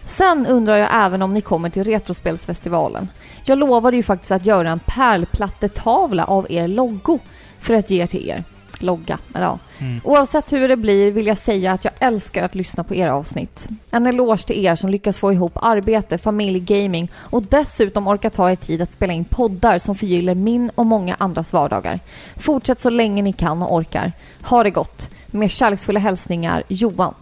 B: Sen undrar jag även om ni kommer till Retrospelsfestivalen. Jag lovade ju faktiskt att göra en pärlplattetavla av er loggo för att ge till er. Logga, eller ja.
A: Mm.
B: Oavsett hur det blir vill jag säga att jag älskar att lyssna på era avsnitt. En eloge till er som lyckas få ihop arbete, familj, gaming och dessutom orkar ta er tid att spela in poddar som förgyller min och många andras vardagar. Fortsätt så länge ni kan och orkar. Ha det gott! Med kärleksfulla hälsningar Johan.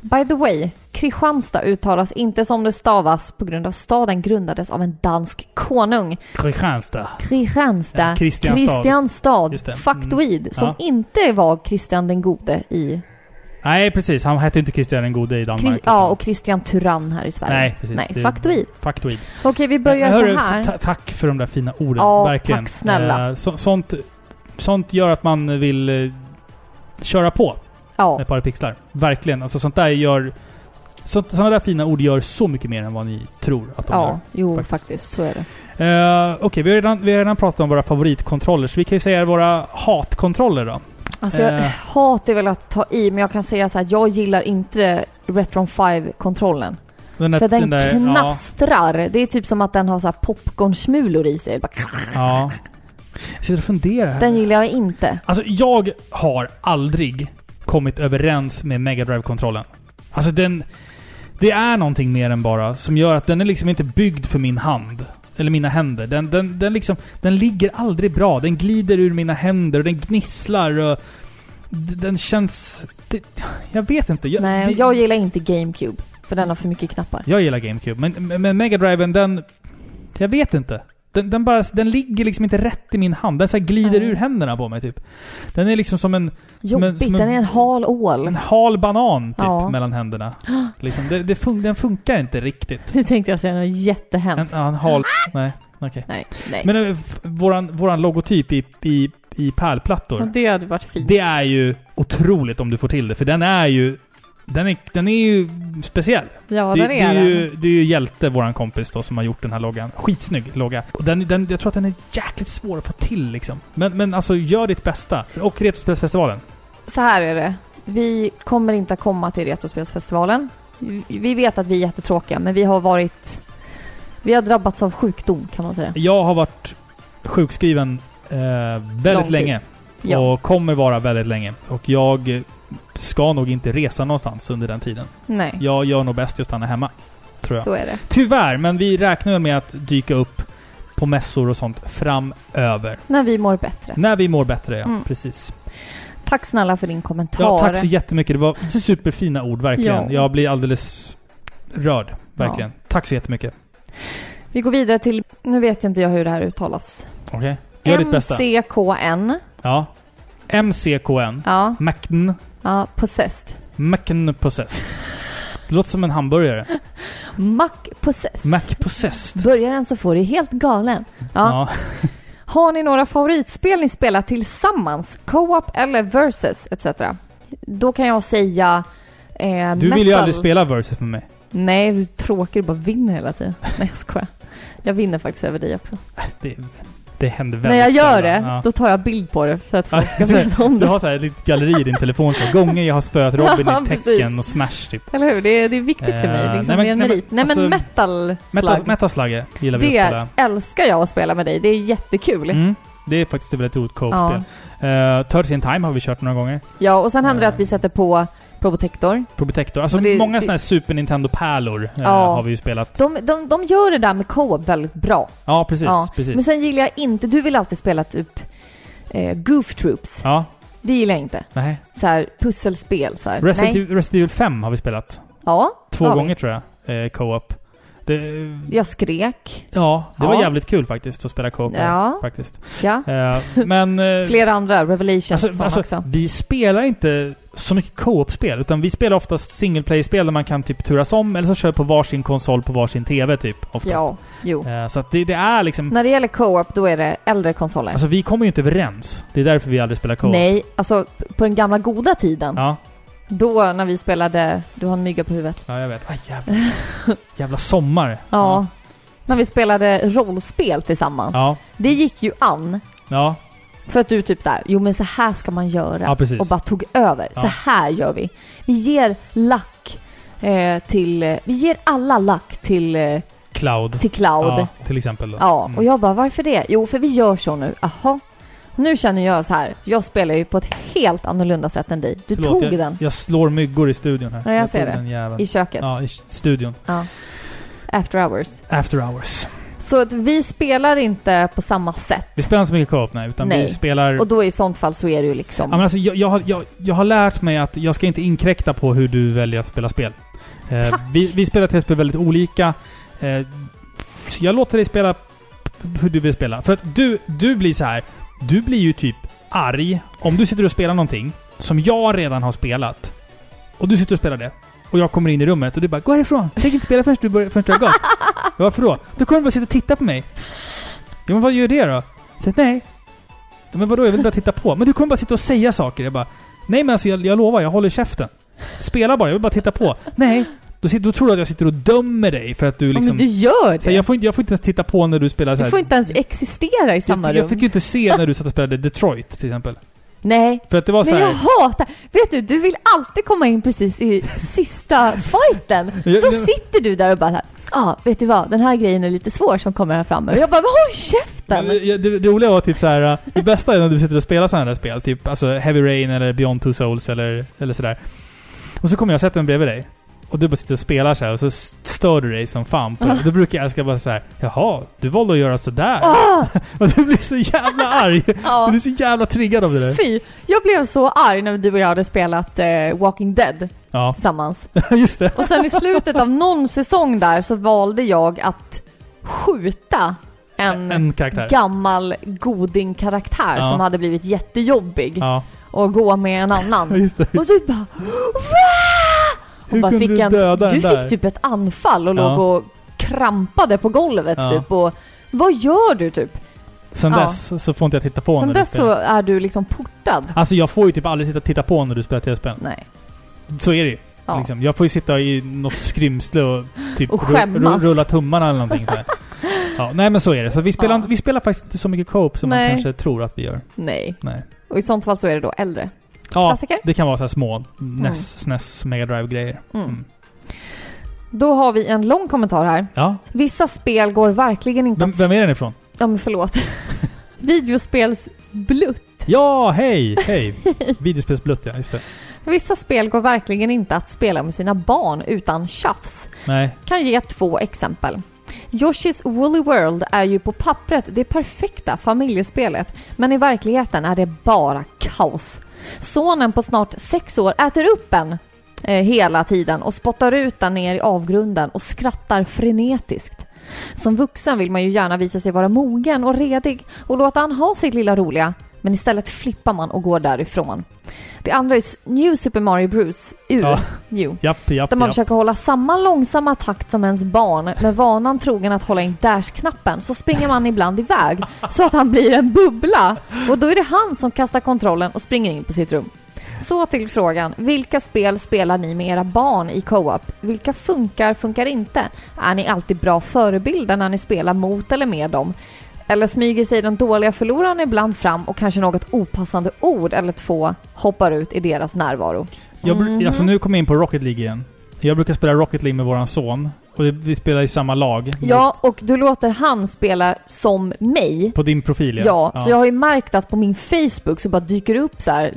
B: By the way, Kristianstad uttalas inte som det stavas på grund av staden grundades av en dansk konung.
A: Kristianstad.
B: Kristianstad.
A: Ja, Kristianstad.
B: Kristianstad.
A: Just det. Mm.
B: Factoid. Som
A: Ja.
B: inte var Kristian den gode i...
A: Nej, precis. Han hette inte Christian den gode i
B: Kri-
A: Danmark.
B: ja, och Kristian Tyrann här i Sverige.
A: Nej, precis.
B: Nej,
A: Det är-
B: Factoid.
A: Factoid.
B: Okej, vi börjar
A: Eh, Hörru,
B: så här.
A: ta- tack för de där fina orden.
B: Ja,
A: Verkligen.
B: tack snälla.
A: Eh, så, sånt, sånt gör att man vill eh, köra på
B: Ja,
A: med parapixlar. Verkligen. Alltså sånt där gör... Sånt, såna där fina ord gör så mycket mer än vad ni tror att de gör.
B: ja jo
A: faktiskt.
B: faktiskt. Så är det.
A: Eh, Okej, vi, har redan- vi har redan pratat om våra favoritkontroller, så vi kan ju säga våra hatkontroller då.
B: Alltså, jag,
A: Eh.
B: hat är väl att ta i, men jag kan säga så här, jag gillar inte Retron 5-kontrollen.
A: Den där-
B: För den,
A: där- ja,
B: knastrar. Det är typ som att den har så här popcornsmulor i sig. Bara,
A: Ja. Jag sitter och funderar här.
B: Den gillar jag inte.
A: Alltså, jag har aldrig kommit överens med Mega drive kontrollen Alltså den... Det är någonting mer än bara som gör att den är liksom inte byggd för min hand. Eller mina händer. Den, den, den liksom... Den ligger aldrig bra. Den glider ur mina händer och den gnisslar och... d- Den känns... Det, jag vet inte. Jag,
B: Nej,
A: det,
B: och jag gillar inte GameCube. För den har för mycket knappar.
A: Jag gillar GameCube, men, men- men Mega Driven den... Jag vet inte. Den, den, bara, den ligger liksom inte rätt i min hand. Den så här glider
B: Nej.
A: ur händerna på mig typ. Den är liksom som en,
B: Jobbigt,
A: som en-
B: den är en hal
A: en
B: ål.
A: hal banan typ
B: Ja.
A: mellan händerna. Liksom, det, det fun- den funkar inte riktigt.
B: Nu tänkte jag säga något
A: En,
B: jättehemskt.
A: ja, en hal...
B: Ah!
A: Nej, okej.
B: Nej, nej.
A: Men eh, f- våran, våran logotyp i, i, i
B: Ja,
A: pärlplattor.
B: det hade varit fint.
A: Det är ju otroligt om du får till det, för den är ju... Den är, den är ju speciell.
B: ja,
A: det,
B: den
A: det,
B: är
A: är
B: den.
A: ju, det är ju Hjälte, våran kompis då, som har gjort den här loggan. Skitsnygg logga. Och den, den, jag tror att den är jäkligt svår att få till liksom. Men, men alltså, gör ditt bästa. Och Retrospelsfestivalen.
B: Så här är det. Vi kommer inte att komma till Retrospelsfestivalen. Vi vet att vi är jättetråkiga, men vi har varit... Vi har drabbats av sjukdom kan man säga.
A: Jag har varit sjukskriven eh, väldigt
B: Lång tid.
A: länge.
B: Ja.
A: Och kommer vara väldigt länge. Och jag eh, ska nog inte resa någonstans under den tiden.
B: Nej,
A: Jag gör nog bäst att stanna hemma. Tror jag.
B: så är det.
A: Tyvärr, men vi räknar väl med att dyka upp på mässor och sånt framöver.
B: När vi mår bättre.
A: När vi mår bättre, ja.
B: Mm.
A: Precis.
B: Tack snälla för din kommentar.
A: Ja, tack så jättemycket. Det var superfina ord, verkligen.
B: Ja.
A: Jag blir alldeles rörd, verkligen. Tack så jättemycket.
B: Vi går vidare till... Nu vet jag inte jag hur det här uttalas.
A: Okej? Gör ditt bästa.
B: MCKN.
A: Ja. MCKN.
B: Ja,
A: McN.
B: ja, Possessed.
A: McN Possessed. Det låter som en hamburgare.
B: Mac Possessed.
A: Mac Possessed.
B: Börjar den så får du helt galen. Ja.
A: Ja.
B: Har ni några favoritspel ni spelar tillsammans? Co-op eller versus etc? Då kan jag säga eh,
A: Du
B: metal.
A: vill ju aldrig spela Versus med mig.
B: Nej, du är tråkig. Du bara vinner hela tiden. Nej, jag skojar. Jag vinner faktiskt över dig också.
A: Äh, Det, det händer väldigt
B: När jag gör
A: sällan.
B: det,
A: Ja.
B: då tar jag bild på det för att folk ska
A: Ja, alltså,
B: veta om
A: Du
B: det.
A: har så här ett litet galleri i din telefon. Så gånger jag har spöat Robin
B: Ja,
A: i
B: precis.
A: tecken och Smash typ.
B: Eller hur? Det är, det är viktigt för
A: Eh,
B: mig.
A: nej,
B: Liksom,
A: men-
B: det är en
A: nej, men
B: merit. Nej, men
A: alltså,
B: metal
A: Metal-
B: slag.
A: Metaslagge gillar vi att
B: Det
A: spela.
B: älskar jag att spela med dig. Det är jättekul.
A: Mm. Det är faktiskt ett väldigt roligt co-op-spel.
B: Ja.
A: Ja. Turtles in Time har vi kört några gånger.
B: ja, och sen händer det
A: Eh.
B: att vi sätter på Probotector.
A: Probotector. Alltså
B: Men det-
A: många
B: det-
A: sådana här Super Nintendo-pärlor eh,
B: Ja.
A: har vi ju spelat.
B: De, de, de gör det där med co-op väldigt bra.
A: Ja, precis.
B: Ja, Men
A: precis.
B: sen gillar jag inte, du vill alltid spela typ eh, Goof Troops.
A: Ja,
B: Det gillar jag inte.
A: nej.
B: Så här, pusselspel. Så här.
A: Resident,
B: Eh, Nej.
A: Evil- Resident Evil 5 har vi spelat.
B: Ja,
A: Två
B: har vi.
A: gånger tror jag. Eh, co-op. Det,
B: jag skrek.
A: ja, det var
B: Ja.
A: jävligt kul faktiskt att spela co-op. här,
B: Ja.
A: Faktiskt.
B: Ja.
A: Eh, men... eh,
B: Flera andra, Revelations och
A: Alltså,
B: sådana
A: alltså,
B: också.
A: vi spelar inte så mycket co-op-spel, utan vi spelar oftast single play-spel där man kan typ turas om, eller så kör på varsin konsol på varsin TV typ. Oftast.
B: Ja, jo.
A: Eh, Så att det, det är liksom...
B: När det gäller co-op, då är det äldre konsoler.
A: Alltså vi kommer ju inte överens. Det är därför vi aldrig spelar co-op.
B: Nej, alltså på den gamla goda tiden.
A: Ja,
B: Då när vi spelade, du har en mygga på huvudet.
A: ja jag vet. Aj, jävla, jävla sommar.
B: Ja. När vi spelade rollspel tillsammans.
A: Ja.
B: Det gick ju an.
A: Ja,
B: För att du typ så här, jo men så här ska man göra.
A: ja precis.
B: och bara tog över.
A: Ja.
B: Så här gör vi. Vi ger lack eh, till... eh, Vi ger alla lack till, eh,
A: Cloud.
B: till Cloud.
A: Ja,
B: Ja,
A: till exempel. Då. Mm.
B: och jag bara varför det? Jo, för vi gör så nu. Aha. Nu känner jag så här. Jag spelar ju på ett helt annorlunda sätt än dig. Du
A: Förlåt,
B: tog
A: jag,
B: den
A: Jag slår myggor i studion här.
B: Ja, jag ser
A: tog
B: det.
A: Den jäveln.
B: i köket.
A: Ja, i studion.
B: After hours.
A: After hours.
B: Så att vi spelar inte på samma sätt.
A: Vi spelar inte så mycket co-op, nej. Utan vi
B: Nej.
A: spelar...
B: Och då i sånt fall så är det ju liksom...
A: Mm. Ja, men alltså, jag, jag, har- jag, jag har lärt mig att jag ska inte inkräkta på hur du väljer att spela spel. Eh, vi, vi spelar tv-spel väldigt olika. Eh, så jag låter dig spela p- hur du vill spela. För att du, du blir så här. Du blir ju typ arg om du sitter och spelar någonting som jag redan har spelat. Och du sitter och spelar det. Och jag kommer in i rummet och du bara 'Gå härifrån! Jag tänker inte spela förrän du, börjar, förrän du har gått' Varför då? Då kommer du bara sitta och titta på mig. Ja, men vad gör det då? Så, nej. Ja, Men vadå, jag vill bara titta på. Men du kommer bara sitta och säga saker. Jag bara, nej men alltså jag, jag lovar, jag håller käften. Spela bara, jag vill bara titta på. Nej. Då, sitter, då tror du att jag sitter och dömer dig för att du
B: Ja,
A: liksom...
B: men du gör
A: så
B: det!
A: här, jag, får inte, jag får inte ens titta på när du spelar så här.
B: du får inte ens existera i samma
A: jag,
B: rum.
A: jag fick ju inte se när du satt och spelade Detroit till exempel.
B: Nej,
A: För att det var så
B: Men jag
A: här,
B: hatar... Vet du, du vill alltid komma in precis i sista fighten.
A: Jag-
B: Då
A: jag-
B: sitter du där och bara så här, ja, ah, vet du vad, den här grejen är lite svår som kommer här framme. Och jag bara, men håll
A: Men
B: käften!
A: Det, det, det roliga var typ så här. äh, det bästa är när du sitter och spelar sådana där spel, typ alltså Heavy Rain eller Beyond Two Souls eller, eller sådär. Och så kommer jag och sätter mig bredvid dig. Och du bara sitter och spelar så här och så stör du dig som fan på det. Då brukar jag ska bara så här. jaha, du valde att göra sådär?
B: Ah,
A: Och du blir så jävla arg! Du
B: ja,
A: blir så jävla triggad av det där.
B: fy! Jag blev så arg när du och jag hade spelat eh, Walking Dead
A: Ja,
B: tillsammans.
A: just det.
B: Och sen i slutet av någon säsong där så valde jag att skjuta en,
A: En karaktär.
B: gammal goding-karaktär
A: Ja.
B: som hade blivit jättejobbig
A: Ja,
B: och gå med en annan.
A: just det.
B: Och du bara "Va?"
A: Hur
B: och bara
A: kunde
B: fick
A: du
B: en,
A: döda
B: Du
A: den där?
B: fick typ ett anfall och
A: Ja.
B: låg och krampade på golvet
A: Ja.
B: typ och vad gör du typ?
A: Sen
B: Ja.
A: dess så får inte jag titta på
B: Sen
A: när du
B: dess så
A: spelar.
B: är du liksom portad.
A: Alltså jag får ju typ aldrig sitta och titta på när du spelar tv-spel.
B: Nej.
A: Så är det ju.
B: Ja.
A: Liksom. Jag får ju sitta i något skrymsle och typ
B: Och
A: ru-
B: skämmas.
A: rulla tummarna eller någonting så här. Ja, nej men så är det. Så vi spelar,
B: Ja.
A: inte- vi spelar faktiskt inte så mycket co-op som man
B: Nej.
A: kanske tror att vi gör.
B: Nej.
A: Nej.
B: Och i sånt fall så är det då äldre.
A: Ja,
B: Klassiker?
A: det kan vara så här små NES, SNES, Mega drive grejer
B: Mm.
A: Mm.
B: Då har vi en lång kommentar här.
A: Ja.
B: Vissa spel går verkligen inte
A: Vem,
B: att...
A: vem är den ifrån?
B: Ja men förlåt. Videospelsblutt.
A: Ja, hej! Hej! Videospelsblutt ja, just det.
B: Vissa spel går verkligen inte att spela med sina barn utan tjafs.
A: Nej.
B: kan ge två exempel. Yoshi's Woolly World är ju på pappret det perfekta familjespelet, men i verkligheten är det bara kaos. Sonen på snart sex år äter upp en eh, hela tiden och spottar ut den ner i avgrunden och skrattar frenetiskt. Som vuxen vill man ju gärna visa sig vara mogen och redig och låta han ha sitt lilla roliga, men istället flippar man och går därifrån. Det andra är s- New Super Mario Bros. U.
A: Ja.
B: U.
A: Japp, japp,
B: Där man
A: japp.
B: försöker hålla samma långsamma takt som ens barn med vanan trogen att hålla in dash-knappen så springer man ibland iväg så att han blir en bubbla och då är det han som kastar kontrollen och springer in på sitt rum. Så till frågan. Vilka spel spelar ni med era barn i co-op? Vilka funkar, funkar inte? Är ni alltid bra förebilder när ni spelar mot eller med dem? Eller smyger sig den dåliga förloraren ibland fram och kanske något opassande ord eller två hoppar ut i deras närvaro?
A: Jag bru-
B: Mhm.
A: alltså, nu kommer jag in på Rocket League igen. Jag brukar spela Rocket League med våran son. Och vi- vi spelar i samma lag.
B: Ja, och du låter han spela som mig.
A: På din profil
B: Ja, så jag har ju märkt att på min Facebook så bara dyker det upp så här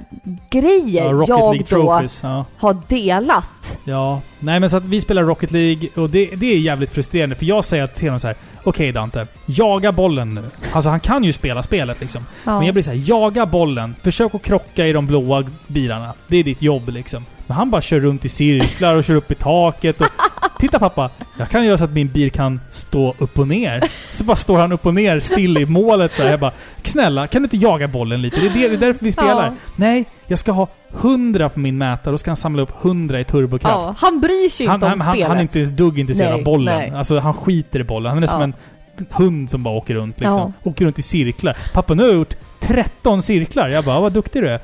B: grejer
A: Ja, Rocket
B: jag
A: League
B: då
A: Trophies. Ja.
B: har delat.
A: ja. Nej men så att vi spelar Rocket League och det, det är jävligt frustrerande för jag säger till honom så här. Okej Dante, jaga bollen nu. Alltså han kan ju spela spelet liksom.
B: Ja.
A: Men jag blir så här, jaga bollen. Försök att krocka i de blåa bilarna. Det är ditt jobb liksom. Men han bara kör runt i cirklar och kör upp i taket och... Titta pappa! Jag kan göra så att min bil kan stå upp och ner. Så bara står han upp och ner still i målet så här. Jag bara, snälla kan du inte jaga bollen lite? Det är, det, det är därför vi spelar.
B: Ja.
A: Nej, jag ska ha 100 på min mätare. Då ska han samla upp 100 i turbokraft.
B: Ja, han bryr sig ju
A: Han,
B: inte
A: han,
B: om
A: han,
B: spelet.
A: han är inte ens dugg intresserad
B: Nej,
A: av bollen.
B: nej.
A: Alltså han skiter i bollen. Han är som
B: Ja.
A: en hund som bara åker runt liksom. Åker runt i cirklar. Pappa, nu har jag gjort 13 cirklar. Jag bara, vad duktig du är.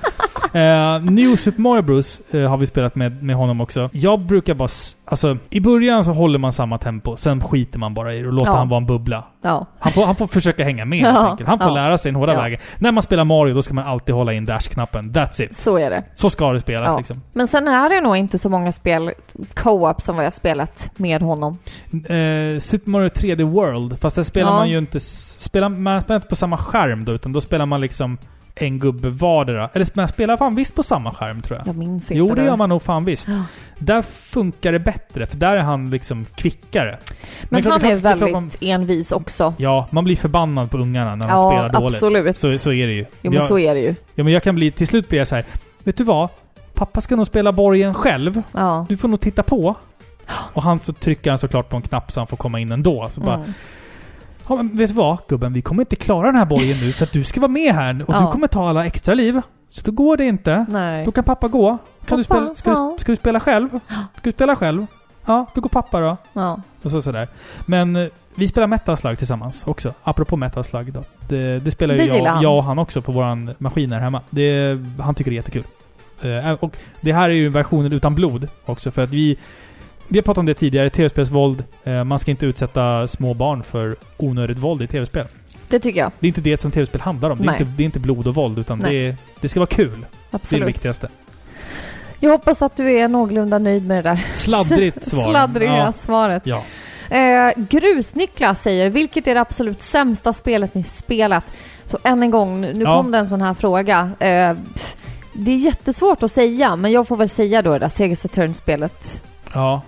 A: Eh, New Super Mario Bros eh, har vi spelat med, med honom också. Jag brukar bara... s- Alltså, i början så håller man samma tempo. Sen skiter man bara i det och låter
B: Ja.
A: han vara en bubbla.
B: Ja.
A: Han får, han får försöka hänga med
B: Ja.
A: helt enkelt. Han får
B: Ja.
A: lära sig den hårda
B: Ja.
A: vägen. När man spelar Mario, då ska man alltid hålla in dash-knappen. That's it.
B: Så är det.
A: Så ska det spelas
B: Ja.
A: liksom.
B: Men sen är det nog inte så många spel, co-op, som vi har spelat med honom.
A: eh, Super Mario 3D World. Fast där spelar
B: Ja.
A: man ju inte... s- Spelar, man spelar inte på samma skärm då, utan då spelar man liksom en gubbe vardera. Eller man spelar fan visst på samma skärm tror jag.
B: Jag minns inte.
A: Jo, det
B: nu.
A: gör man nog fan visst.
B: Ja.
A: Där funkar det bättre, för där är han liksom kvickare.
B: Men,
A: klart-
B: han
A: det
B: är
A: klart- det klart
B: väldigt
A: man-
B: envis också.
A: Ja, man blir förbannad på ungarna när de
B: Ja,
A: spelar dåligt.
B: absolut.
A: Så, så är det ju.
B: Jo, men
A: jag,
B: så är det ju.
A: ja, men jag kan bli... Till slut blir jag så här. Vet du vad? Pappa ska nog spela borgen själv.
B: Ja.
A: Du får nog titta på. Och han så trycker han såklart på en knapp så han får komma in ändå. Så bara,
B: Mm.
A: Ja, men vet du vad gubben? Vi kommer inte klara den här borgen nu för att du ska vara med här nu och
B: Ja.
A: du kommer ta alla extra liv. Så då går det inte.
B: Nej.
A: Då kan pappa gå. Kan du
B: Pappa,
A: spela, ska,
B: ja.
A: du, ska du spela själv? Ska du spela själv? Ja, då går pappa då.
B: Ja.
A: Och så sådär. Men eh, vi spelar Metal Slug tillsammans också. Apropå Metal Slug då. Det, det spelar ju
B: Det gillar
A: jag,
B: han.
A: jag och han också på våran maskin här hemma. Det, han tycker det är jättekul. Eh, och det här är ju versionen utan blod också för att vi... Vi har pratat om det tidigare, tv-spelsvåld. eh, Man ska inte utsätta små barn för onödigt våld i tv-spel.
B: Det tycker jag.
A: Det är inte det som tv-spel handlar om. Det är,
B: Nej.
A: inte, det är inte blod och våld, utan
B: Nej.
A: det, är, det ska vara kul. Det är det
B: Absolut.
A: viktigaste.
B: jag hoppas att du är någorlunda nöjd med det där
A: Sladdrigt svar.
B: sladdriga
A: Ja.
B: svaret.
A: ja.
B: Eh, Grus-Niklas säger, vilket är det absolut sämsta spelet ni spelat? Så än en gång, nu nu
A: Ja.
B: kom det en sån här fråga. Eh, pff, det är jättesvårt att säga, men jag får väl säga då det där Sega Saturn-spelet.
A: Ja.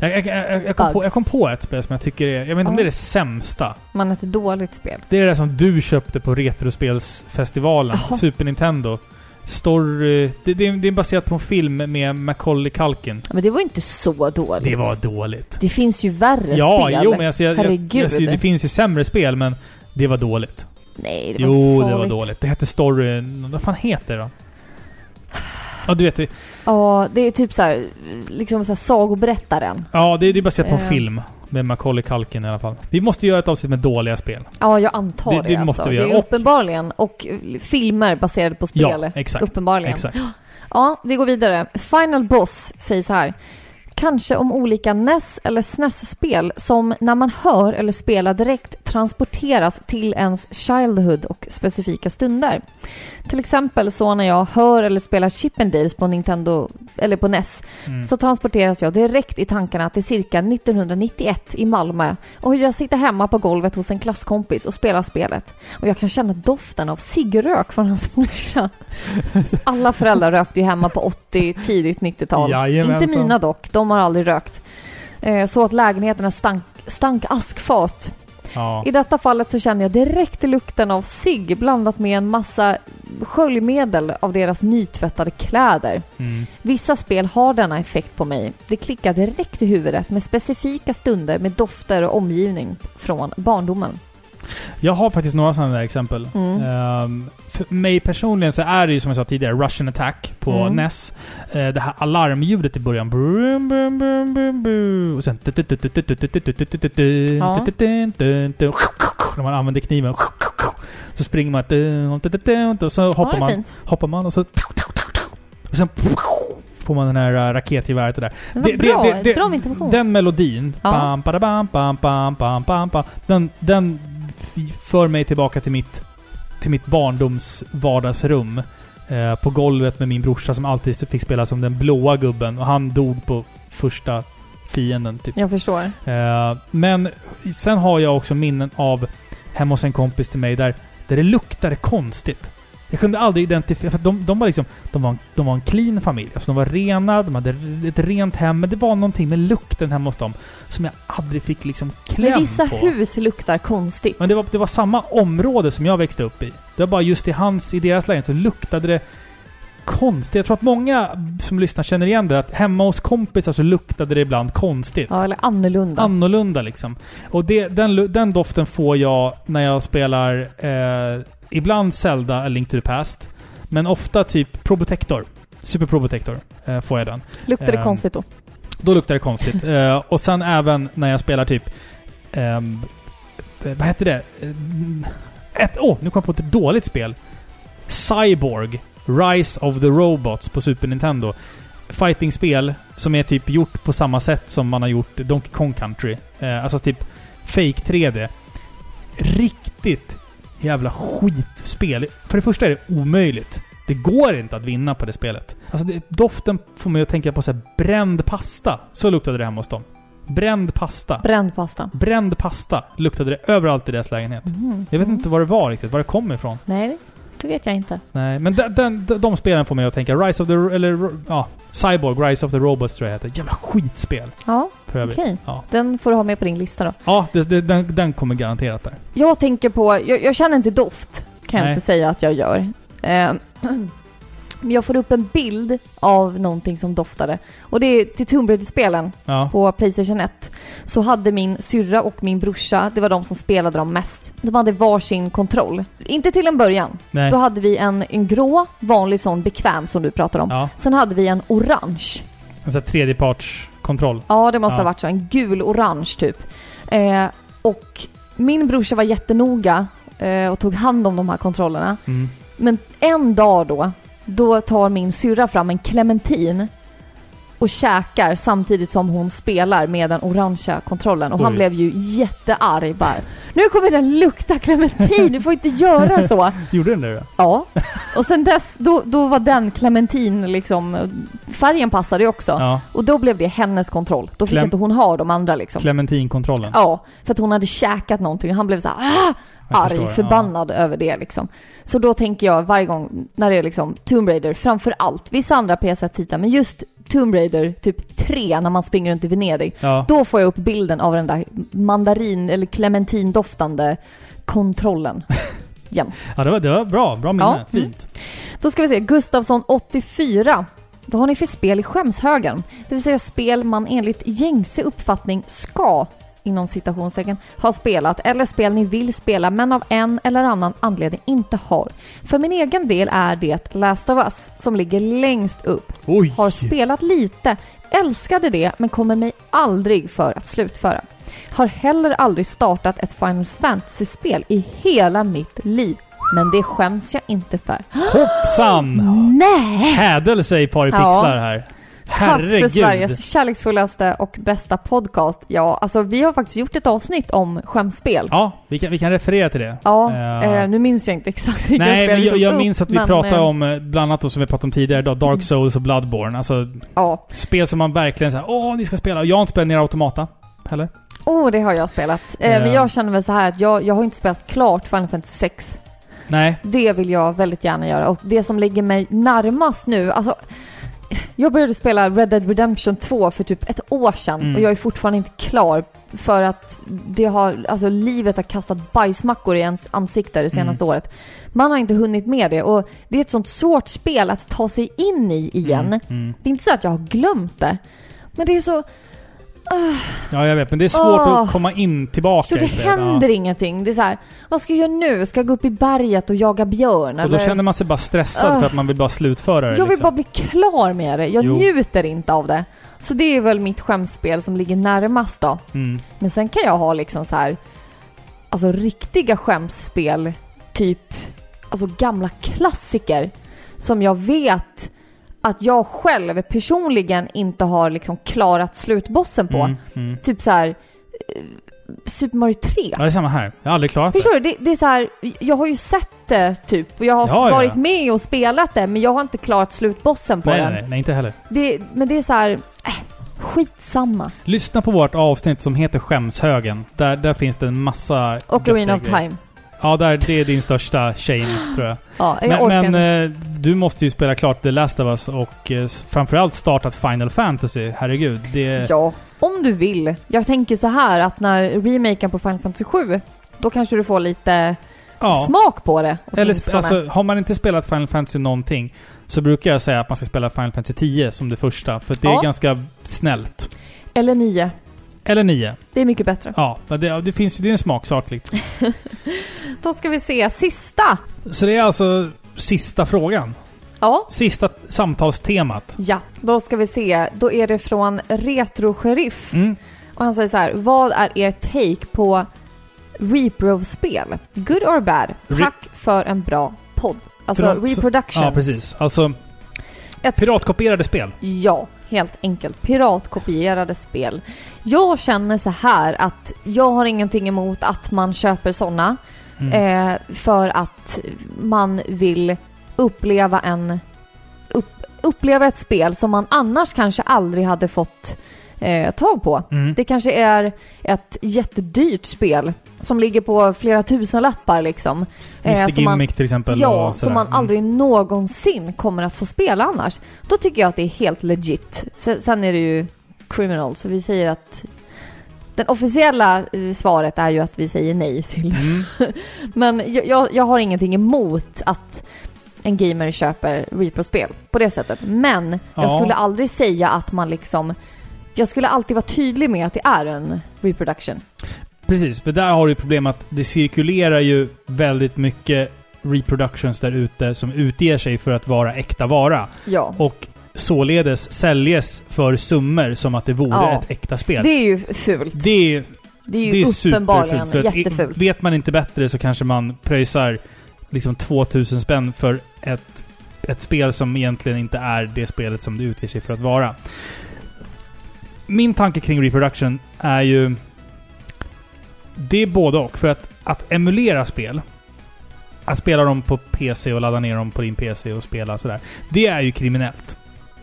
A: Jag, jag, jag, jag, kom
B: Bugs.
A: på, jag kom på ett spel som jag tycker är... Jag vet inte om
B: Ja.
A: det är det sämsta.
B: Man är ett dåligt spel.
A: Det är det som du köpte på Retrospelsfestivalen,
B: Jaha.
A: Super Nintendo. Story... Det, det, är- det är baserat på en film med Macaulay Culkin.
B: Men det var ju inte så dåligt.
A: Det var dåligt.
B: Det finns ju värre
A: Ja,
B: spel.
A: jo men alltså, jag, ser- jag, jag,
B: Herregud.
A: jag, ser- det finns ju sämre spel men det var dåligt.
B: Nej, det var inte så
A: Jo,
B: farligt.
A: det var dåligt. Det hette Story... Vad fan heter det då? Ja, du vet. det-
B: Ja, det är typ så här, liksom så här sagoberättaren.
A: Ja, det, det är baserat på en
B: Eh.
A: film. Med Macaulay Culkin i alla fall. Vi måste göra ett avsnitt med dåliga spel.
B: Ja, jag antar det,
A: Det- det
B: alltså.
A: måste vi
B: det
A: göra.
B: är
A: Och-
B: uppenbarligen. Och eh, filmer baserade på spel.
A: Ja, exakt.
B: uppenbarligen.
A: Exakt.
B: Ja, vi går vidare. Final Boss säger så här. Kanske om olika NES eller SNES-spel som när man hör eller spelar direkt transporteras till ens Childhood och specifika stunder. Till exempel så när jag hör eller spelar Chippendales på Nintendo eller på E NES
A: Mm.
B: så transporteras jag direkt i tankarna till cirka 1991 i Malmö och hur jag sitter hemma på golvet hos en klasskompis och spelar spelet. Och jag kan känna doften av ciggrök från hans morsa. Alla föräldrar rökte ju hemma på 80, tidigt 90-tal.
A: Jajamensan.
B: Inte mina dock, de har aldrig rökt. Eh, Så att lägenheterna stank, stank askfat.
A: Ja.
B: I detta fallet så känner jag direkt lukten av cigg blandat med en massa sköljmedel av deras nytvättade kläder.
A: Mm.
B: Vissa spel har denna effekt på mig. Det klickar direkt i huvudet med specifika stunder med dofter och omgivning från barndomen.
A: Jag har faktiskt några sådana där exempel.
B: Mm.
A: Ehm, för mig personligen så är det ju som jag sa tidigare, Russian Attack på
B: Mm.
A: NES. Eh, det här alarmljudet i början. Brum, brum, brum, brum, brum. Och sen...
B: Ja.
A: När man använder kniven. Så springer man... Och så
B: Ja, det
A: hoppar
B: är
A: man.
B: fint.
A: Hoppar man och så... Och sen får man den här äh, raketgeväret och där.
B: Det var
A: Det-
B: bra,
A: det- det-
B: bra med information.
A: Den melodin,
B: Ja.
A: bam, badabam, bam, bam, bam, bam, bam, den, den f- för mig tillbaka till mitt, till mitt barndoms vardagsrum. Eh, på golvet med min brorsa som alltid fick spela som den blåa gubben och han dog på första fienden typ.
B: Jag förstår.
A: Eh, men sen har jag också minnen av hemma hos en kompis till mig där, där det luktade konstigt. Jag kunde aldrig identifiera... För att de, de var liksom... De var, en- de var en clean familj. Alltså de var rena, de hade ett rent hem. Men det var någonting med lukten hemma hos dem som jag aldrig fick liksom
B: Men
A: kläm
B: vissa
A: på.
B: hus luktar konstigt.
A: Men det var, det var samma område som jag växte upp i. Det var bara just i hans, i deras lägenhet så luktade det konstigt. Jag tror att många som lyssnar känner igen det. Att hemma hos kompisar så luktade det ibland konstigt
B: Ja, eller annorlunda.
A: annorlunda liksom. Och det, den, lu- den doften får jag när jag spelar eh, ibland Zelda, A Link to the Past. Men ofta typ Probotector. Super Probotector eh, får jag den.
B: luktar det
A: Ehm,
B: konstigt då?
A: Då luktar det konstigt. Eh, och sen även när jag spelar typ... ehm, eh, vad heter det? Mm, Ett, åh, nu kom jag på ett dåligt spel. Cyborg. Rise of the Robots på Super Nintendo. Fighting-spel som är typ gjort på samma sätt som man har gjort Donkey Kong Country. Eh, alltså typ fake 3D. Riktigt jävla skitspel. För det första är det omöjligt. Det går inte att vinna på det spelet. Alltså det, doften får mig att tänka på så här bränd pasta. Så luktade det hemma hos dem. Bränd pasta.
B: Bränd pasta.
A: Bränd pasta luktade det överallt i deras lägenhet.
B: Mm.
A: Jag vet
B: Mm.
A: inte vad det var riktigt, var det kom ifrån.
B: Nej, det vet jag inte.
A: Nej, men de, den- de, de spelen får mig att tänka Rise of the... Eller ja, Cyborg, Rise of the Robots tror jag heter. Jävla skitspel.
B: Ja,
A: För övrigt.
B: okej.
A: Ja,
B: Den får du ha med på din lista då.
A: ja det, det, den, den kommer garanterat där.
B: Jag tänker på, jag, jag känner inte doft, kan
A: Nej.
B: jag inte säga att jag gör. Ehm, Men jag får upp en bild av någonting som doftade. Och det är till Tomb Raider-spelen
A: Ja.
B: på Playstation 1. Så hade min syrra och min brorsa, det var de som spelade dem mest. De hade varsin kontroll. Inte till en början.
A: Nej.
B: Då hade vi en, en grå, vanlig sån bekväm som du pratar om.
A: Ja.
B: Sen hade vi en orange.
A: En sån här tredjepartskontroll.
B: Ja, det måste
A: Ja.
B: ha varit så. En gul-orange typ. Eh, och min brorsa var jättenoga eh, och tog hand om de här kontrollerna.
A: Mm.
B: Men en dag då, då tar min syrra fram en clementin och käkar samtidigt som hon spelar med den orangea kontrollen. Och han
A: Oj.
B: blev ju jättearg bara. Nu kommer den lukta clementin, du får inte göra så!
A: Gjorde den det då?
B: Ja. Och sen dess, då, då var den clementin liksom, färgen passade ju också.
A: Ja.
B: Och då blev det hennes kontroll. Då fick
A: Clem-
B: inte hon ha de andra liksom.
A: Clementinkontrollen.
B: Ja, för att hon hade käkat någonting och han blev så här ah,
A: Jag
B: arg,
A: förstår.
B: förbannad över det liksom. Så då tänker jag varje gång när det är liksom Tomb Raider, framför allt, vissa andra PS1-titlar, men just Tomb Raider typ 3 när man springer runt i Venedig,
A: Ja. ja.
B: då får jag upp bilden av den där mandarin eller clementindoftande kontrollen. Jämt.
A: ja det, var, det var bra. Bra minne.
B: Ja, mm.
A: Fint.
B: Då ska vi se, Gustafsson 84. Vad har ni för spel i skämshögen? Det vill säga spel man enligt gängse uppfattning ska, inom citationstecken, ha spelat eller spel ni vill spela men av en eller annan anledning inte har. För min egen del är det Last of Us som ligger längst upp.
A: Oj!
B: Har spelat lite, älskade det men kommer mig aldrig för att slutföra. Har heller aldrig startat ett Final Fantasy-spel i hela mitt liv. Men det skäms jag inte för.
A: Hoppsan!
B: Nej!
A: Hädel sig par i
B: Ja.
A: pixlar här.
B: Tack för
A: Herregud.
B: Sveriges kärleksfullaste och bästa podcast. Ja, alltså vi har faktiskt gjort ett avsnitt om skämspel. Ja,
A: Ja, vi kan, vi kan referera till det. Eh,
B: eh, nu minns jag inte exakt vilka
A: Nej,
B: spel
A: men
B: vi
A: jag,
B: tog
A: jag
B: upp,
A: minns att vi
B: men, Mm.
A: pratade
B: eh,
A: om, eh, bland annat då, som vi pratade om tidigare idag, Dark Souls och Bloodborne. Alltså
B: Ja,
A: spel som man verkligen såhär, åh ni ska spela. Och Jag har inte spelat ner Automata heller.
B: oh, det har jag spelat. Eh, Men
A: Eh.
B: jag känner väl så här att jag, jag har inte spelat klart Final Fantasy 6.
A: Nej.
B: Det vill jag väldigt gärna göra och det som ligger mig närmast nu, alltså jag började spela Red Dead Redemption 2 för typ ett år sedan
A: Mm.
B: och jag är fortfarande inte klar för att det har, alltså livet har kastat bajsmackor i ens
A: Mm.
B: ansikte det senaste året. Man har inte hunnit med det och det är ett sånt svårt spel att ta sig in i igen.
A: Mm, mm.
B: Det är inte så att jag har glömt det, men det är så,
A: Ja, jag vet. Men det är svårt
B: Åh.
A: att komma in tillbaka
B: så det
A: i spelet.
B: händer ingenting. Det är så här, vad ska jag göra nu? Ska jag gå upp i berget och jaga björn?
A: Ja. Och då känner man sig bara stressad
B: Ah.
A: för att man vill bara slutföra det.
B: Jag vill
A: liksom.
B: bara bli klar med det. Jag
A: Jo.
B: njuter inte av det. Så det är väl mitt skämsspel som ligger närmast då.
A: mm.
B: Men sen kan jag ha liksom så här, alltså riktiga skämsspel, typ alltså gamla klassiker som jag vet att jag själv personligen inte har liksom klarat slutbossen på.
A: Mm, mm.
B: Typ så här eh, Super Mario 3.
A: Ja, det är samma här. Jag har aldrig klarat det.
B: Förstår du? Det, det är så här, jag har ju sett det typ och jag har
A: Ja, ja,
B: varit
A: ja.
B: med och spelat det men jag har inte klarat slutbossen på
A: Nej,
B: den.
A: nej, nej, nej, inte heller.
B: Det, men det är så här, äh, skitsamma.
A: Lyssna på vårt avsnitt som heter Skämshögen. Där, där finns det en massa...
B: Och Arena of
A: göttiga grejer.
B: Time.
A: Ja, där, det är din största shame, tror jag.
B: Ja, jag orkar
A: Men,
B: inte.
A: men eh, du måste ju spela klart The Last of Us och eh, s- framförallt startat Final Fantasy. Herregud. Det,
B: Ja, om du vill. Jag tänker så här att när remaken på Final Fantasy 7, då kanske du får lite
A: ja.
B: smak på det.
A: Eller, sp-
B: åtminstone.
A: alltså, har man inte spelat Final Fantasy någonting så brukar jag säga att man ska spela Final Fantasy 10 som det första. För det
B: Ja.
A: är ganska snällt.
B: Eller 9.
A: Eller 9.
B: Det är mycket bättre.
A: Ja, men det, det finns ju... Det är en smaksak liksom.
B: Då ska vi se sista.
A: Så det är alltså sista frågan.
B: Ja.
A: Sista samtalstemat.
B: Ja, då ska vi se. Då är det från Retro Sheriff.
A: Mm.
B: Och han säger så här, vad är er take på repro-spel? Good or bad?
A: Re-
B: Tack för en bra podd. Alltså
A: Pro-
B: reproductions.
A: Ja, precis. Alltså,
B: Ett
A: piratkopierade spel.
B: Ja, helt enkelt. Piratkopierade spel. Jag känner så här att jag har ingenting emot att man köper sådana
A: Mm.
B: eh, för att man vill uppleva en... Upp, uppleva ett spel som man annars kanske aldrig hade fått eh, tag på.
A: Mm.
B: Det kanske är ett jättedyrt spel som ligger på flera tusen lappar liksom.
A: Mr
B: som man-
A: Gimmick till exempel.
B: Ja,
A: och sådär.
B: som man
A: Mm.
B: aldrig någonsin kommer att få spela annars. Då tycker jag att det är helt legit. Se- Sen är det ju criminal, så vi säger att... Den officiella eh, svaret är ju att vi säger nej till
A: Mm.
B: Men jag, jag, jag har ingenting emot att en gamer köper Repro-spel på det sättet. Men jag
A: Ja.
B: skulle aldrig säga att man liksom... Jag skulle alltid vara tydlig med att det är en reproduction.
A: Precis, för där har du problem att det cirkulerar ju väldigt mycket reproductions där ute som utger sig för att vara äkta vara.
B: Ja.
A: Och således säljes för summor som att det vore
B: Ja.
A: ett äkta spel.
B: Det är ju fult.
A: Det är,
B: Det är ju
A: det är
B: uppenbarligen
A: superfult. För att i-
B: jättefult.
A: vet man inte bättre så kanske man pröjsar liksom 2000 spänn för ett, ett spel som egentligen inte är det spelet som det utger sig för att vara. Min tanke kring reproduction är ju... Det är både och. För att, att emulera spel, att spela dem på PC och ladda ner dem på din PC och spela sådär, det är ju kriminellt.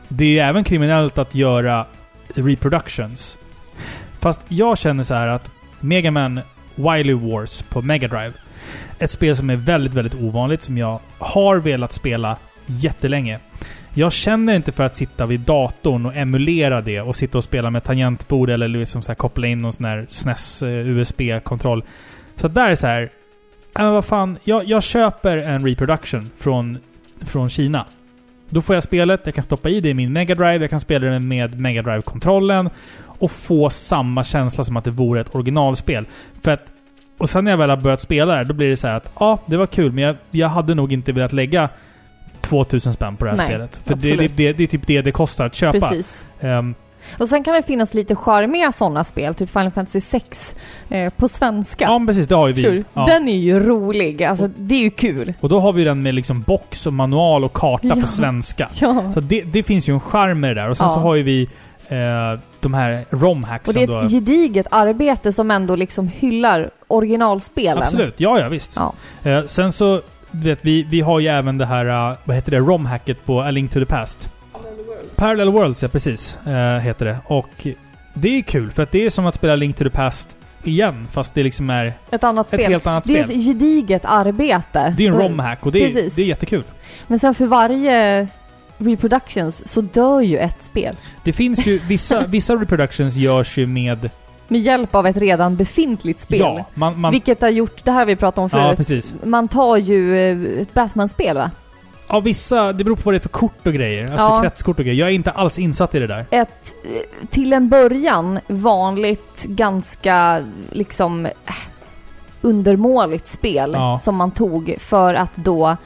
A: Det är även kriminellt att göra reproductions. Fast jag känner så här att Mega Man Wily Wars på Mega Drive. Ett spel som är väldigt, väldigt ovanligt, som jag har velat spela jättelänge. Jag känner inte för att sitta vid datorn och emulera det och sitta och spela med tangentbord eller liksom så här koppla in någon sån här SNES eh, USB-kontroll. Så att där är så här... Äh, men vad fan, jag, jag köper en reproduction från, från Kina. Då får jag spelet, jag kan stoppa i det i min Mega Drive, jag kan spela det med Mega Drive-kontrollen och få samma känsla som att det vore ett originalspel. För att, och sen när jag väl har börjat spela det, då blir det så här att ja, det var kul, men jag, jag hade nog inte velat lägga 2000 spänn på det här
B: Nej,
A: spelet. För det, det,
B: absolut.
A: det, det är typ det det kostar att köpa.
B: Precis.
A: Ehm,
B: Och sen kan det finnas lite charmiga sådana spel, typ Final Fantasy 6 eh, på svenska.
A: ja, men precis. Det har ju
B: Förstår
A: vi.
B: du?
A: Ja.
B: Den är ju rolig, alltså det är ju kul.
A: Och då har vi den med liksom box och manual och karta
B: Ja.
A: på svenska.
B: Ja.
A: Så det, det finns ju en charm med det där. Och sen
B: Ja.
A: så har ju vi eh, de här
B: Och
A: romhacksen
B: det är
A: då.
B: ett gediget arbete som ändå liksom hyllar originalspelen.
A: Absolut, ja ja visst.
B: Ja.
A: Eh, sen så, du vet vi, vi har ju även det här, eh, vad heter det, romhacket på A Link to the Past. Parallel Worlds, ja precis, eh, heter det. Och det är kul, för att det är som att spela Link to the Past igen, fast det liksom är
B: Ett annat
A: ett
B: spel.
A: helt annat
B: det är
A: spel.
B: ett gediget arbete.
A: Det är en
B: Och-
A: romhack och det är,
B: Precis.
A: det är jättekul.
B: Men sen för varje reproductions så dör ju ett spel.
A: Det finns ju, vissa, vissa reproductions görs ju med...
B: Med hjälp av ett redan befintligt spel.
A: Ja, man... man
B: Vilket har gjort, det här har vi pratat om
A: ja,
B: förut.
A: precis.
B: man tar ju eh, ett Batman-spel va?
A: Ja, vissa... Det beror på vad det är för kort och grejer. Alltså
B: Ja.
A: kretskort och grejer. Jag är inte alls insatt i det där.
B: ett eh, till en början vanligt, ganska liksom eh, undermåligt spel
A: Ja.
B: som man tog för att då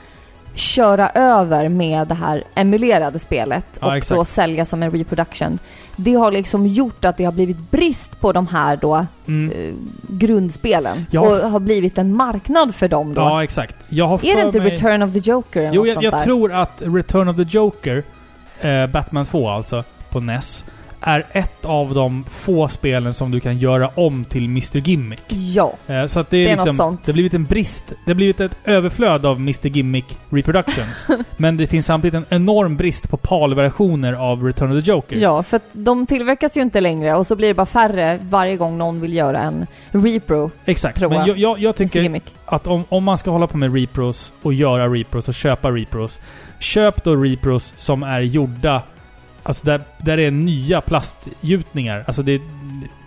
B: köra över med det här emulerade spelet
A: Ja,
B: och
A: exakt.
B: då sälja som en reproduction. Det har liksom gjort att det har blivit brist på de här då
A: Mm.
B: eh, grundspelen
A: Ja.
B: och har blivit en marknad för dem då.
A: Ja, exakt. Jag har
B: Är det
A: för
B: inte
A: mig...
B: Return of the Joker eller
A: Jo,
B: något
A: jag,
B: sånt
A: jag
B: där?
A: tror att Return of the Joker eh, Batman 2 alltså, på NES, är ett av de få spelen som du kan göra om till Mr. Gimmick.
B: Ja.
A: Eh, Så att det, är
B: Det är något
A: liksom,
B: sånt.
A: det har blivit en brist. Det har blivit ett överflöd av Mr Gimmick Reproductions. men det finns samtidigt en enorm brist på PAL-versioner av Return of the Joker.
B: Ja, för att de tillverkas ju inte längre och så blir det bara färre varje gång någon vill göra en repro.
A: Exakt.
B: Tror
A: Men
B: jag.
A: jag, jag, jag
B: Mr.
A: tycker
B: Gimmick.
A: att om, om man ska hålla på med repros och göra repros och köpa repros. Köp då repros som är gjorda... Alltså där, där det är nya plastgjutningar. Alltså det...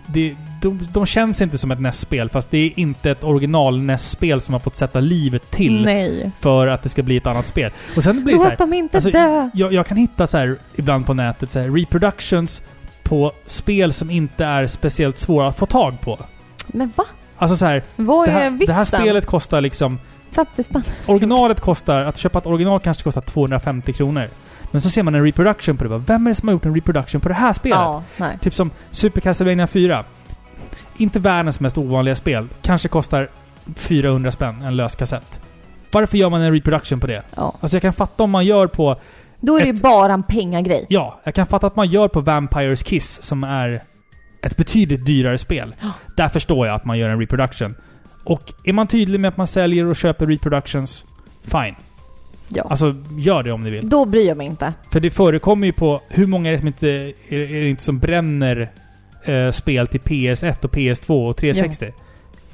A: det de, de känns inte som ett NES-spel, fast det är inte ett original NES-spel som har fått sätta livet till
B: Nej.
A: för att det ska bli ett annat spel. Och sen blir det så här,
B: Låt dem inte
A: alltså,
B: dö!
A: jag, jag kan hitta så här ibland på nätet så här, reproductions på spel som inte är speciellt svåra att få tag på.
B: Men va?
A: Alltså så här,
B: Vad
A: det
B: är
A: här,
B: vitsen?
A: det här spelet kostar liksom...
B: 50 spänn.
A: Originalet kostar, att köpa ett original kanske kostar 250 kronor. Men så ser man en reproduction på det. Bara, Vem är det som har gjort en reproduction på det här spelet?
B: Ja, nej.
A: Typ som Super Castlevania 4. Inte världens mest ovanliga spel. Kanske kostar 400 spänn en lös kassett. Varför gör man en reproduction på det?
B: Ja.
A: Alltså jag kan fatta om man gör på
B: Då är det ju bara en pengagrej.
A: Ja, jag kan fatta att man gör på Vampires Kiss som är ett betydligt dyrare spel.
B: Ja.
A: Där förstår jag att man gör en reproduction. Och är man tydlig med att man säljer och köper reproductions, fine.
B: Ja.
A: Alltså, gör det om ni vill.
B: Då bryr jag mig inte.
A: För det förekommer ju på... Hur många är det som inte, är, är det inte som bränner eh, spel till PS1 och PS2 och 360?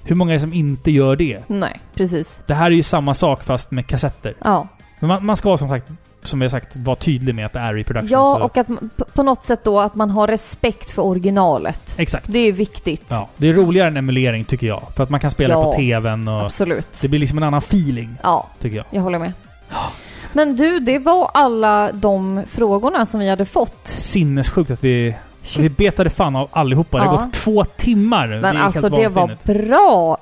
A: Hur många är det som inte gör det?
B: Nej, precis.
A: Det här är ju samma sak fast med kassetter.
B: Ja,
A: Men man, man ska som sagt, som jag sagt, vara tydlig med att det är reproductions.
B: ja
A: så-
B: och att man, på- på något sätt då att man har respekt för originalet.
A: Exakt.
B: Det är viktigt.
A: Ja, det är roligare än emulering tycker jag. För att man kan spela
B: Ja.
A: på TVn och...
B: Absolut.
A: Det blir liksom en annan feeling,
B: Ja,
A: tycker jag.
B: jag håller med. Men du, det var alla de frågorna som vi hade fått.
A: Sinnessjukt att vi... Vi
B: Shit.
A: betade fan av allihopa. Det har
B: Ja.
A: gått två timmar. Eh, det är
B: Men alltså
A: helt
B: det var
A: vansinnigt.
B: bra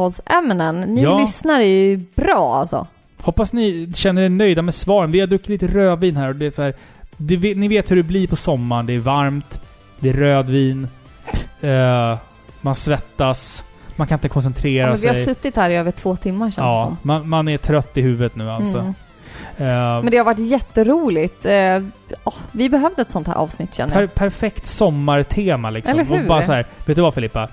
B: samtalsämnen. Ni
A: Ja.
B: lyssnar är ju bra alltså.
A: Hoppas ni känner er nöjda med svaren. Vi har druckit lite rödvin här och det är så här, det, vet- Ni vet hur det blir på sommaren. Det är varmt. Det är rödvin. eh, man svettas. Man kan inte
B: Ja,
A: koncentrera
B: men vi har
A: sig.
B: suttit här i över två timmar känns det
A: alltså ja,
B: som.
A: man, man är trött i huvudet nu alltså.
B: Mm.
A: Eh,
B: Men det har varit jätteroligt. Eh, ja, vi behövde ett sånt här avsnitt känner jag.
A: Per, perfekt sommartema liksom.
B: Eller hur?
A: Och bara så här, vet du vad Filippa?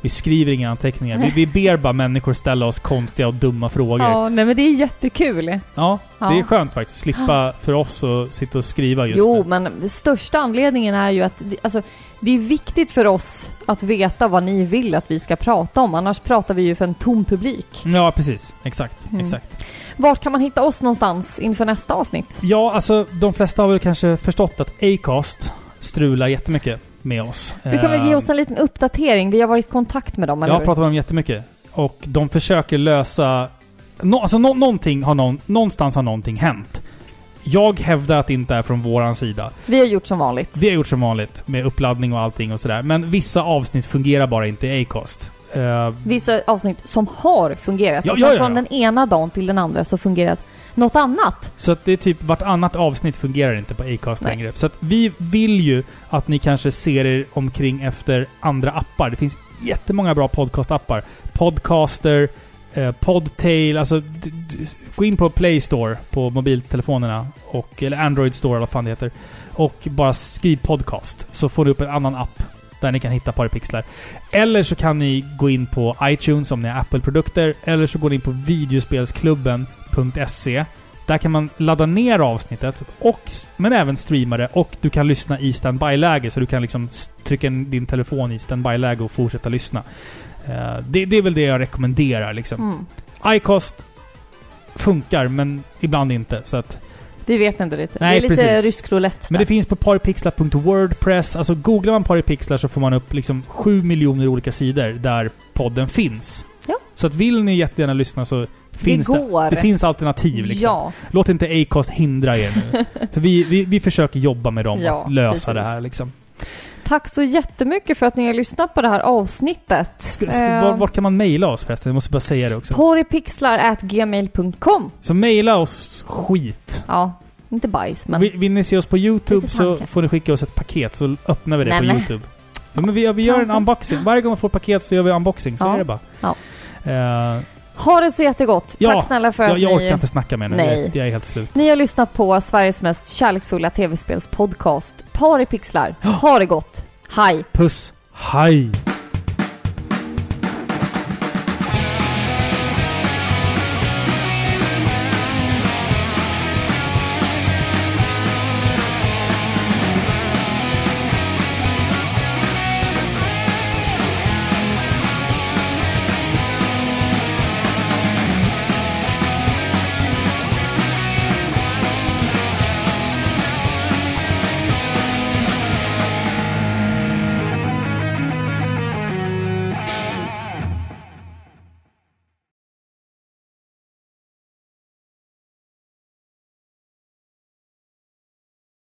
A: Vi skriver inga anteckningar. Vi, vi ber bara människor ställa oss konstiga och dumma frågor. Ja,
B: Ja, nej men det är jättekul. Ja.
A: det är skönt faktiskt. Slippa för oss att sitta och skriva just
B: Jo,
A: nu.
B: men största anledningen är ju att det- alltså, det är viktigt för oss att veta vad ni vill att vi ska prata om. Annars pratar vi ju för en tom publik.
A: Ja, precis. Exakt.
B: Mm.
A: exakt.
B: Vart kan man hitta oss någonstans inför nästa avsnitt?
A: Ja, alltså de flesta har väl kanske förstått att Acast strular jättemycket med oss.
B: Du kan väl ge oss en liten uppdatering? Vi har varit i kontakt med
A: Eh.
B: dem,
A: Jag
B: eller
A: har
B: hur?
A: pratat med dem jättemycket. Och de försöker lösa... Nå, alltså nå, någonting har någon, någonstans har någonting hänt. Jag hävdar att det inte är från våran sida.
B: Vi har gjort som vanligt.
A: Vi har gjort som vanligt med uppladdning och allting och sådär. Men vissa avsnitt fungerar bara inte i Acast. Eh,
B: Vissa avsnitt som har fungerat.
A: Ja,
B: och sen
A: ja, ja,
B: från
A: ja.
B: den ena dagen till den andra så fungerat något annat.
A: så att det är typ vartannat avsnitt fungerar inte på Acast
B: Nej.
A: längre. Så att vi vill ju att ni kanske ser er omkring efter andra appar. Det finns jättemånga bra podcastappar. Podcaster, eh, Podtail, alltså d- d- gå in på Play Store på mobiltelefonerna. Och, eller Android Store eller vad fan det heter. Och bara skriv podcast. Så får ni upp en annan app där ni kan hitta Paripixlar. Eller så kan ni gå in på iTunes om ni har Apple-produkter. Eller så går ni in på videospelsklubben.se. Där kan man ladda ner avsnittet, och, men även streama det. Och du kan lyssna i standby-läge, så du kan liksom s- trycka in din telefon i standby-läge och fortsätta lyssna. Eh, det, det är väl det jag rekommenderar. Liksom.
B: Mm.
A: iCast funkar, men ibland inte. Så att,
B: Vi vet inte riktigt.
A: Nej,
B: det är lite
A: precis.
B: rysk roulette.
A: men
B: där.
A: det finns på paripixlar.wordpress. Alltså googlar man paripixlar så får man upp liksom sju miljoner olika sidor där podden finns.
B: Ja.
A: Så att vill ni jättegärna lyssna så finns det.
B: går.
A: Det finns alternativ liksom.
B: Ja,
A: Låt inte Acast hindra er nu. För vi, vi, vi försöker jobba med dem
B: Ja,
A: att lösa
B: precis.
A: det här liksom.
B: tack så jättemycket för att ni har lyssnat på det här avsnittet. Ehm,
A: Ska, ska,
B: Eh.
A: var, var kan man mejla oss förresten? Jag måste bara säga det också.
B: Porripixlar.gmail.com
A: Så mejla oss skit.
B: Ja, inte bajs men...
A: Vill, vill ni se oss på YouTube
B: Lite
A: så
B: tanke.
A: får ni skicka oss ett paket så öppnar vi det på
B: Nämen.
A: YouTube. Ja, men vi, vi gör en unboxing. Varje gång man får paket så gör vi unboxing. Så
B: Ja.
A: är det bara.
B: Ja.
A: Eh,
B: Ha det så jättegott!
A: Ja,
B: Tack snälla för att
A: Jag, jag
B: ni...
A: orkar inte snacka mer nu.
B: Nej.
A: Jag, jag är helt slut.
B: Ni har lyssnat på Sveriges mest kärleksfulla tv-spelspodcast Par i pixlar. Ha det gott! Hej!
A: Puss. Hej!